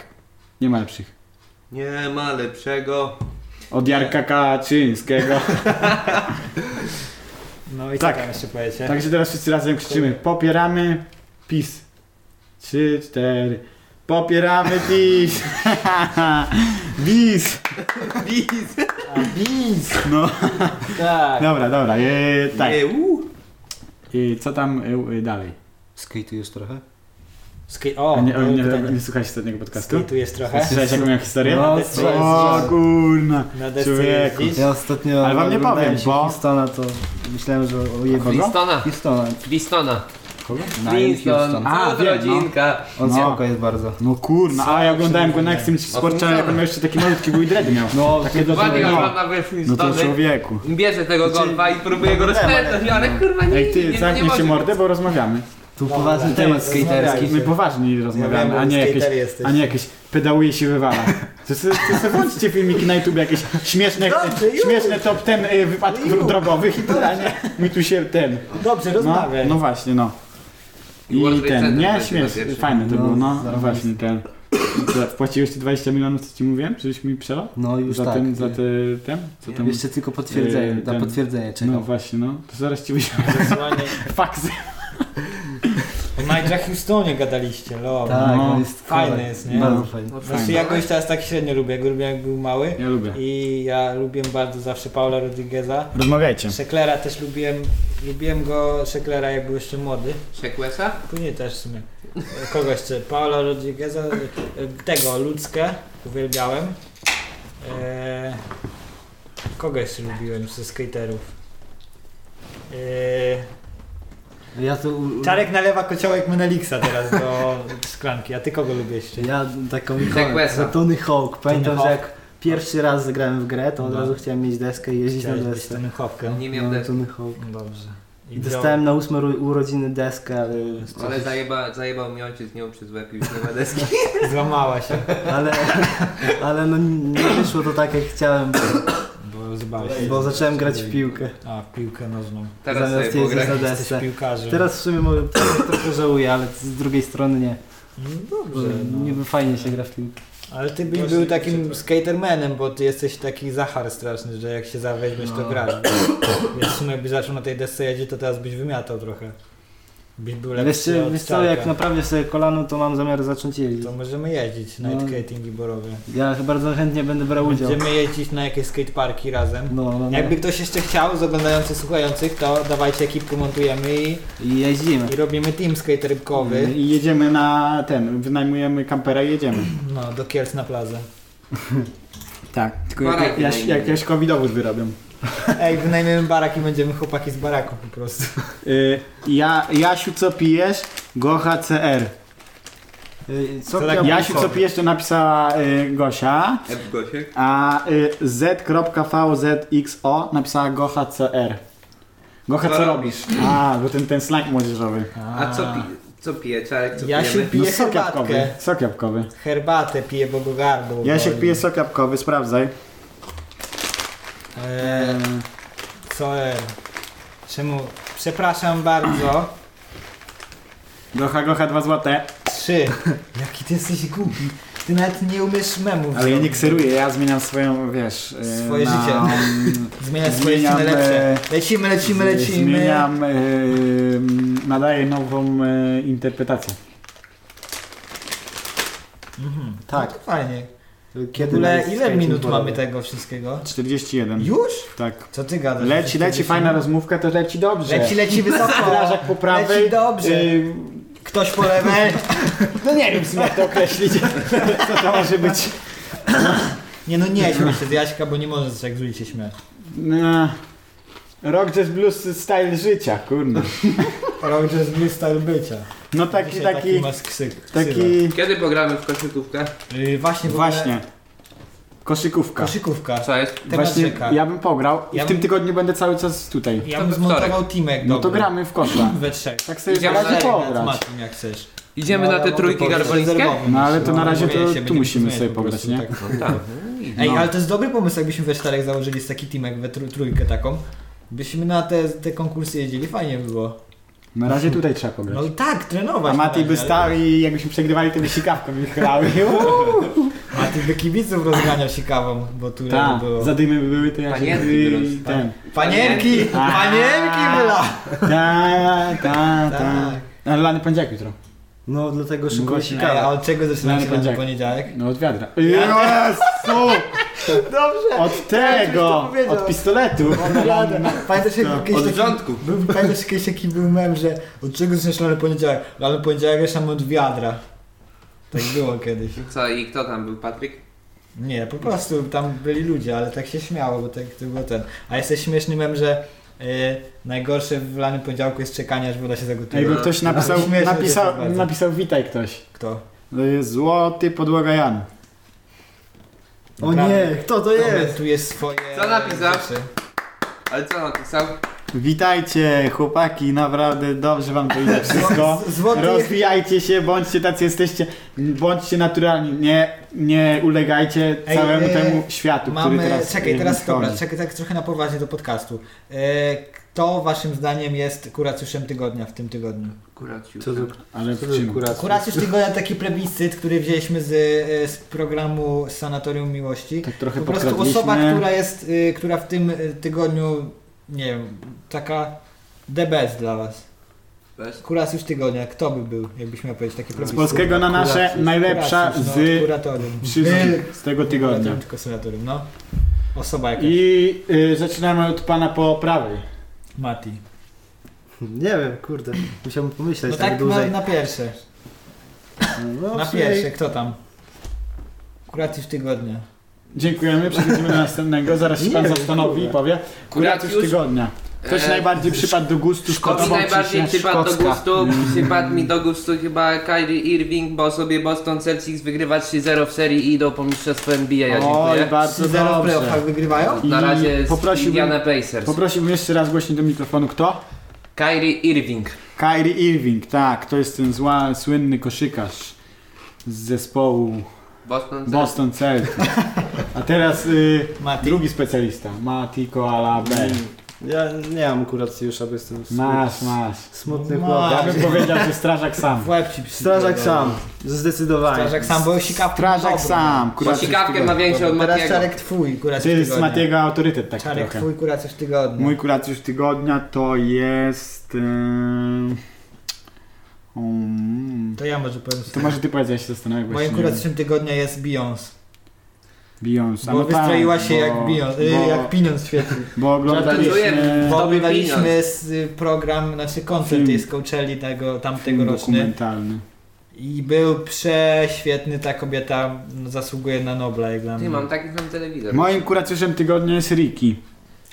B: Nie ma lepszych.
D: Nie ma lepszego.
B: Od Jarka Kaczyńskiego.
A: No i
B: Tak.
A: co tam jeszcze powiecie?
B: Także teraz wszyscy razem krzyczymy. Popieramy PiS. Trzy, cztery. Popieramy PiS. PiS.
D: Biz.
A: A, Biz!
B: No.
A: Tak.
B: Dobra, dobra. E, tak.
D: Nie, u.
B: E, co tam e, e, dalej?
C: Skejtujesz trochę?
A: Ski- o,
B: nie,
A: były
B: nie,
A: pytania.
B: nie słuchałeś ostatniego podcastu?
A: Ski tu jest trochę.
B: Słyszałeś jaką miałem historię?
C: No,
B: o
A: słyszałem.
B: kurna.
A: Na desce
B: Człowieku.
A: jeździsz.
C: Ja ostatnio
B: Ale wam nie
C: oglądałem
B: powiem,
C: się
B: bo-
C: Houstona, to myślałem, że o jego...
B: Kogo?
D: Listona.
C: Houstona.
D: Listona.
B: Kogo?
D: Winston.
B: A,
D: A,
B: wiem, no.
D: rodzinka.
C: On
B: No.
C: spoko jest bardzo.
B: No kurna, a ja oglądałem go na Extreme Sport Channel, jak on miał jeszcze taki malutki był i dread miał.
C: No,
B: takie do
D: Ładnie
B: no.
D: ogląda wiesz
B: no to
D: Winstony.
B: człowieku.
D: Bierze tego golfa i próbuje go
B: No,
D: rozpędzać, ale kurwa nie
B: Ej
D: nie-
B: ty,
D: nie
B: zamknij się
D: może.
B: mordę, bo rozmawiamy.
C: Tu
A: Dobra,
B: No,
C: poważny
A: to
C: temat
A: jest-
C: skaterski.
A: rozmawiajcie.
B: My poważnie
A: Ja wiem,
B: rozmawiamy,
A: bo
B: a nie
A: skater
B: jakieś,
A: jesteś.
B: a nie jakieś pedałuje się wywala. To se, to se włączcie filmiki na YouTube jakieś śmieszne,
A: Dobrze, już.
B: śmieszne top ten y, wypadków
A: Już.
B: drogowych i tyle, a nie? My tu się ten...
A: Dobrze,
B: No,
A: rozmawiaj.
B: no właśnie, no.
D: I World
B: I
D: Trade
B: ten,
D: Center
B: nie?
D: będzie na
B: Śmieszne,
D: pierwszym.
B: fajne to
C: No,
B: było, no.
C: zarąbiste.
B: Właśnie ten. Co, Wpłaciłeś te 20 milionów, co ci mówiłem? Żebyś mi przelał?
C: No już
B: Za
C: tak.
B: ten, za te, ten? Co
D: Nie,
B: tam?
C: Jeszcze tylko potwierdzenie,
B: Yy,
C: na
B: ten-
C: potwierdzenie czekam.
B: No właśnie, no. To zaraz ci wyślę
A: Zesłanie.
B: faksy.
A: O Majdrach Houstonie gadaliście, lol.
C: Tak,
B: No.
C: on jest
A: Fajny jest, nie?
C: Bardzo
B: No.
C: fajny.
A: Znaczy ja go już teraz tak średnio lubię, jak go lubię jak był mały.
B: Ja lubię.
A: I ja lubiłem bardzo zawsze Paula Rodrigueza.
B: Rozmawiajcie.
A: Szeklera też lubiłem, lubiłem go, Szeklera jak był jeszcze młody.
D: Szekwesa?
A: Później też w sumie. E, Kogo jeszcze? Paula Rodrigueza, e, tego, ludzkę, uwielbiałem. E, Kogo jeszcze lubiłem ze skaterów? E,
C: Ja to... u- u-
A: Czarek nalewa kociołek Menelixa teraz do szklanki, a ty kogo lubiłeś jeszcze?
C: Ja taką ikonę,
D: Requesa.
C: no, Tony Hawk. Pamiętam,
A: Tony
C: że
A: Hawk.
C: jak pierwszy raz zagrałem w grę, to od
A: No.
C: razu chciałem mieć deskę i jeździć na
A: Chciałeś być
C: desce.
A: tą chopkę.
D: Nie miał
C: No,
D: deski.
C: Tony Hawk.
A: Dobrze.
C: I dostałem na ósme ru- urodziny deskę, ale,
D: Ale zajeba, zajebał mi ojciec nią przez łeb i już nie ma deski.
A: wziął- Złamała się.
C: ale, ale no, nie wyszło to tak jak chciałem, bo, bo
A: wyzywałeś.
C: Bo zacząłem grać w piłkę.
A: A, w piłkę nożną.
D: Teraz
C: Zamiast
D: sobie
C: jeździć
D: pograć.
C: na
A: Jesteś
C: desce.
A: piłkarzem.
C: Teraz w sumie może trochę- trochę żałuję, ale z drugiej strony nie.
A: No
C: Bo
A: dobrze, no.
C: Niby fajnie się gra w piłkę.
A: Ale ty byś
E: Właśnie
A: był takim
E: przepraszam.
A: skatermanem, bo ty jesteś taki zachar straszny, że jak się zaweźmiesz, to
E: No.
A: grasz. Więc w sumie jakbyś zaczął na tej desce jeździć, to teraz byś wymiatał trochę. Byś był lepszy
C: Wiesz, co,
A: od
C: wiesz co, jak
A: Czarka.
C: naprawię sobie kolano, to mam zamiar zacząć jeździć.
A: To możemy jeździć,
C: No.
A: night skating i borowy.
C: Ja bardzo chętnie będę brał udział.
A: Będziemy jeździć na jakieś skateparki razem.
C: No, no, no.
A: Jakby ktoś jeszcze chciał z oglądających, słuchających, to dawajcie ekipkę, montujemy i,
C: I jeździmy.
A: i robimy team skate
C: No
A: rybkowy.
B: I jedziemy na ten, wynajmujemy kampera i jedziemy.
A: No, do Kielc na plazę.
B: Tak, tylko
D: Parę
B: jak, jak, jak, jak covidowóz wyrobią.
A: Ej, wynajmiemy barak i będziemy chłopaki z baraku po prostu.
B: Y, ja, Jasiu, co pijesz? Gocha CR.
C: Y,
A: Co
C: Co
A: tak
C: ja
B: Jasiu, co pijesz, to napisała y, Gosia,
D: F Gosiek.
B: a y, Z.VZXO napisała Gocha CR. Gocha,
D: Co
B: co robisz? A, bo ten, ten slang młodzieżowy.
D: A co, pi- co pije Czarek? Co
A: Ja
D: pijemy?
A: się Pije
B: no, sok
A: herbatkę.
B: jabłkowy. Sok jabłkowy.
A: Herbatę piję, bo go gardło
B: Jasiek
A: boli.
B: pije sok jabłkowy, sprawdzaj.
A: Eee, co? e, Czemu? Przepraszam bardzo.
B: Gocha, gocha, dwa złote.
A: Trzy. Jaki ty jesteś głupi. Ty nawet nie umiesz memów.
B: Ale ja nie
A: zrobić.
B: kseruję, ja zmieniam swoją, wiesz... y,
A: Swoje życie. Zmieniaj swoje
B: Zmieniam, e,
A: życie na lepsze. Lecimy, lecimy, lecimy.
B: Zmieniam, y, nadaję nową y, interpretację.
A: Mhm.
C: Tak.
A: No to fajnie. W
C: Kiedy
A: ogóle
C: będzie
A: ile
C: skating
A: minut
C: polowy?
A: mamy tak- tego wszystkiego?
B: 41.
A: Już?
B: Tak.
A: Co ty gadasz?
B: Leci, leci, fajna rozmówka, to leci dobrze.
A: Leci, leci wysoko.
B: Strażak po prawej.
A: Leci dobrze.
B: y,
A: Ktoś po lewej.
B: no nie wiem, w sumie, jak to określić. Co to może być?
A: Nie no, nie śmiej się z Jaśka, bo nie możesz jak z się śmiać.
B: No, rock, jazz, blues, style życia, kurde.
A: Roger jest blues style bycia.
B: No taki,
A: Dzisiaj taki
B: taki,
A: masz ksyk, ksywa.
B: taki...
D: Kiedy pogramy w koszykówkę?
A: Yy, właśnie, w ogóle
B: Właśnie. Koszykówka.
A: Koszykówka.
D: Co jest?
A: Temat
B: Właśnie
A: rzeka.
B: ja bym pograł i
A: Ja
B: w tym
A: bym-
B: tygodniu będę cały czas tutaj.
A: ja
D: To
A: bym
D: we wtorek.
A: zmontował teamek
B: No to
A: dobry.
B: gramy w kosza.
A: We trzech.
B: Tak sobie
D: Idziemy
B: na razie
D: dalej,
A: z
B: pograć.
A: Matim jak chcesz. No,
D: Idziemy na te trójki garbolińskie?
B: No ale to na razie
A: Mówię
B: to
A: się,
B: tu
A: będziemy
B: musimy
A: zmieniać
B: sobie
A: po prostu,
B: pograć,
A: tak.
B: nie?
D: Tak.
A: Ej,
B: No.
A: ale to jest dobry pomysł, jakbyśmy we czterech założyli z taki teamek, we trój- trójkę taką. Byśmy na te, te konkursy jeździli, fajnie by było.
B: Na razie tutaj trzeba pograć.
A: No tak, trenować.
B: A
A: na
B: Mati
A: razie,
B: by
A: ale-
B: stał i jakbyśmy przegrywali, to by sikawką ich chlały.
A: Mati by kibiców rozganiał się kawą, bo tu nie
B: Tak,
A: było.
B: zadymy by były, to
A: Tak
B: ja się...
D: Panienki
B: by-
D: wyrosły.
B: ten.
A: Panienki!
B: A.
A: Panienki była!
B: Ta, ta, ta.
A: Tak.
B: Ale lany poniedziałek jutro.
C: No dlatego szybko
B: Gości-
C: się
A: Ej, A
C: kawa.
A: od czego zaczyna
B: Znany
A: się ten
B: poniedziałek.
A: poniedziałek?
B: No od wiadra. Jezu!
A: Dobrze!
B: Od
A: Ja już
B: tego!
A: to powiedział.
B: Od pistoletu!
A: Pamiętasz, jak kiedyś
D: Od
A: taki-
D: rządku.
A: Był, pamiętasz kiedyś taki był mem, że od czego zaczynasz lany poniedziałek? Lany poniedziałek jeszcze od wiadra. Tak było kiedyś.
D: Co i kto tam był? Patryk?
A: Nie, po prostu tam byli ludzie, ale tak się śmiało, bo tak to było ten. A jest też śmieszny mem, że yy, najgorsze w lany poniedziałku jest czekanie, aż woda się
B: Ej,
A: zagotuje.
B: bo ktoś napisał,
A: Śmieszne to jest
B: napisał,
A: bardzo.
B: napisał witaj ktoś.
A: Kto?
B: Y, Złoty podłoga Jan.
C: O nie, kto to jest?
A: Tu jest swoje...
D: Co napisał?
A: rzeczy.
D: Ale co napisał?
B: Witajcie chłopaki, naprawdę dobrze wam to idzie wszystko.
A: Z- Złoty...
B: Rozwijajcie się, bądźcie tacy jesteście, bądźcie naturalni, nie, nie ulegajcie
A: Ej,
B: całemu
A: e,
B: temu światu,
A: Mamy,
B: który teraz
A: czekaj,
B: e,
A: teraz
B: wschodzi.
A: dobra, czekaj, tak trochę na poważnie do podcastu. E, kto waszym zdaniem jest kuracjuszem tygodnia w tym tygodniu?
D: Akurat
C: Co to,
B: Ale
C: co
B: w
C: to
B: czym?
C: kuracjusz?
A: Kuracjusz tygodnia to taki plebiscyt, który wzięliśmy z, e, z programu Sanatorium Miłości.
B: Tak trochę
A: Po prostu
B: podkradliśmy.
A: osoba, która jest, e, która w tym e, tygodniu, nie wiem, taka the best dla was. Kuracjusz tygodnia, kto by był, jakbyś miał powiedzieć taki
B: Z
A: plebiscyt?
B: polskiego na nasze
C: Kuracjusz,
B: najlepsza
A: Kuracjusz,
B: z
A: no, kuratorium. Był-
B: wszystkich z tego tygodnia.
A: Kuratorium, tylko sanatorium, no. Osoba jakaś.
B: I y, zaczynamy od pana po prawej.
A: Mati.
C: Nie wiem, kurde. Musiałbym pomyśleć
A: No
C: tak,
A: tak na,
C: dłużej.
A: na pierwsze.
C: No,
A: Na
C: dobrze.
A: pierwsze, kto tam? Kuracyjsz tygodnia.
B: Dziękujemy, przechodzimy do następnego, zaraz się
C: Nie
B: pan
C: wiem,
B: zastanowi i
C: kurde.
B: powie. Kuratus
D: Kuracjusz?
B: tygodnia. Ktoś
D: E,
B: najbardziej przypadł do gustu,
D: Kobi
B: szkodował
D: najbardziej
B: ci się
D: przypadł do
B: Szkocka.
D: gustu, przypadł mi do gustu chyba Kyrie Irving, bo sobie Boston Celtics wygrywa 3-0 w serii i idą po mistrzostwo NBA, ja
B: Oj,
D: dziękuję.
B: bardzo
A: 3-0 w playoffach
B: dobrze.
A: wygrywają?
B: I
D: Na razie jest
B: poprosiłbym-
D: Indiana Pacers.
B: Poprosiłbym jeszcze raz głośniej do mikrofonu, kto?
D: Kyrie Irving.
B: Kyrie Irving, tak, to jest ten zła, słynny koszykarz z zespołu
D: Boston Celtics.
B: Boston Celtics. A teraz y,
A: Mati.
B: drugi specjalista. Mati Koala B.
C: Ja nie mam akurat już, aby jestem smutny.
B: Masz, masz.
C: Smutny
A: Ma-
B: Ja
C: chłopak.
B: bym powiedział, że strażak sam.
A: W łeb ci
C: Strażak
A: przyjdzie,
C: sam, zdecydowanie.
A: Strażak sam, bo sikawkę
B: Strażak sam.
D: Bo
B: Kuracyjny
D: sikawkę ma
B: tygodnia.
D: większą od
A: Teraz
D: Matiego.
A: czarek twój, kuracz
B: To jest
A: tygodnia.
B: Matiego autorytet tak
A: Czarek
B: trochę.
A: twój, kuracz już tygodnia.
B: Mój kuracjusz tygodnia to jest... y, em, um,
A: To ja może powiem sobie.
B: to może ty powiedz, ja się zastanawiam. bo
A: Moim
B: jeszcze nie wiem.
A: kuracjuszem tygodnia jest Beyoncé.
B: Beyoncé. A
A: Bo
B: no tak,
A: wystroiła się
B: bo-
A: jak Beyoncé, y,
B: bo-
A: jak pieniądz świetny.
B: Bo
D: Żartuję.
B: oglądaliśmy
D: Bo-
A: Oglądaliśmy z- y, program, znaczy koncert
B: Film.
A: jest z Coachelli tego,
B: film
A: tamtegoroczny.
B: dokumentalny.
A: I był prześwietny, ta kobieta no, zasługuje na Nobla jak dla mnie.
D: Ty, mam taki sam telewizor.
B: Moim kuracjuszem tygodnia jest Ricky,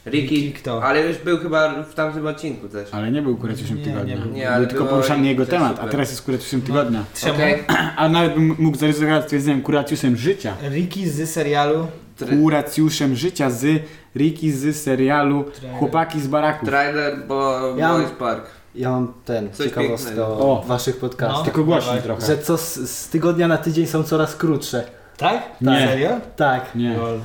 A: Ricky
D: Ricky,
A: kto?
D: ale już był chyba w tamtym odcinku też.
B: ale nie był kuracjuszem
A: Nie,
B: tygodnia.
A: nie był.
D: Nie, ale
B: tylko
D: było
B: poruszany jego
D: Ricky, to
B: temat, a
D: super.
B: teraz jest kuracjuszem
A: No.
B: tygodnia.
A: Trzeba.
D: Okej.
B: A nawet bym mógł zaryzykować stwierdzeniem kuracjuszem życia.
A: Ricky z serialu.
D: Tr-
B: Kuracjuszem życia z Ricky z serialu
A: Trailer.
B: Chłopaki z baraku.
D: Trailer, bo
C: Ja mam-
D: Boys Park.
C: Ja mam ten,
D: Coś
C: ciekawostkę
D: pięknego.
C: o
B: O.
C: waszych
A: No.
C: podcastach.
B: Tylko głośniej
A: Dawaj.
B: trochę.
C: Że co z, z tygodnia na tydzień są coraz krótsze.
A: Tak?
B: Nie.
A: Serio?
C: Tak,
B: Nie.
A: Lol.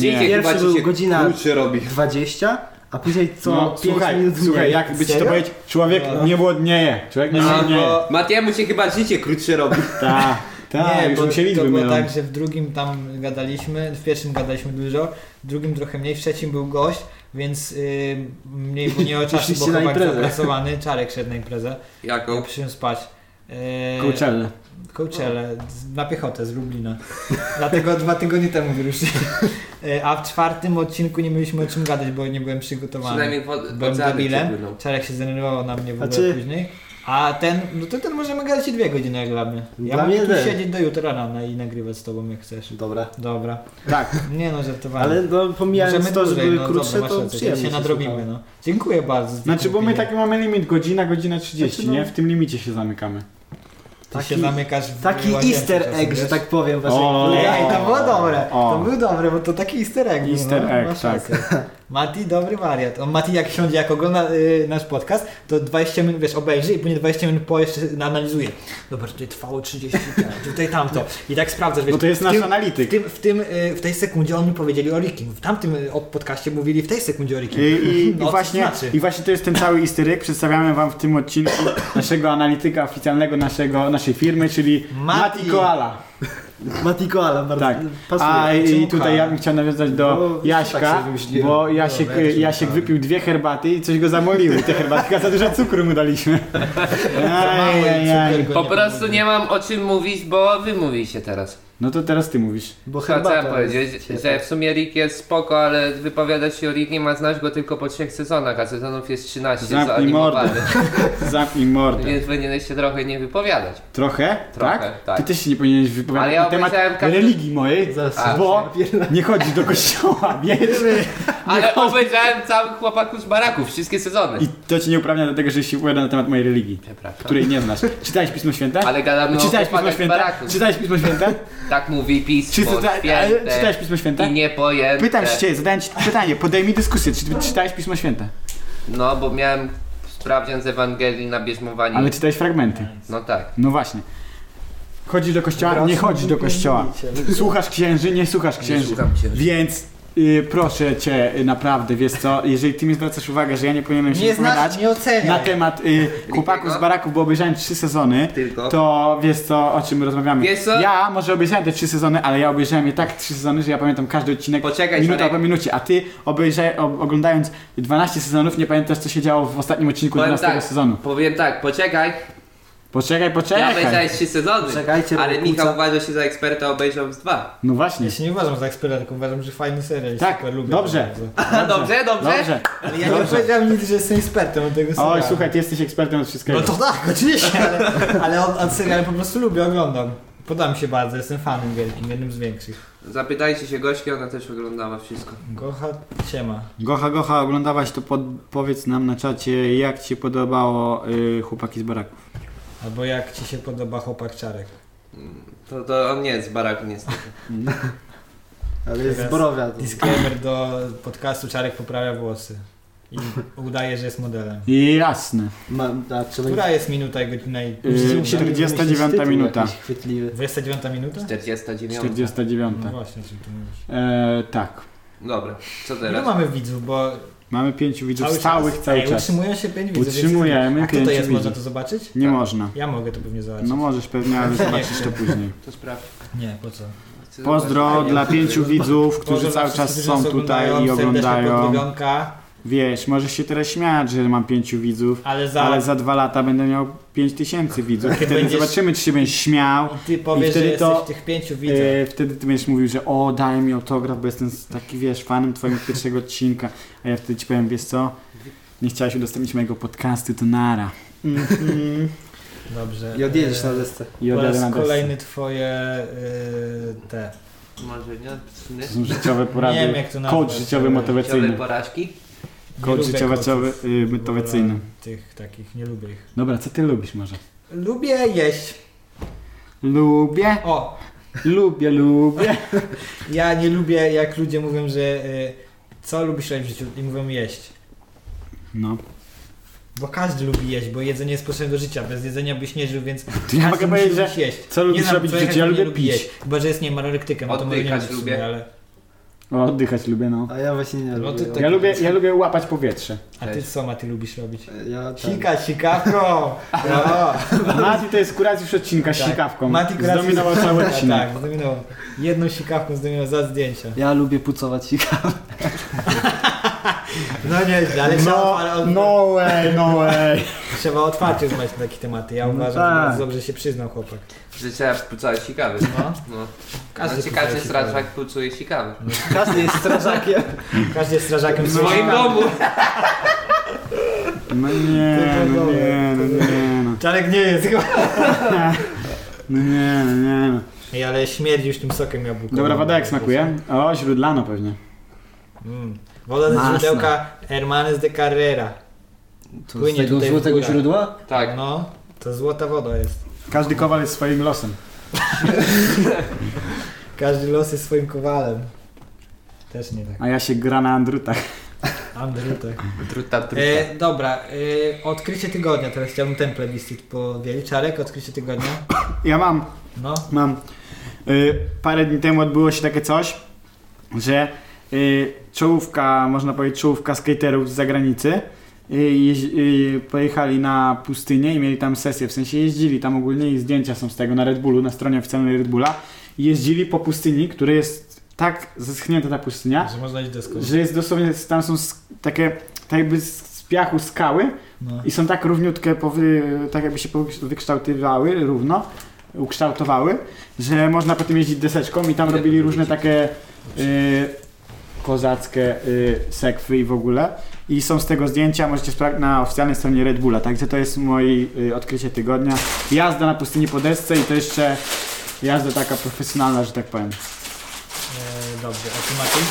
B: Nie.
C: Pierwszy
D: Chyba ci się
C: był godzina
D: kurczy robi.
C: 20, a później co
B: no,
C: 5
B: słuchaj,
C: minut
B: słuchaj,
C: mniej.
B: jakby ci to
A: Serio?
B: powiedzieć, człowiek
A: No.
B: nie głodnieje. Człowiek nie
A: No,
B: głodnieje.
A: bo-
D: Matiemu się chyba życie krótsze robi.
B: Tak, tak, już mi się
A: to
B: liczby
A: było
B: mylą.
A: tak, że w drugim tam gadaliśmy, w pierwszym gadaliśmy dużo, w drugim trochę mniej, w trzecim był gość, więc y, mniej było nie o czasu, bo
C: Poszliście na
A: chłopak
C: imprezę.
A: zapracowany, Czarek szedł na imprezę, ja
D: Jaką?
A: przyszedłem spać. Yy,
B: Coachella.
A: Kołczele, na piechotę z Lublina. Dlatego dwa tygodnie temu wyruszyli. E, A w czwartym odcinku nie mieliśmy o czym gadać, bo nie byłem przygotowany.
D: Przynajmniej wod-
A: Byłem
D: oceany
A: debilem.
D: przepłyną.
A: Czarek się zdenerwował na mnie w ogóle
C: Znaczy-
A: później. A ten, no to ten możemy gadać i dwie godziny jak dla mnie. Ja
C: Dla
A: mogę
C: mnie
A: tu
C: też.
A: siedzieć do jutra rana i nagrywać z tobą jak chcesz.
C: Dobra.
A: Dobra.
B: Tak.
A: Nie no, żartowałem.
C: Ale no, pomijając
A: Możemy
C: to, że
A: dłużej,
C: były
A: no,
C: krótsze,
A: dobra, masz
C: to
A: rację,
C: przyjemnie
A: się nadrobimy.
C: słuchało.
A: No. Dziękuję bardzo. za
B: Znaczy,
A: tę
B: bo my
A: opinię.
C: tak-
B: taki mamy limit, godzina, godzina 30,
C: Znaczy, no-
B: nie? W tym limicie się zamykamy.
A: Ty
C: taki-
A: się zamykasz w
C: Taki
A: łazience
C: easter
A: czasem,
C: egg, że
A: wiesz?
C: tak powiem, waszej
B: O.
A: Ej, to było dobre,
B: O.
A: to był dobre, bo to taki easter egg był,
B: Easter
A: no,
B: egg,
A: masz
B: tak.
A: rację. Mati, dobry wariat. On Mati jak siądzie, jak ogląda y, nasz podcast, to 20 minut, wiesz, obejrzy i później 20 minut po jeszcze analizuje. Dobra, tutaj trwało 30 minut, tutaj tamto. I tak sprawdzasz, wiesz.
B: Bo to jest
A: w
B: nasz
A: tym-
B: analityk.
A: W, tym, w, tym, y, w tej sekundzie oni powiedzieli o Rikim, w tamtym y, o- podcaście mówili w tej sekundzie o Rikim.
B: I, i,
A: No,
B: i,
A: co
B: właśnie,
A: znaczy?
B: I właśnie to jest ten cały easter egg. Przedstawiamy wam w tym odcinku naszego analityka oficjalnego naszego, naszej firmy, czyli
A: Mati.
B: Mati, Koala.
C: Mati Koala bardzo
B: Tak.
C: pasuje.
B: A i
A: Czemu
B: tutaj
A: Koala?
B: ja bym chciał nawiązać
C: No,
B: do
C: tak
B: Jaśka,
C: sobie wymyśliłem.
B: bo Jasiek,
A: Dobra, ja
B: Jasiek
A: czekam.
B: wypił dwie herbaty i coś go zamoliły. Te herbaty, a za dużo cukru mu daliśmy.
A: Mały cukier go
D: Po
A: nie
D: prostu
A: pomógł.
D: nie mam o czym mówić, bo wy mówicie teraz.
B: No to teraz ty mówisz.
C: Bo
D: Co
C: herbata
D: chciałem
C: jest
D: powiedzieć,
C: świetna.
D: że w sumie Rick jest spoko, ale wypowiadać się o Rickiem, a znasz go tylko po trzech sezonach, a sezonów jest 13
B: Zamknij
D: zaanimowanych.
B: Zamknij mordę.
D: Więc powinieneś się trochę nie wypowiadać.
B: Trochę?
D: Trochę, tak.
B: Ty też się nie powinieneś
D: Ale
B: wypowiadać
D: ja
B: na temat
D: obejrzałem każdy-
B: religii mojej,
C: Zaraz
D: A,
B: bo nie chodzi do kościoła, wiesz?
D: Ale obejrzałem całych chłopaków z baraków, wszystkie sezony.
B: I to cię nie uprawnia do tego, że się wypowiada na temat mojej religii,
D: Przepraszam.
B: której nie znasz. Czytałeś Pismo Święte?
D: Ale gadamy o
B: Czytałeś Pismo
D: chłopakach z
B: Święte?
D: baraków.
B: Czytałeś Pismo Święte?
D: Tak mówi
B: Czy
D: pismo
B: czyta- ale
D: święte
B: czytałeś Pismo Święte?
D: i niepojęte.
B: Pytam się cię, zadałem ci pytanie, podaj mi dyskusję, czy ty czytałeś Pismo Święte?
D: No, bo miałem sprawdzian z Ewangelii na bierzmowaniu.
B: Ale czytałeś fragmenty.
D: No tak.
B: No właśnie. Chodzisz do kościoła? Nie chodzisz do kościoła. Słuchasz księży? Nie słuchasz
D: Nie
B: księży.
D: szukam cię.
B: Więc y, proszę cię, y, naprawdę, wiesz co, jeżeli ty mi zwracasz uwagę, że ja nie powinienem się
A: Nie
B: wypowiadać
A: znasz, nie
B: na
A: oceniaj.
B: temat y, chłopaków z baraków, bo obejrzałem trzy sezony,
D: Tylko.
B: to wiesz co, o czym my rozmawiamy.
D: Wiesz co?
B: Ja może obejrzałem te trzy sezony, ale ja obejrzałem je tak trzy sezony, że ja pamiętam każdy odcinek
D: Poczekaj,
B: minuta
D: Marek.
B: po minucie, a ty obejrza, o, oglądając 12 sezonów nie pamiętasz co się działo w ostatnim odcinku
D: Powiem
B: 12
D: tak.
B: sezonu.
D: Powiem tak, poczekaj,
B: Poczekaj,
D: ja
B: poczekaj.
D: obejrzałem trzy sezony,
C: Czekajcie,
D: ale
C: bo
D: Michał
C: kurczę.
D: uważa się za eksperta, obejrzał z dwa.
B: No właśnie.
A: Ja się nie uważam za eksperta, tylko uważam, że fajny serial.
B: Tak,
A: super, lubię
B: dobrze.
A: bardzo.
D: Dobrze, No dobrze.
B: Dobrze.
A: Ale ja nie powiedziałem nic, że jestem ekspertem od tego serialu.
B: Oj, słuchaj, ty jesteś ekspertem od wszystkiego.
A: No to tak, oczywiście, ale, ale od, od serialu po prostu lubię, oglądam. Podam się bardzo, jestem fanem wielkim, jednym z większych.
D: Zapytajcie się gośki, ona też oglądała wszystko.
A: Gocha, siema.
B: Gocha, Gocha, oglądałaś to, pod, powiedz nam na czacie, jak ci się podobało y, Chłopaki z Baraków.
A: Albo jak ci się podoba chłopak czarek.
D: To, to on nie jest z baraku niestety.
C: Ale jest
A: Teraz
C: zborowa.
A: Disclaimer do podcastu Czarek poprawia włosy. i udaje, że jest modelem.
B: I jasne.
C: Ma, a trzeba
A: Która jest minuta i godzina i...
B: Yy,
C: musimy wymyślić
B: 49
C: tytuł
B: minuta.
C: jakiś chwytliwy.
A: 29 minuta?
D: 49.
B: 49.
A: No właśnie, o czym tu mówisz.
B: E, tak.
D: Dobra, co
A: Ile
D: teraz?
A: mamy widzów, bo
B: Mamy pięciu widzów
A: cały
B: stałych
A: czas,
B: cały
A: Ej,
B: czas.
A: Utrzymują się 5 widzów.
B: Utrzymujemy
A: więc... A kto to
B: pięciu
A: jest, można
B: widzów.
A: to zobaczyć?
B: Nie można.
A: Ja mogę to pewnie zobaczyć.
B: No możesz pewnie, ale zobaczysz to
A: chcę.
B: później.
D: To sprawdź.
A: Nie, po co?
D: Chcę
B: Pozdro
D: zobaczyć.
B: dla pięciu widzów, którzy
A: Pozdro dla
B: cały
A: wszystkich,
B: czas
A: którzy
B: są
A: nas
B: tutaj i
A: oglądają. Serdeczna
B: oglądają.
A: pozdrowionka,
B: Wiesz, możesz się teraz śmiać, że mam pięciu widzów,
A: Ale za...
B: ale za dwa lata będę miał pięć tysięcy widzów.
A: Kiedy
B: Wtedy
A: będziesz-
B: zobaczymy, czy się będziesz śmiał.
A: I ty powiesz,
B: I wtedy
A: że
B: to-
A: jesteś tych pięciu widzów.
B: E, wtedy ty będziesz mówił, że o, daj mi autograf, bo jestem s- taki, wiesz, fanem twojego pierwszego odcinka. A ja wtedy ci powiem, wiesz co, nie chciałeś udostępnić mojego podcastu, to nara. Mhm.
A: Dobrze.
C: I odjedziesz
A: E,
C: na desce.
B: I
A: po
B: odjadę na
A: raz
B: desce.
A: kolejny twoje e, te.
D: Może nie? Sny?
B: To są życiowe porady.
A: Nie wiem jak to nazwać. e,
B: Coach życiowy, motywacyjny.
D: Ciągle porażki?
A: Nie
B: Coach
A: lubię
B: życiowy,
A: coachów.
B: y, motywacyjny.
A: Tych takich, nie lubię ich.
B: Dobra, co ty lubisz może?
A: Lubię jeść.
B: Lubię,
A: O,
B: lubię, lubię.
A: ja nie lubię jak ludzie mówią, że e, co lubisz robić w życiu i mówią jeść.
B: No,
A: Bo każdy lubi jeść, bo jedzenie jest potrzebne do życia. Bez jedzenia byś nie żył, więc
B: to ja mogę
A: każdy musi
B: powiedzieć, że
A: lubić jeść.
B: co lubisz
A: znam
B: robić w
A: człowieka,
B: życiu? Ja
A: który nie
B: lubię
A: lubi
B: pić.
A: jeść. Chyba, że jest niemalolektykiem, no to może nie
D: Oddychać
A: lubię. w
D: lubię.
A: sumie, ale...
B: O, oddychać lubię, no.
C: A ja właśnie nie
A: No
C: lubię.
A: to
C: ja-
A: tak.
B: Ja lubię, ja lubię łapać powietrze.
A: A ty co, Maty, lubisz robić?
C: Ja tak.
A: Sika, sikawko! Brawo!
B: Mati to jest kurat już odcinka z
A: Tak.
B: sikawką.
A: Mati Kurac-
B: Zdominował cały
A: Tak,
B: odcinek.
A: Tak, zdominował. Jedną sikawką zdominował za zdjęcia.
C: Ja lubię pucować i
A: No nie, ale, trzeba, ale
B: No,
A: on,
B: no way, no way.
A: trzeba otwarcie rozmawiać na takie tematy. Ja
B: No
A: uważam, że
B: tak.
A: bardzo dobrze się przyznał chłopak.
D: Że trzeba wpłucać sikawy.
A: No.
D: No.
A: Każdy wpłucuje
D: no, ciekawy
A: sikawy.
D: strażak wpłucuje sikawy.
C: Każdy jest strażakiem.
A: Każdy jest strażakiem
D: W swoim
A: sikawy.
D: domu.
B: No nie, no nie, no nie, no.
A: Czarek nie jest chyba.
B: No nie, no nie, no.
A: Ej, ale śmierdzi już tym sokiem jabłkowym.
B: Dobra, woda jak smakuje? O, źródlano pewnie.
A: Mm. Woda ze
C: Masna.
A: źródełka Hermanes de Carrera.
C: To
A: Płynie
C: z tego
A: tutaj w
C: złotego
A: górę.
C: źródła?
D: Tak.
A: No, to złota woda jest.
B: Każdy kowal jest swoim losem.
A: Każdy los jest swoim kowalem. Też nie tak.
B: A ja się gra na andrutach.
A: Andrutek.
D: Truta, truta.
A: tak.
C: tak.
A: E, dobra, e, odkrycie tygodnia. Teraz chciałbym ten plebiscyt powiedzieć. Czarek, odkrycie tygodnia.
B: Ja mam,
A: No,
B: mam. Y, parę dni temu odbyło się takie coś, że y, czołówka, można powiedzieć czołówka skaterów z zagranicy y, jeź- y, pojechali na pustynię i mieli tam sesję, w sensie jeździli tam ogólnie i zdjęcia są z tego na Red Bullu, na stronie oficjalnej Red Bulla. Jeździli po pustyni, która jest tak zeschnięta ta pustynia,
C: Tak.
A: że można iść do sklepu.
B: że jest dosłownie, tam są sk- takie, tak jakby z z piachu skały
A: No.
B: i są tak równiutkie, powy, tak jakby się powyks- wykształtywały równo, ukształtowały, że można potem jeździć deseczką i tam
D: Ile
B: robili
D: to
B: różne
D: będzie?
B: takie y, kozackie y, sekwy i w ogóle. I są z tego zdjęcia, możecie sprawdzić na oficjalnej stronie Red Bulla, także to jest moje y, odkrycie tygodnia. Jazda na pustyni po desce i to jeszcze jazda taka profesjonalna, że tak powiem.
A: E, dobrze, a ty Maciej?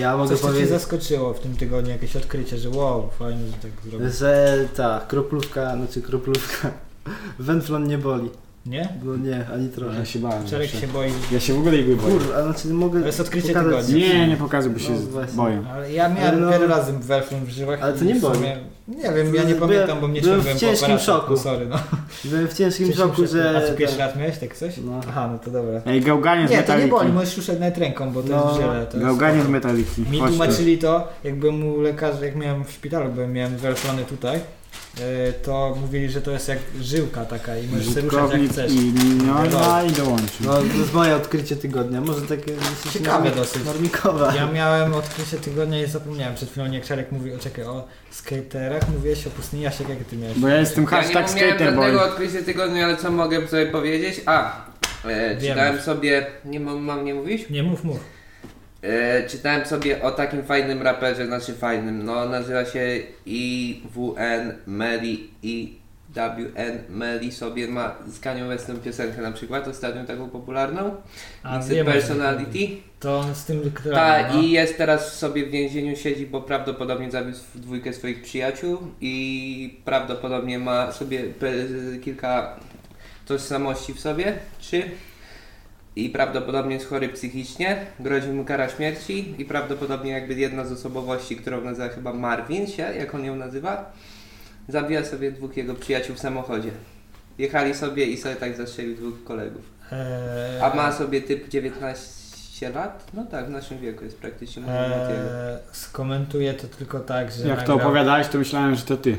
C: Ja mogę
A: Coś co cię
C: powiedzieć,
A: zaskoczyło w tym tygodniu, jakieś odkrycie, że wow, fajnie, że tak zrobił.
C: że ta kroplówka, znaczy kroplówka. Węflon nie boli.
A: Nie?
C: No nie, ani trochę.
B: Ja się bałem.
A: Czarek
B: zawsze.
C: Znaczy-
A: się boi.
B: Ja się w ogóle igły boję.
C: Kur, a znaczy mogę.
A: To jest odkrycie
C: pokazać-
A: tygodnia.
B: Nie, nie pokazuję, bo się
C: No właśnie.
B: boję.
A: Ale ja miałem
C: Ale no-
A: wiele razy welfon w żyłach.
C: Ale to
A: i
C: nie
A: w
C: boli.
A: sumie- Nie wiem, ja nie
C: Byłem-
A: pamiętam, bo mnie
C: byłem w
A: ciągłem po
C: ciężkim
A: aparatach.
C: szoku.
A: No, sorry, no.
C: Byłem w ciężkim
A: Ciężkim
C: szoku, że.
A: A ty pierwszy
C: tak.
A: raz miałeś tak coś?
C: No.
A: Aha, no to dobra.
B: Ej, gałganie z
A: Nie, to nie
B: metaliki.
A: boli, możesz ruszać nawet ręką, bo to
C: No,
A: jest żyle. to jest
B: Gałganie z
A: spoko.
B: metaliki.
A: Mi
B: Chodź tu.
A: tłumaczyli to, jak byłem u lekarza, jak miałem w szpitalu, byłem, miałem welfony tutaj, e, to mówili, że to jest jak żyłka taka i możesz się ruszać jak
B: Użytkownik
A: chcesz.
B: i miniona
A: No.
B: i dołączył.
C: No to jest moje odkrycie tygodnia. Może takie dosyć
A: Ciekawe
C: norm-
A: dosyć.
C: normikowe.
A: Ja miałem odkrycie tygodnia i zapomniałem przed chwilą, jak Czarek mówi, o czekaj, o skaterach, mówiłeś o pustyni, Jasiek, jak ty miałeś?
B: Bo ja jestem
D: Ja nie
B: hashtag
D: miałem
B: skaterboy.
D: żadnego odkrycia tygodnia, ale co mogę sobie powiedzieć? A, e,
A: Wiemy.
D: czytałem sobie, nie mam, mam nie mówić?
A: Nie mów, mów.
D: E, czytałem sobie o takim fajnym raperze, znaczy fajnym, no nazywa się IWN Mary i WN Mary sobie ma z Kanią Westem piosenkę na przykład, ostatnio taką popularną,
A: A
D: Mixed
A: wiemy,
D: Personality.
A: To on z tym, która...
D: Ta
A: no.
D: Tak, i jest teraz sobie w więzieniu siedzi, bo prawdopodobnie zabił sw- dwójkę swoich przyjaciół i prawdopodobnie ma sobie pe- kilka tożsamości w sobie, czy i prawdopodobnie jest chory psychicznie, grozi mu kara śmierci i prawdopodobnie jakby jedna z osobowości, którą nazywa chyba Marvin się, jak on ją nazywa, zabija sobie dwóch jego przyjaciół w samochodzie. Jechali sobie i sobie tak zastrzelił dwóch kolegów.
A: Eee,
D: A ma sobie typ 19 lat? No tak, w naszym wieku jest praktycznie może lat jego.
A: eee, skomentuję to tylko tak, że
B: Jak to
A: nagrał-
B: opowiadałeś, to myślałem, że to ty.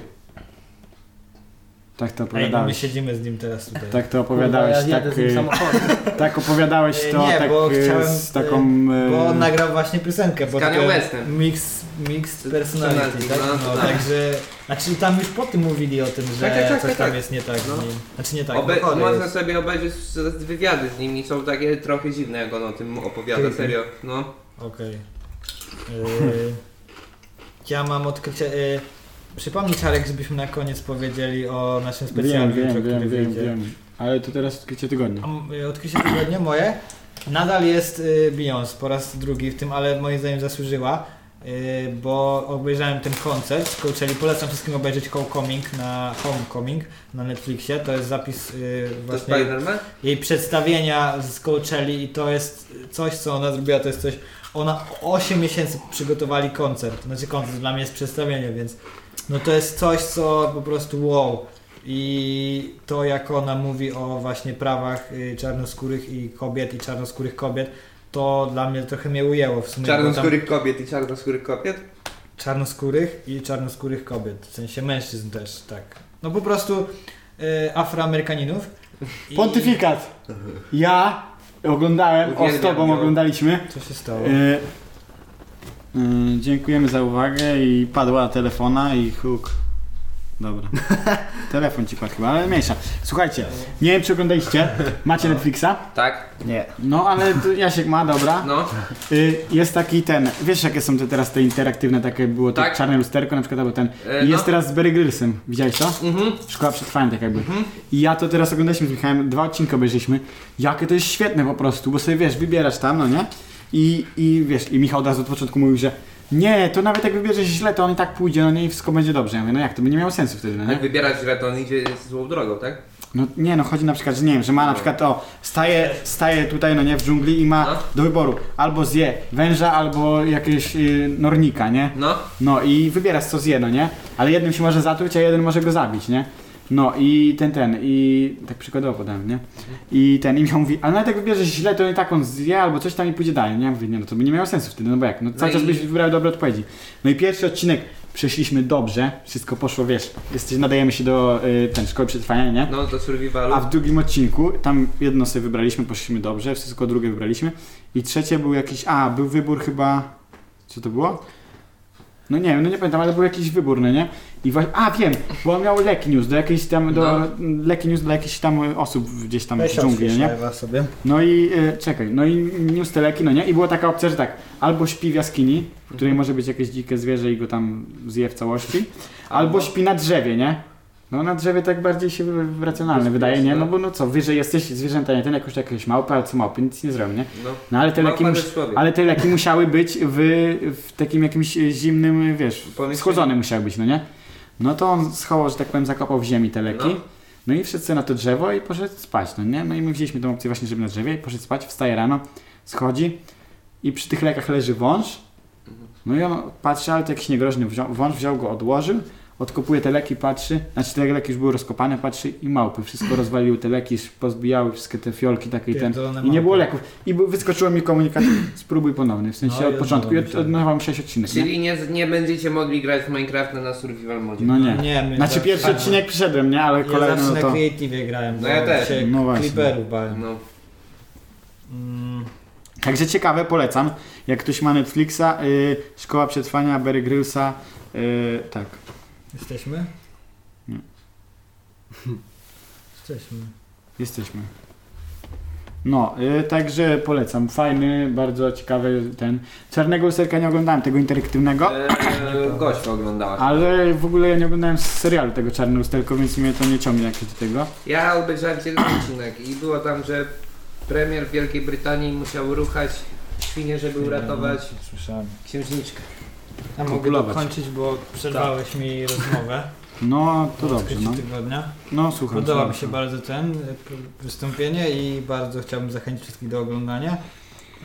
B: Tak to
A: Ej, no my
B: opowiadałeś.
A: siedzimy z nim teraz tutaj.
B: Tak to opowiadałeś,
C: Kurwa, ja jadę
B: tak,
C: z nim
B: y,
C: samochodem.
B: tak opowiadałeś
A: Nie,
B: to
A: nie,
B: tak,
A: bo
B: y,
A: chciałem,
B: z taką... y,
A: Bo on nagrał właśnie piosenkę.
D: Z
A: pod
D: Kanye
A: tytułem
D: Westem.
A: Mix, mix
D: Z-
A: personality,
D: personality,
A: tak?
D: no,
A: No,
D: tak.
A: także... Znaczy tam już po tym mówili o tym, że
D: Tak, tak, tak,
A: coś
D: tak,
A: tam
D: tak.
A: jest nie tak z
D: No.
A: nim. Znaczy nie tak,
D: Obe-
A: no, chory
D: można
A: jest.
D: sobie obejrzeć z- z wywiady z nimi, są takie trochę dziwne, jak on o tym opowiada,
A: Mhm.
D: serio. No.
A: Okej. Y, ja mam odkrycie... Y, przypomnij Czarek, żebyśmy na koniec powiedzieli o naszym
B: Wiem,
A: specjalnym, jutro,
B: wiem,
A: który
B: wiem, wiem,
A: wyjdzie.
B: wiem. Ale to teraz odkrycie tygodnia.
A: A m- y, Odkrycie tygodnia moje. Nadal jest y, Beyoncé po raz drugi w tym, ale moim zdaniem zasłużyła, y, bo obejrzałem ten koncert z Coachelli. Polecam wszystkim obejrzeć Homecoming na Homecoming na Netflixie. To jest zapis y,
D: To
A: właśnie
D: Spider-Man?
A: jej przedstawienia z Coachelli i to jest coś, co ona zrobiła, to jest coś... Ona 8 miesięcy przygotowali koncert, znaczy koncert dla mnie jest przedstawienie, więc no to jest coś, co po prostu wow. I to jak ona mówi o właśnie prawach y, czarnoskórych i kobiet i czarnoskórych kobiet, to dla mnie trochę mnie ujęło w sumie. bo tam-
D: Czarnoskórych kobiet i czarnoskórych kobiet?
A: czarnoskórych i czarnoskórych kobiet, w sensie mężczyzn też, tak. No po prostu y, afroamerykaninów. I-
B: Pontyfikat! Ja oglądałem, o z
D: Uwielbiam
B: tobą
D: go.
B: oglądaliśmy.
A: Co się stało?
B: Y, y, dziękujemy za uwagę i padła telefona i huk. Dobra. Telefon ci padł chyba, ale mniejsza. Słuchajcie, nie wiem czy oglądaliście, macie Netflixa?
D: Tak?
C: Nie.
B: No ale tu Jasiek ma, dobra.
D: No.
B: Y, jest taki ten, wiesz jakie są te teraz te interaktywne, takie było tak.
D: Tak.
B: czarne lusterko na przykład, albo ten.
D: E,
B: I jest
D: no.
B: teraz z Barry Grylsem, widziałeś to?
D: Mhm.
B: Szkoła przetrwania tak jakby.
D: Mhm.
B: I ja to teraz oglądaliśmy z Michałem, dwa odcinki obejrzeliśmy. Jakie to jest świetne po prostu, bo sobie wiesz, wybierasz tam, no nie? I, i wiesz, i Michał od razu od początku mówił, że nie, to nawet jak wybierzesz źle, to on i tak pójdzie, no nie, i wszystko będzie dobrze. Ja mówię, no jak, to by nie miało sensu wtedy, no nie?
D: Jak wybierasz źle, to on idzie złą drogą, tak?
B: No nie, no chodzi na przykład, że nie wiem, że ma na przykład o, staje, staje tutaj, no nie, w dżungli i ma
D: No.
B: do wyboru albo zje węża, albo jakiegoś y, nornika, nie?
D: No.
B: No i wybierasz co zje, no nie? Ale jednym się może zatruć, a jeden może go zabić, nie? No i ten, ten, i tak przykładowo podałem, nie? I ten, i Michał mówi, ale nawet jak wybierzesz źle, to i tak on zje albo coś tam i pójdzie dalej, nie? Ja mówię, nie, no to by nie miało sensu wtedy, no bo jak, no cały
D: i-
B: czas byś wybrał dobre odpowiedzi. No i pierwszy odcinek przeszliśmy dobrze, wszystko poszło, wiesz, jesteś, nadajemy się do y, ten, szkoły przetrwania, nie?
D: No do survivalu.
B: A w drugim odcinku, tam jedno sobie wybraliśmy, poszliśmy dobrze, wszystko drugie wybraliśmy. I trzecie był jakiś, a był wybór chyba, co to było? No nie wiem, no nie pamiętam, ale był jakiś wybór, no nie? I właśnie, a wiem, bo on miał leki news do jakiejś tam, do,
D: No.
B: leki news dla jakichś tam osób gdzieś tam
A: Weź
B: w dżungli,
A: odśwież
B: nie?
A: live'a sobie.
B: No i, e, czekaj, no i news te leki, no nie? I była taka opcja, że tak, albo śpi w jaskini, w której może być jakieś dzikie zwierzę i go tam zje w całości, Albo śpi na drzewie, nie? No na drzewie tak bardziej się w- racjonalne wydaje, nie? No
D: tak.
B: bo no co, wyżej jesteś zwierzęta, nie? Ten jakoś jakieś małpy, ale co małpy, nic nie zrobią, nie?
D: No.
B: No ale te leki,
D: Małpa
B: mus...
D: też człowiek.
B: ale te leki musiały być w, w takim jakimś e, zimnym, e, wiesz,
D: Pomieszczeniu.
B: schłodzony musiał być, no nie? No to on schował, że tak powiem, zakopał w ziemi te leki.
D: No.
B: No. i wszedł sobie na to drzewo i poszedł spać, no nie? No i my wzięliśmy tą opcję właśnie, żeby na drzewie i poszedł spać, wstaje rano, schodzi i przy tych lekach leży wąż. No i on patrzy, ale to jakiś niegroźny wzią- wąż, wziął go, odłożył, odkopuje te leki, patrzy, znaczy te leki już były rozkopane, patrzy i małpy, wszystko rozwaliły te leki, pozbijały wszystkie te fiolki, takie i ten...
A: Pierdolone
B: I nie
A: małpy.
B: było leków. I bu- wyskoczyło mi komunikat, spróbuj ponownie, w sensie
A: No i
B: od początku. I od-
A: odnowałem się.
B: odnowałem 6 odcinek. nie?
D: Czyli nie, nie będziecie mogli grać w Minecrafta na survival modzie.
B: No nie.
A: Nie, my
B: Znaczy
A: tak-
B: pierwszy
A: tak.
B: odcinek przyszedłem, nie? Ale
A: Ja
B: kolejny
A: zawsze
B: no
A: na
B: to...
A: Creative grałem,
D: No
A: bo
D: ja też.
A: się
B: No właśnie.
A: Creeperów bałem.
D: No.
A: Mm,
B: Także ciekawe, polecam. Jak ktoś ma Netflixa, y, Szkoła Przetrwania, Barry Grylsa, y, tak.
A: jesteśmy?
B: Nie.
A: Jesteśmy.
B: Jesteśmy. No, y, także polecam. Fajny, bardzo ciekawy ten. Czarnego lusterka nie oglądałem, tego interaktywnego.
D: Eee, gość oglądała.
B: Ale w ogóle ja nie oglądałem serialu tego Czarnego lusterka, więc mnie to nie ciągnie jakoś do tego.
D: Ja obejrzałem jeden odcinek i było tam, że premier Wielkiej Brytanii musiał ruchać świnie, żeby uratować
A: no. Słyszałem.
D: księżniczkę.
A: A mogę
B: Kopulować.
A: Tak. dokończyć, bo przerwałeś mi rozmowę.
B: No to dobrze,
A: Odkrycie
B: no.
A: tygodnia.
B: No słucham.
A: Podoba
B: słucham,
A: mi się
B: słucham.
A: bardzo ten y, p- wystąpienie i bardzo chciałbym zachęcić wszystkich do oglądania.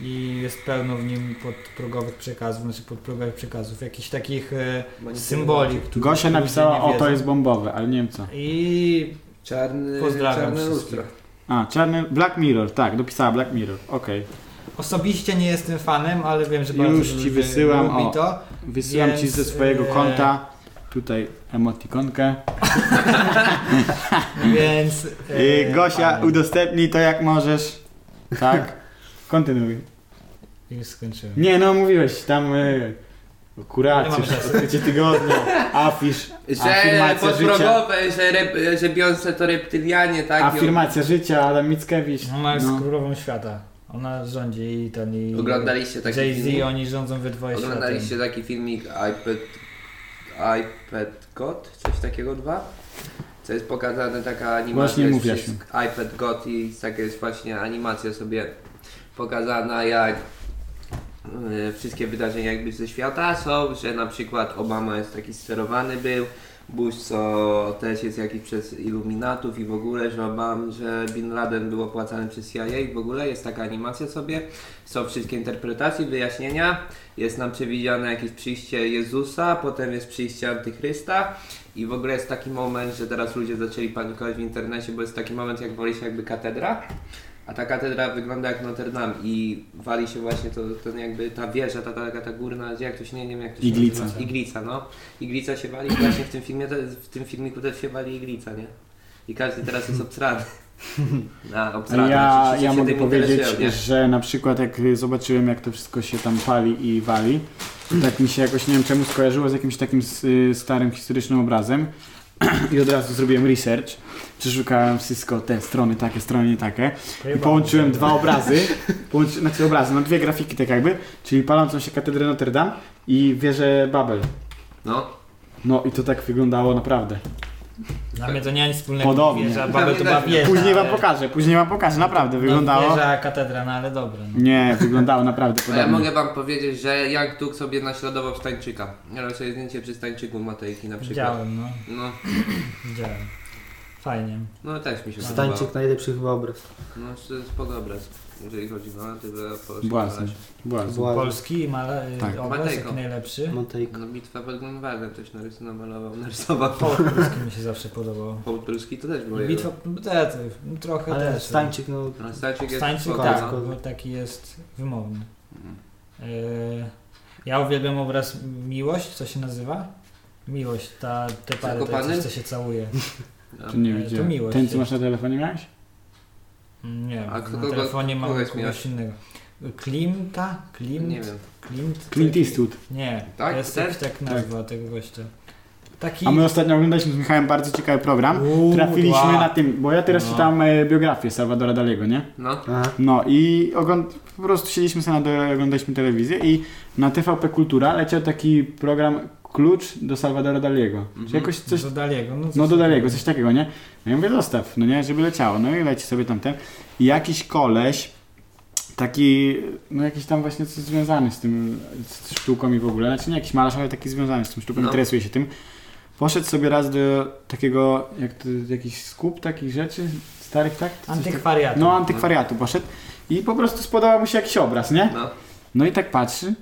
A: I jest pełno w nim podprogowych przekazów, znaczy podprogowych przekazów, jakichś takich e, symboli. których
B: Gosia
A: ludzie
B: napisała,
A: nie
B: o to
A: wiedzą.
B: jest bombowe, ale nie wiem co.
A: I
D: Czarny,
A: Pozdrawiam
D: czarne
A: wszystkich.
D: lustro.
B: A, czarny, Black Mirror, tak, dopisała Black Mirror, okej.
A: osobiście nie jestem fanem, ale wiem, że
B: Już
A: bardzo
B: ci
A: lubi-
B: wysyłam,
A: lubi
B: o.
A: to.
B: Wysyłam ci
A: Więc,
B: ze swojego
A: e,
B: konta tutaj emotikonkę.
A: Więc.
B: Yy, Gosia,
A: E, fajnie.
B: udostępnij to jak możesz. Tak. Kontynuuj.
A: Już skończyłem.
B: Nie, no mówiłeś tam y, o
A: Nie mam
B: kuracji,
A: czasu.
B: odkrycie tygodnia, afisz,
D: Że
B: afirmacja życia,
D: podprogowe, że, ryb, że Beyoncé to reptylianie, tak? I
B: afirmacja życia, Adam Mickiewicz.
A: Ona jest
B: No.
A: królową świata. Ona rządzi i ten i.
D: Oglądaliście taki
A: Jay-Z,
D: filmik?
A: oni rządzą we dwoje
D: Oglądaliście taki filmik iPad... iPad God? Coś takiego dwa? Co jest pokazane taka animacja
B: Właśnie
D: z-
B: mówiłaś
D: z iPad God i taka jest właśnie animacja sobie pokazana jak y, wszystkie wydarzenia jakby ze świata są, że na przykład Obama jest taki sterowany był, Bush co też jest jakiś przez iluminatów i w ogóle, że Obam, że Bin Laden był opłacany przez CIA i w ogóle jest taka animacja sobie, są wszystkie interpretacje, wyjaśnienia, jest nam przewidziane jakieś przyjście Jezusa, potem jest przyjście Antychrysta i w ogóle jest taki moment, że teraz ludzie zaczęli panikować w internecie, bo jest taki moment jak woli się jakby katedra, a ta katedra wygląda jak Notre Dame i wali się właśnie to, ten jakby ta wieża, ta, ta, ta górna, jak to się nie wiem jak to się
B: Iglica.
D: nazywa. Iglica, no. Iglica się wali i właśnie w tym filmie, te, w tym filmiku też się wali iglica, nie? I każdy teraz jest obstrany. Na
B: A
D: obstrany.
B: Ja,
D: Rzeczywiście
B: ja
D: się
B: mogę
D: tym
B: powiedzieć,
D: interesują, nie?
B: że na przykład jak y, zobaczyłem jak to wszystko się tam pali i wali, to tak mi się jakoś, nie wiem czemu, skojarzyło z jakimś takim s- y, starym historycznym obrazem i od razu zrobiłem research, przeszukałem wszystko, te strony takie, strony nie takie I połączyłem dwa obrazy, połączy, znaczy obrazy, no dwie grafiki tak jakby, czyli palącą się katedrę Notre Dame i wieżę Babel.
D: No.
B: No i to tak wyglądało naprawdę.
A: Dla mnie to nie ma nic wspólnego.
B: Podobnie.
A: Wieża, babę to była
D: Pewnie
A: wieża.
B: Później wam
A: ale-
B: pokażę, później wam pokażę, naprawdę
A: No,
B: wyglądało.
A: wieża, katedra, no ale dobra. No.
B: Nie, wyglądało naprawdę
D: A ja
B: podobnie.
D: mogę wam powiedzieć, że Young Tuk sobie naśladował Stańczyka. Ja robię sobie zdjęcie przy Stańczyku Matejki na przykład.
A: Widziałem, no.
D: No,
A: Widziałem. Fajnie.
D: no też mi się podobało.
C: Stańczyk najlepszy chyba obraz.
D: No to jest spoko obraz, jeżeli chodzi o na tyle polskie
B: Błazen, błazen.
C: Była
A: Polski male, y,
B: Tak.
A: obraz
D: Matejko.
A: jaki najlepszy.
C: Montejko.
D: No bitwa pod Grunwaldem ktoś narysował, malował, narysował.
A: Hołd polski mi się zawsze podobał.
D: Hołd Polski to też było
A: Bitwa, no, te, te, trochę
C: Ale
A: też.
C: Stańczyk, no
D: jego. No, Stańczyk jest
A: Stańczyk,
D: spoko,
A: tak,
D: no.
A: bo taki jest wymowny. E, ja uwielbiam obraz Miłość, co się nazywa? Miłość, ta, te pary, te,
D: Zakopany?
A: coś, co się całuje.
D: No.
B: To nie
A: To
B: widziałem.
A: miłość
B: Ten,
A: jest.
B: co masz na telefonie miałeś?
A: Mm, Nie,
D: A
A: A
D: kto
A: na
D: kogo-
A: telefonie mam
D: kogoś
A: kogoś
D: miałeś?
A: innego. Klimta? Klimt?
D: Nie wiem.
A: Klimt?
B: Clint Eastwood.
A: Nie,
D: Tak?
A: to jest
D: Ten?
A: jakiś tak nazwa tego gościa. Taki...
B: A my ostatnio oglądaliśmy z Michałem bardzo ciekawy program.
A: Uuu,
B: Trafiliśmy
A: dwa.
B: na tym, bo ja teraz
A: No.
B: czytam e, biografię Salwadora Daliego, nie?
D: No,
C: Aha.
B: No i ogląd- po prostu siedzieliśmy sobie, na dole, oglądaliśmy telewizję i na TVP Kultura leciał taki program Klucz do Salwadora Daliego.
A: Mhm.
B: Czy jakoś coś...
A: Do Daliego. No,
B: No
A: coś
B: do Daliego,
A: takiego.
B: coś takiego, nie? No ja mówię, zostaw, no nie, żeby leciało. No i leci sobie tam ten. I jakiś koleś, taki, no jakiś tam właśnie coś związany z tym, z sztuką i w ogóle, znaczy nie jakiś malarz, ale taki związany z tym sztuką,
D: No.
B: interesuje się tym. Poszedł sobie raz do takiego, jak to, jakiś skup takich rzeczy, starych, tak? Coś tak-
A: Antykwariat.
B: no, antykwariatu poszedł i po prostu spodobał mu się jakiś obraz, nie?
D: no.
B: No i tak patrzy,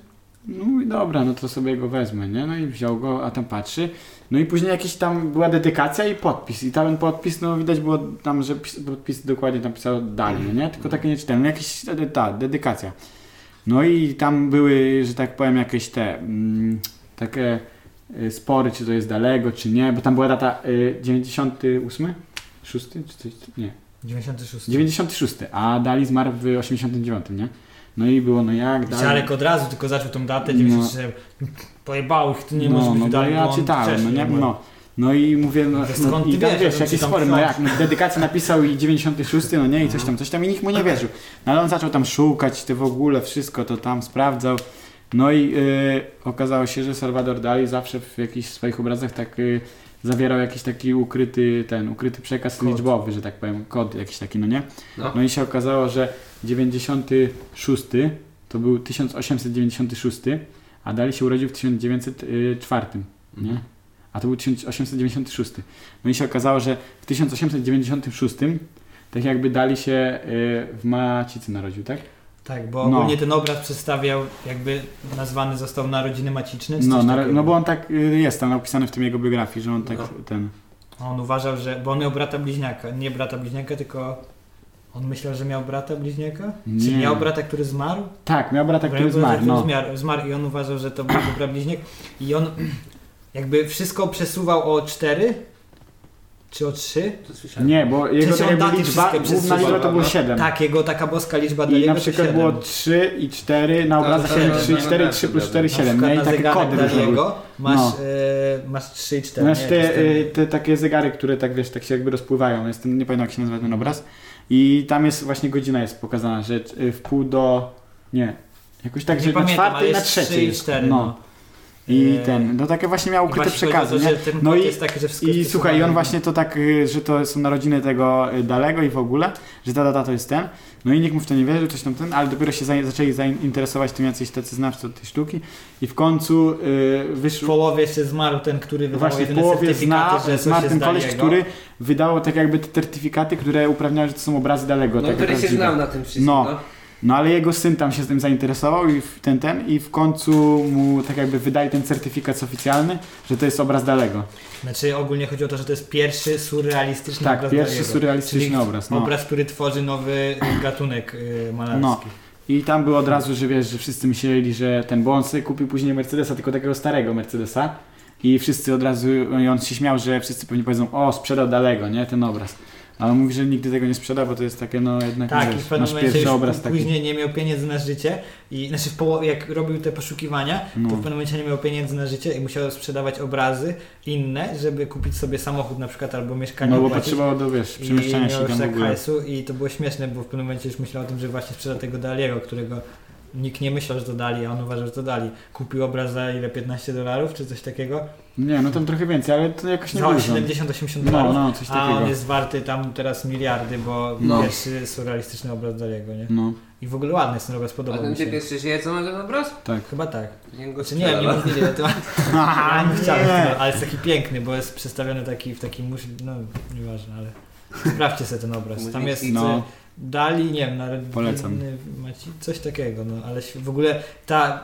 B: no i dobra, no to sobie go wezmę, nie? No i wziął go, a tam patrzy. No i później jakiś tam była dedykacja i podpis. I tam podpis, no widać było tam, że pis, podpis dokładnie napisał dalej, nie? Tylko takie nieczytelne, jakiś, ta, dedykacja. No i tam były, że tak powiem, jakieś te, mm, takie y, spory, czy to jest daleko, czy nie, bo tam była data y, 98? 6? Czy coś? Nie.
A: 96.
B: 96, a Dali zmarł w 89, nie? No i było, no jak Dali...
A: Ciarek od razu tylko zaczął tą datę,
B: No.
A: 93. Pojebało ich, ty nie możesz
B: no,
A: być
B: no, bo
A: dalej.
B: ja
A: bo on
B: czytałem, no
A: wcześniej
B: nie?
A: był.
B: No. No i mówię, no,
A: Skąd
B: no
A: ty
B: i tam
A: wiesz,
B: wiesz,
A: że
B: jakieś
A: tam
B: spory, no
A: są?
B: jak, no dedykację napisał i 96, no nie, i coś tam, coś tam, i nikt mu nie wierzył. No ale on zaczął tam szukać, ty w ogóle, wszystko to tam sprawdzał. No i y, okazało się, że Salvador Dali zawsze w jakichś swoich obrazach tak y, zawierał jakiś taki ukryty, ten, ukryty przekaz
A: Kod.
B: liczbowy, że tak powiem, kod jakiś taki, no nie?
D: No.
B: No i się okazało, że 96 to był 1896, a Dali się urodził w 1904, nie? a to był 1896. No i się okazało, że w 1896 tak jakby dali się y, w Macicy narodził, tak?
A: Tak, bo
B: No.
A: ogólnie ten obraz przedstawiał, jakby nazwany został Narodziny Maciczne. czy
B: No,
A: coś
B: na,
A: takiego.
B: no bo on tak y, jest tam opisany w tym jego biografii, że on tak
D: No.
B: ten...
A: A On uważał, że. Bo on miał brata bliźniaka. Nie brata bliźniaka, tylko. On myślał, że miał brata bliźniaka? Czy
B: Nie.
A: miał brata, który zmarł?
B: Tak, miał brata,
A: Bo
B: który
A: miał brata,
B: zmarł, no.
A: zmarł, zmarł i on uważał, że to był jego brat bliźniak. I on jakby wszystko przesuwał o cztery, czy o trzy.
D: To słyszałem.
B: Nie, bo jego
A: sensie on
B: tak jakby
A: daty
B: liczba,
A: wszystkie
B: główna liczba to
A: przesuwa,
B: było
D: no.
B: 7.
A: Tak, jego taka boska liczba dla
B: I
A: jego to
B: na przykład
A: siedem. Tak,
B: było 3 i 4 na
D: No,
B: obrazach,
D: to
B: no,
D: na-
B: 3 i
D: na
B: 4,
D: nasze
B: 3 plus 4 i
D: dodam.
A: Na
B: 7, nie?
A: przykład
B: I
A: na
B: takie
A: zegarek
B: kody
A: dla
B: różne były.
A: niego masz,
B: No.
A: e, masz trzy i cztery.
B: Znaczy
A: nie?
B: te,
A: Jakieś
B: y, te takie zegary, które tak wiesz, tak się jakby rozpływają, jest, ten- nie pamiętam jak się nazywa ten obraz. I tam jest właśnie godzina jest pokazana, że y, w pół do... nie, jakoś tak,
A: Nie
B: że na
A: pamiętam,
B: czwarty i
A: ale
B: na
A: jest trzy
B: trzeci
A: i
B: jest.
A: cztery, no.
B: No. I
A: E,
B: ten, no takie właśnie miał
A: tam. I
B: ukryte
A: właśnie
B: przekazy,
A: chodzi o
B: nie?
A: to, że ten
B: No
A: kod
B: i-
A: jest taki, że wszystko
B: I
A: jest
B: słuchaj, i on
A: przesuwane.
B: właśnie to tak, y, że to są narodziny tego y, Dalego i w ogóle, że ta data to jest ten. No i nikt mu w to nie wierzył, coś tam ten, ale dopiero się za, zaczęli zainteresować tym jacyś tacy znawcy od tej sztuki i w końcu y,
A: W
B: wyszło
A: połowie jeszcze zmarł ten, który wydał
B: No właśnie w
A: jedyne
B: połowie
A: certyfikaty,
B: zna,
A: że coś no.
B: zmarł
A: jest
B: ten
A: dla
B: koleś,
A: niego.
B: który wydawał tak jakby te certyfikaty, które uprawniały, że to są obrazy Dalego.
D: No,
B: takie
D: który się
B: prawdziwe.
D: znał na tym wszystkim,
B: No.
D: no.
B: No ale jego syn tam się z tym zainteresował i w- ten ten i w końcu mu tak jakby wydali ten certyfikat oficjalny, że to jest obraz Dalego.
A: Znaczy ogólnie chodzi o to, że to jest pierwszy surrealistyczny
B: Tak,
A: obraz
B: pierwszy
A: Daliego.
B: surrealistyczny
A: Czyli
B: obraz. No.
A: Obraz, który tworzy nowy gatunek y, malarski.
B: I tam było od razu, że wiesz, że wszyscy myśleli, że ten, bo on sobie kupił później Mercedesa, tylko takiego starego Mercedesa. I wszyscy od razu, i on się śmiał, że wszyscy pewnie powiedzą, o, sprzedał Dalego, nie, ten obraz. Ale on mówi, że nigdy tego nie sprzeda, bo to jest takie, no jednak,
A: Tak, i
B: wiesz,
A: w pewnym
B: nasz
A: momencie już
B: pierwszy obraz taki.
A: później nie miał pieniędzy na życie i znaczy w połowie, jak robił te poszukiwania,
B: No.
A: to w pewnym momencie nie miał pieniędzy na życie i musiał sprzedawać obrazy inne, żeby kupić sobie samochód na przykład albo mieszkanie.
B: No bo
A: płacić.
B: potrzebowało do, wiesz,
A: I
B: przemieszczania się
A: miał
B: tam w
A: tak
B: ogóle.
A: hajsu i to było śmieszne, bo w pewnym momencie już myślał o tym, że właśnie sprzeda tego Daliego, którego nikt nie myślał, że to Dali, a on uważał, że to Dali. Kupił obraz za ile, 15 dolarów czy coś takiego?
B: Nie, no tam trochę więcej, ale to jakoś nie
A: Za
B: dużo.
A: 70-80
B: No,
A: dolarów.
B: no, coś
A: a on
B: takiego.
A: jest warty tam teraz miliardy, bo
D: No.
A: pierwszy surrealistyczny obraz Daliego, nie?
B: No,
A: I w ogóle ładny jest ten obraz,
D: A
A: podobał
D: ten
A: mi się.
D: typ jeszcze żyje, co ma ten obraz?
B: tak.
A: Chyba tak.
D: Nie, go
A: Znaczy nie, nie
D: strzelano.
A: mówili o tym. Ja bym chciał, no,
B: nie.
A: ale jest taki piękny, bo jest przedstawiony taki w takim musz... no nieważne, ale sprawdźcie sobie ten obraz. Tam jest y,
B: No,
A: Dali, nie wiem, narodziny
B: Polecam.
A: Maci, coś takiego, no ale św- w ogóle ta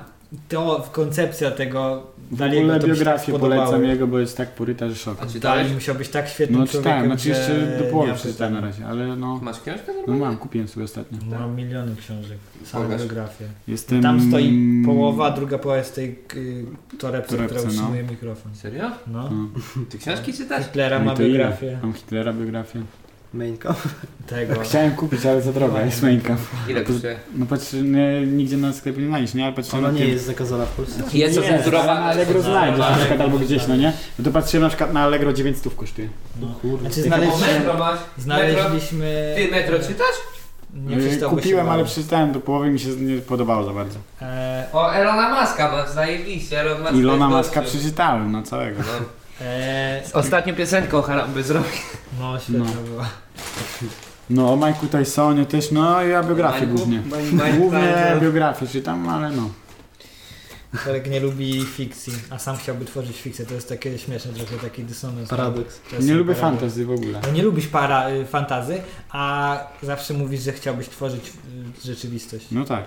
A: to, koncepcja tego
B: w
A: Daliego
B: ogóle
A: to mi się tak
B: biografię
A: spodobało.
B: polecam jego, bo jest tak poryta, że szok.
D: A
A: Dali
D: czy dalej?
A: musiał być tak świetnym
B: No
A: człowiekiem,
B: czytałem, znaczy jeszcze
A: że
B: do
A: nie
B: połowy
A: ma
B: przeczytałem na
A: pytań.
B: razie, ale no,
D: Masz książkę?
B: no mam, kupiłem sobie ostatnio.
A: Mam No, miliony książek, same
D: Pokaż.
A: biografie.
B: Jestem...
A: Tam stoi połowa, a druga połowa jest tej y, torebce, która
B: Torebce, no.
A: utrzymuje mikrofon.
D: Serio?
A: No.
B: No.
D: Ty książki czytasz?
A: Hitlera
B: No i
A: ma
B: to ile?
A: biografię.
B: Mam Hitlera biografię.
C: Mainka.
A: Tego.
B: Tak, Chciałem kupić, ale za droga, jest męka.
D: Ile
B: To-
D: kosztuje?
B: No patrz, nie, nigdzie na sklepie nie znajdziesz, nie? Ale patrzyłem
C: Ona
B: na
C: nie
B: tym-
C: jest zakazana w Polsce.
D: Jest
B: Nie,
D: ocenzurowana.
B: ale na Allegro
A: Ocenzurowana.
B: znajdziesz na przykład
A: Allegro
B: albo gdzieś, no nie? No to patrzyłem na przykład na Allegro 900 kosztuje.
A: No.
C: Kurde.
A: Znaczy
D: O,
A: znaleźliśmy,
D: metro masz? Metro?
A: znaleźliśmy...
D: Ty metro czytasz?
A: Nie
B: Yy,
A: przeczytałbyś
B: Kupiłem,
A: chyba.
B: ale przeczytałem do połowy mi się nie podobało za bardzo.
A: E,
D: O, Elona Maska masz, zajebiście. Elon Musk
B: Ilona
D: jest
B: Maska
D: gościem.
B: przeczytałem na całego.
D: No.
A: e,
D: Z Ostatnią piosenką Haramby zrobił.
A: no, świetna
B: No.
A: była.
B: No o Majku Tysonie też, no ja biografię
D: Mańku-
B: głównie.
D: Mań- Mań-
B: Głównie
D: Mańku-
B: biografię czytam, ale no.
A: Człowiek nie lubi fikcji, a sam chciałby tworzyć fikcję. To jest takie śmieszne trochę, taki dysonans.
C: Paradoks.
A: To jest
B: Nie lubię
A: paradoks.
B: fantasy w ogóle.
A: No nie lubisz para, y, fantazy, a zawsze mówisz, że chciałbyś tworzyć y, rzeczywistość.
B: No tak.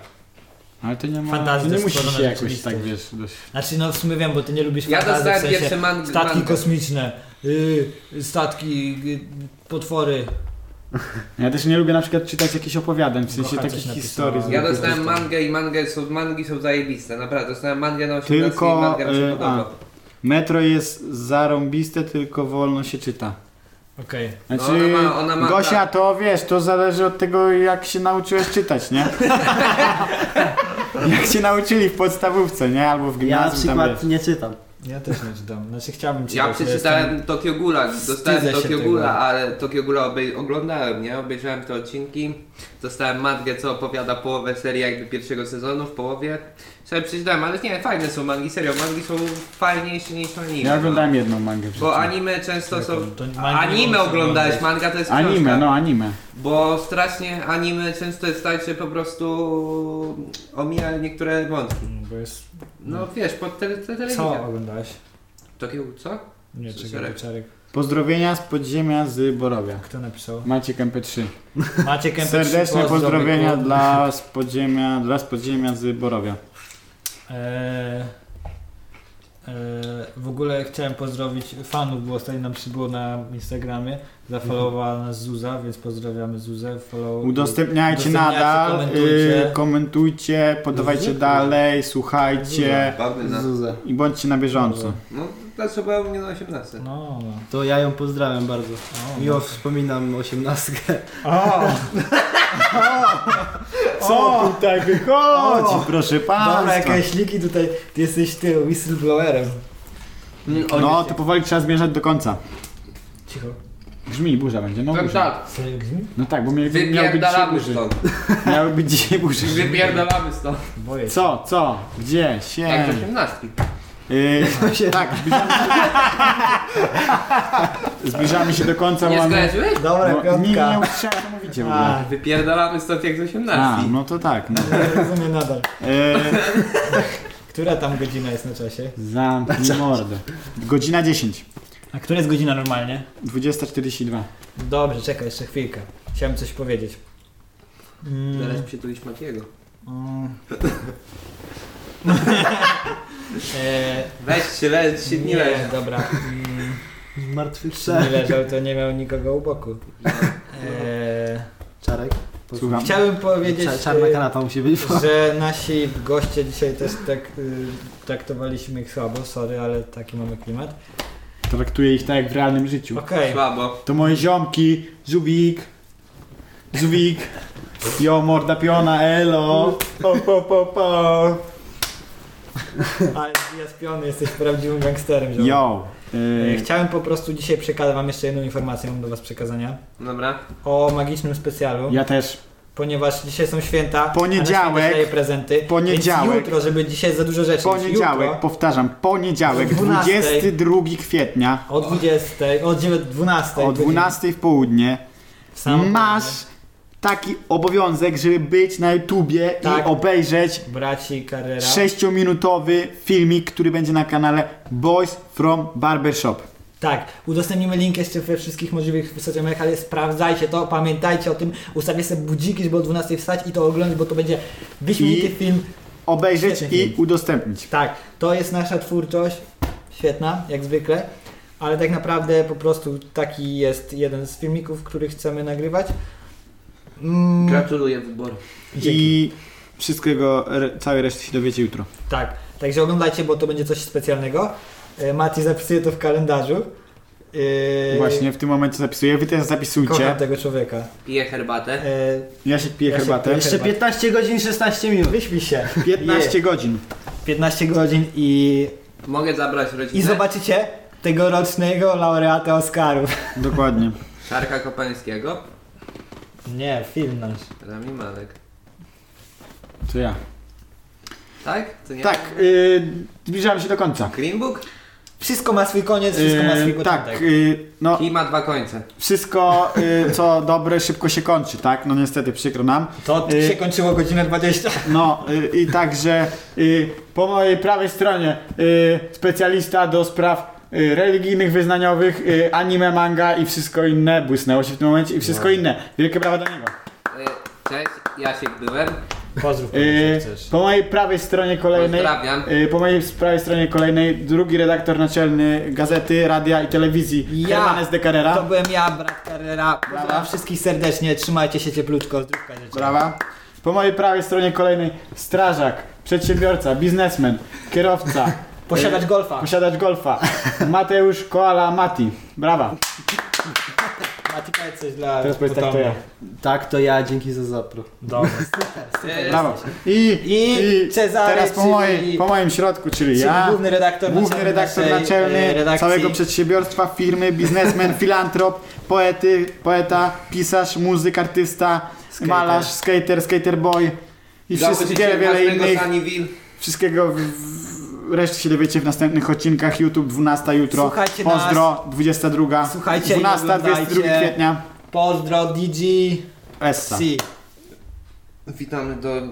B: Ale to nie ma.
A: Fantazja
B: to nie
A: jest
B: musisz
A: stworzona
B: się jakoś
A: rzeczywistość.
B: tak wiesz. Dość...
A: Znaczy, no w sumie wiem, bo ty nie lubisz
D: Ja
A: fantazy,
D: dostałem
A: w sensie
D: pierwszy man-
A: statki
D: mangę.
A: kosmiczne, y, statki, y, potwory.
B: Ja też nie lubię na przykład czytać jakichś opowiadań, w sensie
A: Kocha coś
B: takich
A: napisała.
B: historii. z
D: Ja
A: Lubię
D: dostałem
B: Wielkiej
D: mangę i mangę są, mangi są zajebiste, naprawdę. Dostałem mangę na 18
B: Tylko,
D: i manga mi się
B: y,
D: podoba.
B: Brytanii. Metro jest zarąbiste, tylko wolno się czyta.
A: Okej.
B: Znaczy,
D: No, ona ma- ona ma- tak.
B: Gosia, to wiesz, to zależy od tego, jak się nauczyłeś czytać, nie? jak się nauczyli w podstawówce, nie? Albo w
C: Ja na
B: gimnazjum. tam,
C: przykład
B: wiesz.
C: nie czytam.
A: Ja też nie czytam. Znaczy chciałbym czytać.
D: Ja
A: bo
D: przeczytałem
A: jestem-
D: Tokio Gula,
A: Wstydzę
D: dostałem
A: się
D: Tokio
A: tego.
D: Gula, ale Tokio Gula obej- oglądałem, nie? Obejrzałem te odcinki, dostałem matkę, co opowiada połowę serii jakby pierwszego sezonu, w połowie. Sobie przeczytałem, ale nie, fajne są mangi, serio, mangi są fajniejsze niż anime. no.
B: Ja oglądałem jedną mangę w życiu.
D: Bo anime często są...
A: To mangi nie
D: Anime
A: można
D: oglądałeś,
A: oglądać.
D: manga to jest książka.
B: Anime, no anime.
D: Bo strasznie anime często jest tak, że po prostu omija niektóre wątki.
A: Mm, Bo jest...
D: No wiesz, pod tele, tele,
A: Co
D: telewizja.
A: oglądałeś?
D: Tokio, co?
A: Nie, czekaj,
D: Słyszałem.
A: Czarek.
B: Pozdrowienia z podziemia z Borowia.
A: Kto napisał?
B: Maciek MP3.
A: Maciek MP3,
B: Serdeczne
A: pozdro,
B: pozdrowienia
A: byku.
B: dla z podziemia, dla z podziemia z Borowia.
A: Eee, eee, w ogóle chciałem pozdrowić fanów, bo ostatnio nam przybyło na Instagramie. Zafollowowała nas Zuza, więc pozdrawiamy Zuzę. Follow...
B: Udostępniajcie
A: Udostępniajcie,
B: nadal,
A: komentujcie.
B: komentujcie, komentujcie podawajcie
C: Zwykle.
B: dalej, słuchajcie
D: Badyna.
C: Zuzę.
B: i bądźcie na bieżąco.
D: No, ta trzeba u mnie na 18.
A: No, no.
C: To ja ją pozdrawiam bardzo.
A: O, no.
C: Miło wspominam osiemnastkę.
A: O!
B: Co tutaj wychodzi, proszę
A: Dobra,
B: państwa?
A: jakieś liki tutaj. Ty jesteś ty, whistleblowerem.
B: No, to powoli trzeba zmierzać do końca.
A: Cicho.
B: Brzmi, burza będzie, no
E: Powiem
B: burza.
E: tak,
A: Serio grzmi?
B: No tak, bo miał, miał być dzisiaj
E: wypierdalamy
B: burzy.
E: stąd.
B: Miał być dzisiaj burzy.
E: Wypierdalamy stąd.
A: Boję się.
B: Co, co, gdzie, się?
E: Tak, do 18.
B: Yy, tak, zbliżamy się, zbliżamy się do końca. bo
E: Nie
B: mamy-
E: skojarzyłeś?
A: Dobra,
B: bo No, nie, nie
A: piątka.
B: usłyszałem, co mówicie w
A: A,
B: ogóle.
E: Wypierdalamy stąd jak z
B: A,
E: 18.
B: no to tak. No.
A: nie rozumiem nadal.
B: Yy,
A: Która tam godzina jest na czasie?
B: zamknij mordę. Znaczy- Godzina 10.
A: A która jest godzina normalnie?
B: 20.42.
A: Dobrze, czekaj jeszcze chwilkę. Chciałem coś powiedzieć.
B: no.
A: Mm.
D: Teraz się tu iść Makiego.
A: Mm. e,
D: Weź się, leć się nie
A: nie,
D: leż.
A: dobra. Mm,
C: Zmartwychwstanie.
A: nie leżał, to nie miał nikogo u boku. E,
C: Czarek. Pozdrawiam.
B: Słucham.
A: chciałem powiedzieć,
C: Cza- czarna
A: e,
C: kanapa musi być.
A: że nasi goście dzisiaj też tak y, traktowaliśmy ich słabo, sorry, ale taki mamy klimat.
B: Traktuję ich tak jak w realnym życiu.
A: Okej,
D: Słabo.
B: To moje ziomki, Żuwik, Żuwik, jo morda piona, elo. Po, po, po, po.
A: ale ja spiony, jesteś prawdziwym gangsterem. ziomek.
B: Yo.
A: E,
B: Yy,
A: Chciałem po prostu dzisiaj przekazać wam jeszcze jedną informację, mam do was przekazania,
D: Dobra.
A: o magicznym specjalu.
B: ja też.
A: ponieważ dzisiaj są święta.
B: Poniedziałek.
A: a na święta się daje prezenty.
B: Poniedziałek.
A: Więc jutro, żeby dzisiaj za dużo rzeczy. więc
B: Poniedziałek,
A: Jutro
B: powtarzam, poniedziałek,
A: O 12:00.
B: 22 kwietnia
A: o 20, o 9, 12.
B: o 12 w południe
A: W samą
B: masz taki obowiązek, żeby być na YouTubie
A: Tak.
B: i obejrzeć
A: południe. Braci Carrera.
B: 6-minutowy filmik, który będzie na kanale Boys from Barbershop.
A: Tak, udostępnimy link jeszcze we wszystkich możliwych social mediach, ale sprawdzajcie to, pamiętajcie o tym, ustawię sobie budziki, żeby o 12 wstać i to oglądać, bo to będzie wyśmienity
B: I-
A: film.
B: Obejrzeć
A: Świetny
B: i
A: film.
B: udostępnić.
A: Tak, to jest nasza twórczość, świetna, jak zwykle, ale tak naprawdę po prostu taki jest jeden z filmików, który chcemy nagrywać. Mm.
D: Gratuluję wyboru.
B: I wszystkiego, re, całej reszty się dowiecie jutro.
A: Tak, także oglądajcie, bo to będzie coś specjalnego. E, Mati zapisuje to w kalendarzu. E,
B: Właśnie w tym momencie zapisuję, wy też
A: Kocham
B: zapisujcie.
A: tego człowieka.
D: Piję herbatę.
A: E,
B: Ja się piję
A: Ja się
B: herbatę.
A: piję.
C: Jeszcze 15 godzin 16 minut.
A: wyśmij się.
B: 15
A: Je.
B: godzin.
A: 15 godzin i,
D: Mogę zabrać rodzinę.
A: i zobaczycie tegorocznego laureata Oscarów.
B: Dokładnie.
D: Szarka Kopańskiego.
A: Nie, film nasz.
D: Rami Malek.
B: To ja.
D: Tak? To nie
B: Tak, y, zbliżamy się do końca.
D: Green Book?
A: Wszystko ma swój koniec, wszystko ma swój
B: Y, tak,
A: początek.
B: y, no
D: I ma dwa końce.
B: wszystko y, co dobre szybko się kończy, tak? No niestety, przykro nam.
A: To
B: y-
A: się kończyło godzinę 20.
B: No y, i także y, po mojej prawej stronie y, specjalista do spraw y, religijnych, wyznaniowych, y, anime, manga i wszystko inne, błysnęło się w tym momencie i wszystko inne. Wielkie brawa dla niego.
D: Y, Cześć, Jasiek byłem.
A: Pozdrów,
B: Y,
A: jak chcesz.
B: po mojej prawej stronie kolejnej
D: Pozdrawiam.
B: y, po mojej prawej stronie kolejnej drugi redaktor naczelny gazety, radia i telewizji
A: Ja.
B: Herman S. de Carrera.
A: To byłem ja, brat Carrera. Pozdrawiam wszystkich serdecznie, trzymajcie się cieplutko, zdrówka dzieci.
B: Brawa. Po mojej prawej stronie kolejnej strażak, przedsiębiorca, biznesmen, kierowca,
A: Posiadacz golfa.
B: posiadacz golfa, Mateusz Koala Mati. Brawa.
A: Mati, powiedz coś dla
B: Teraz powiedz tak to ja.
C: Tak, to ja, dzięki za zapro.
A: Dobra.
D: Cześć.
B: Brawo. I,
A: I Cezary,
B: teraz po,
A: czyli-
B: mojej, po moim środku, czyli
A: Czyli
B: ja,
A: główny redaktor
B: główny redaktor
A: naszej, e,
B: naczelny
A: redakcji.
B: całego przedsiębiorstwa, firmy, biznesmen, filantrop, poety, poeta, pisarz, muzyk, artysta, malarz, skater, skater boy i wszystkie wiele, wiele innych.
D: Sunnyville.
B: Wszystkiego w, w, reszty się dowiecie w następnych odcinkach. YouTube 12 jutro.
A: Słuchajcie
B: Pozdro 22.
A: Słuchajcie i
B: 12, 22
A: oglądajcie.
B: kwietnia.
A: Pozdro DJ
B: Essa.
A: C.
D: Witamy do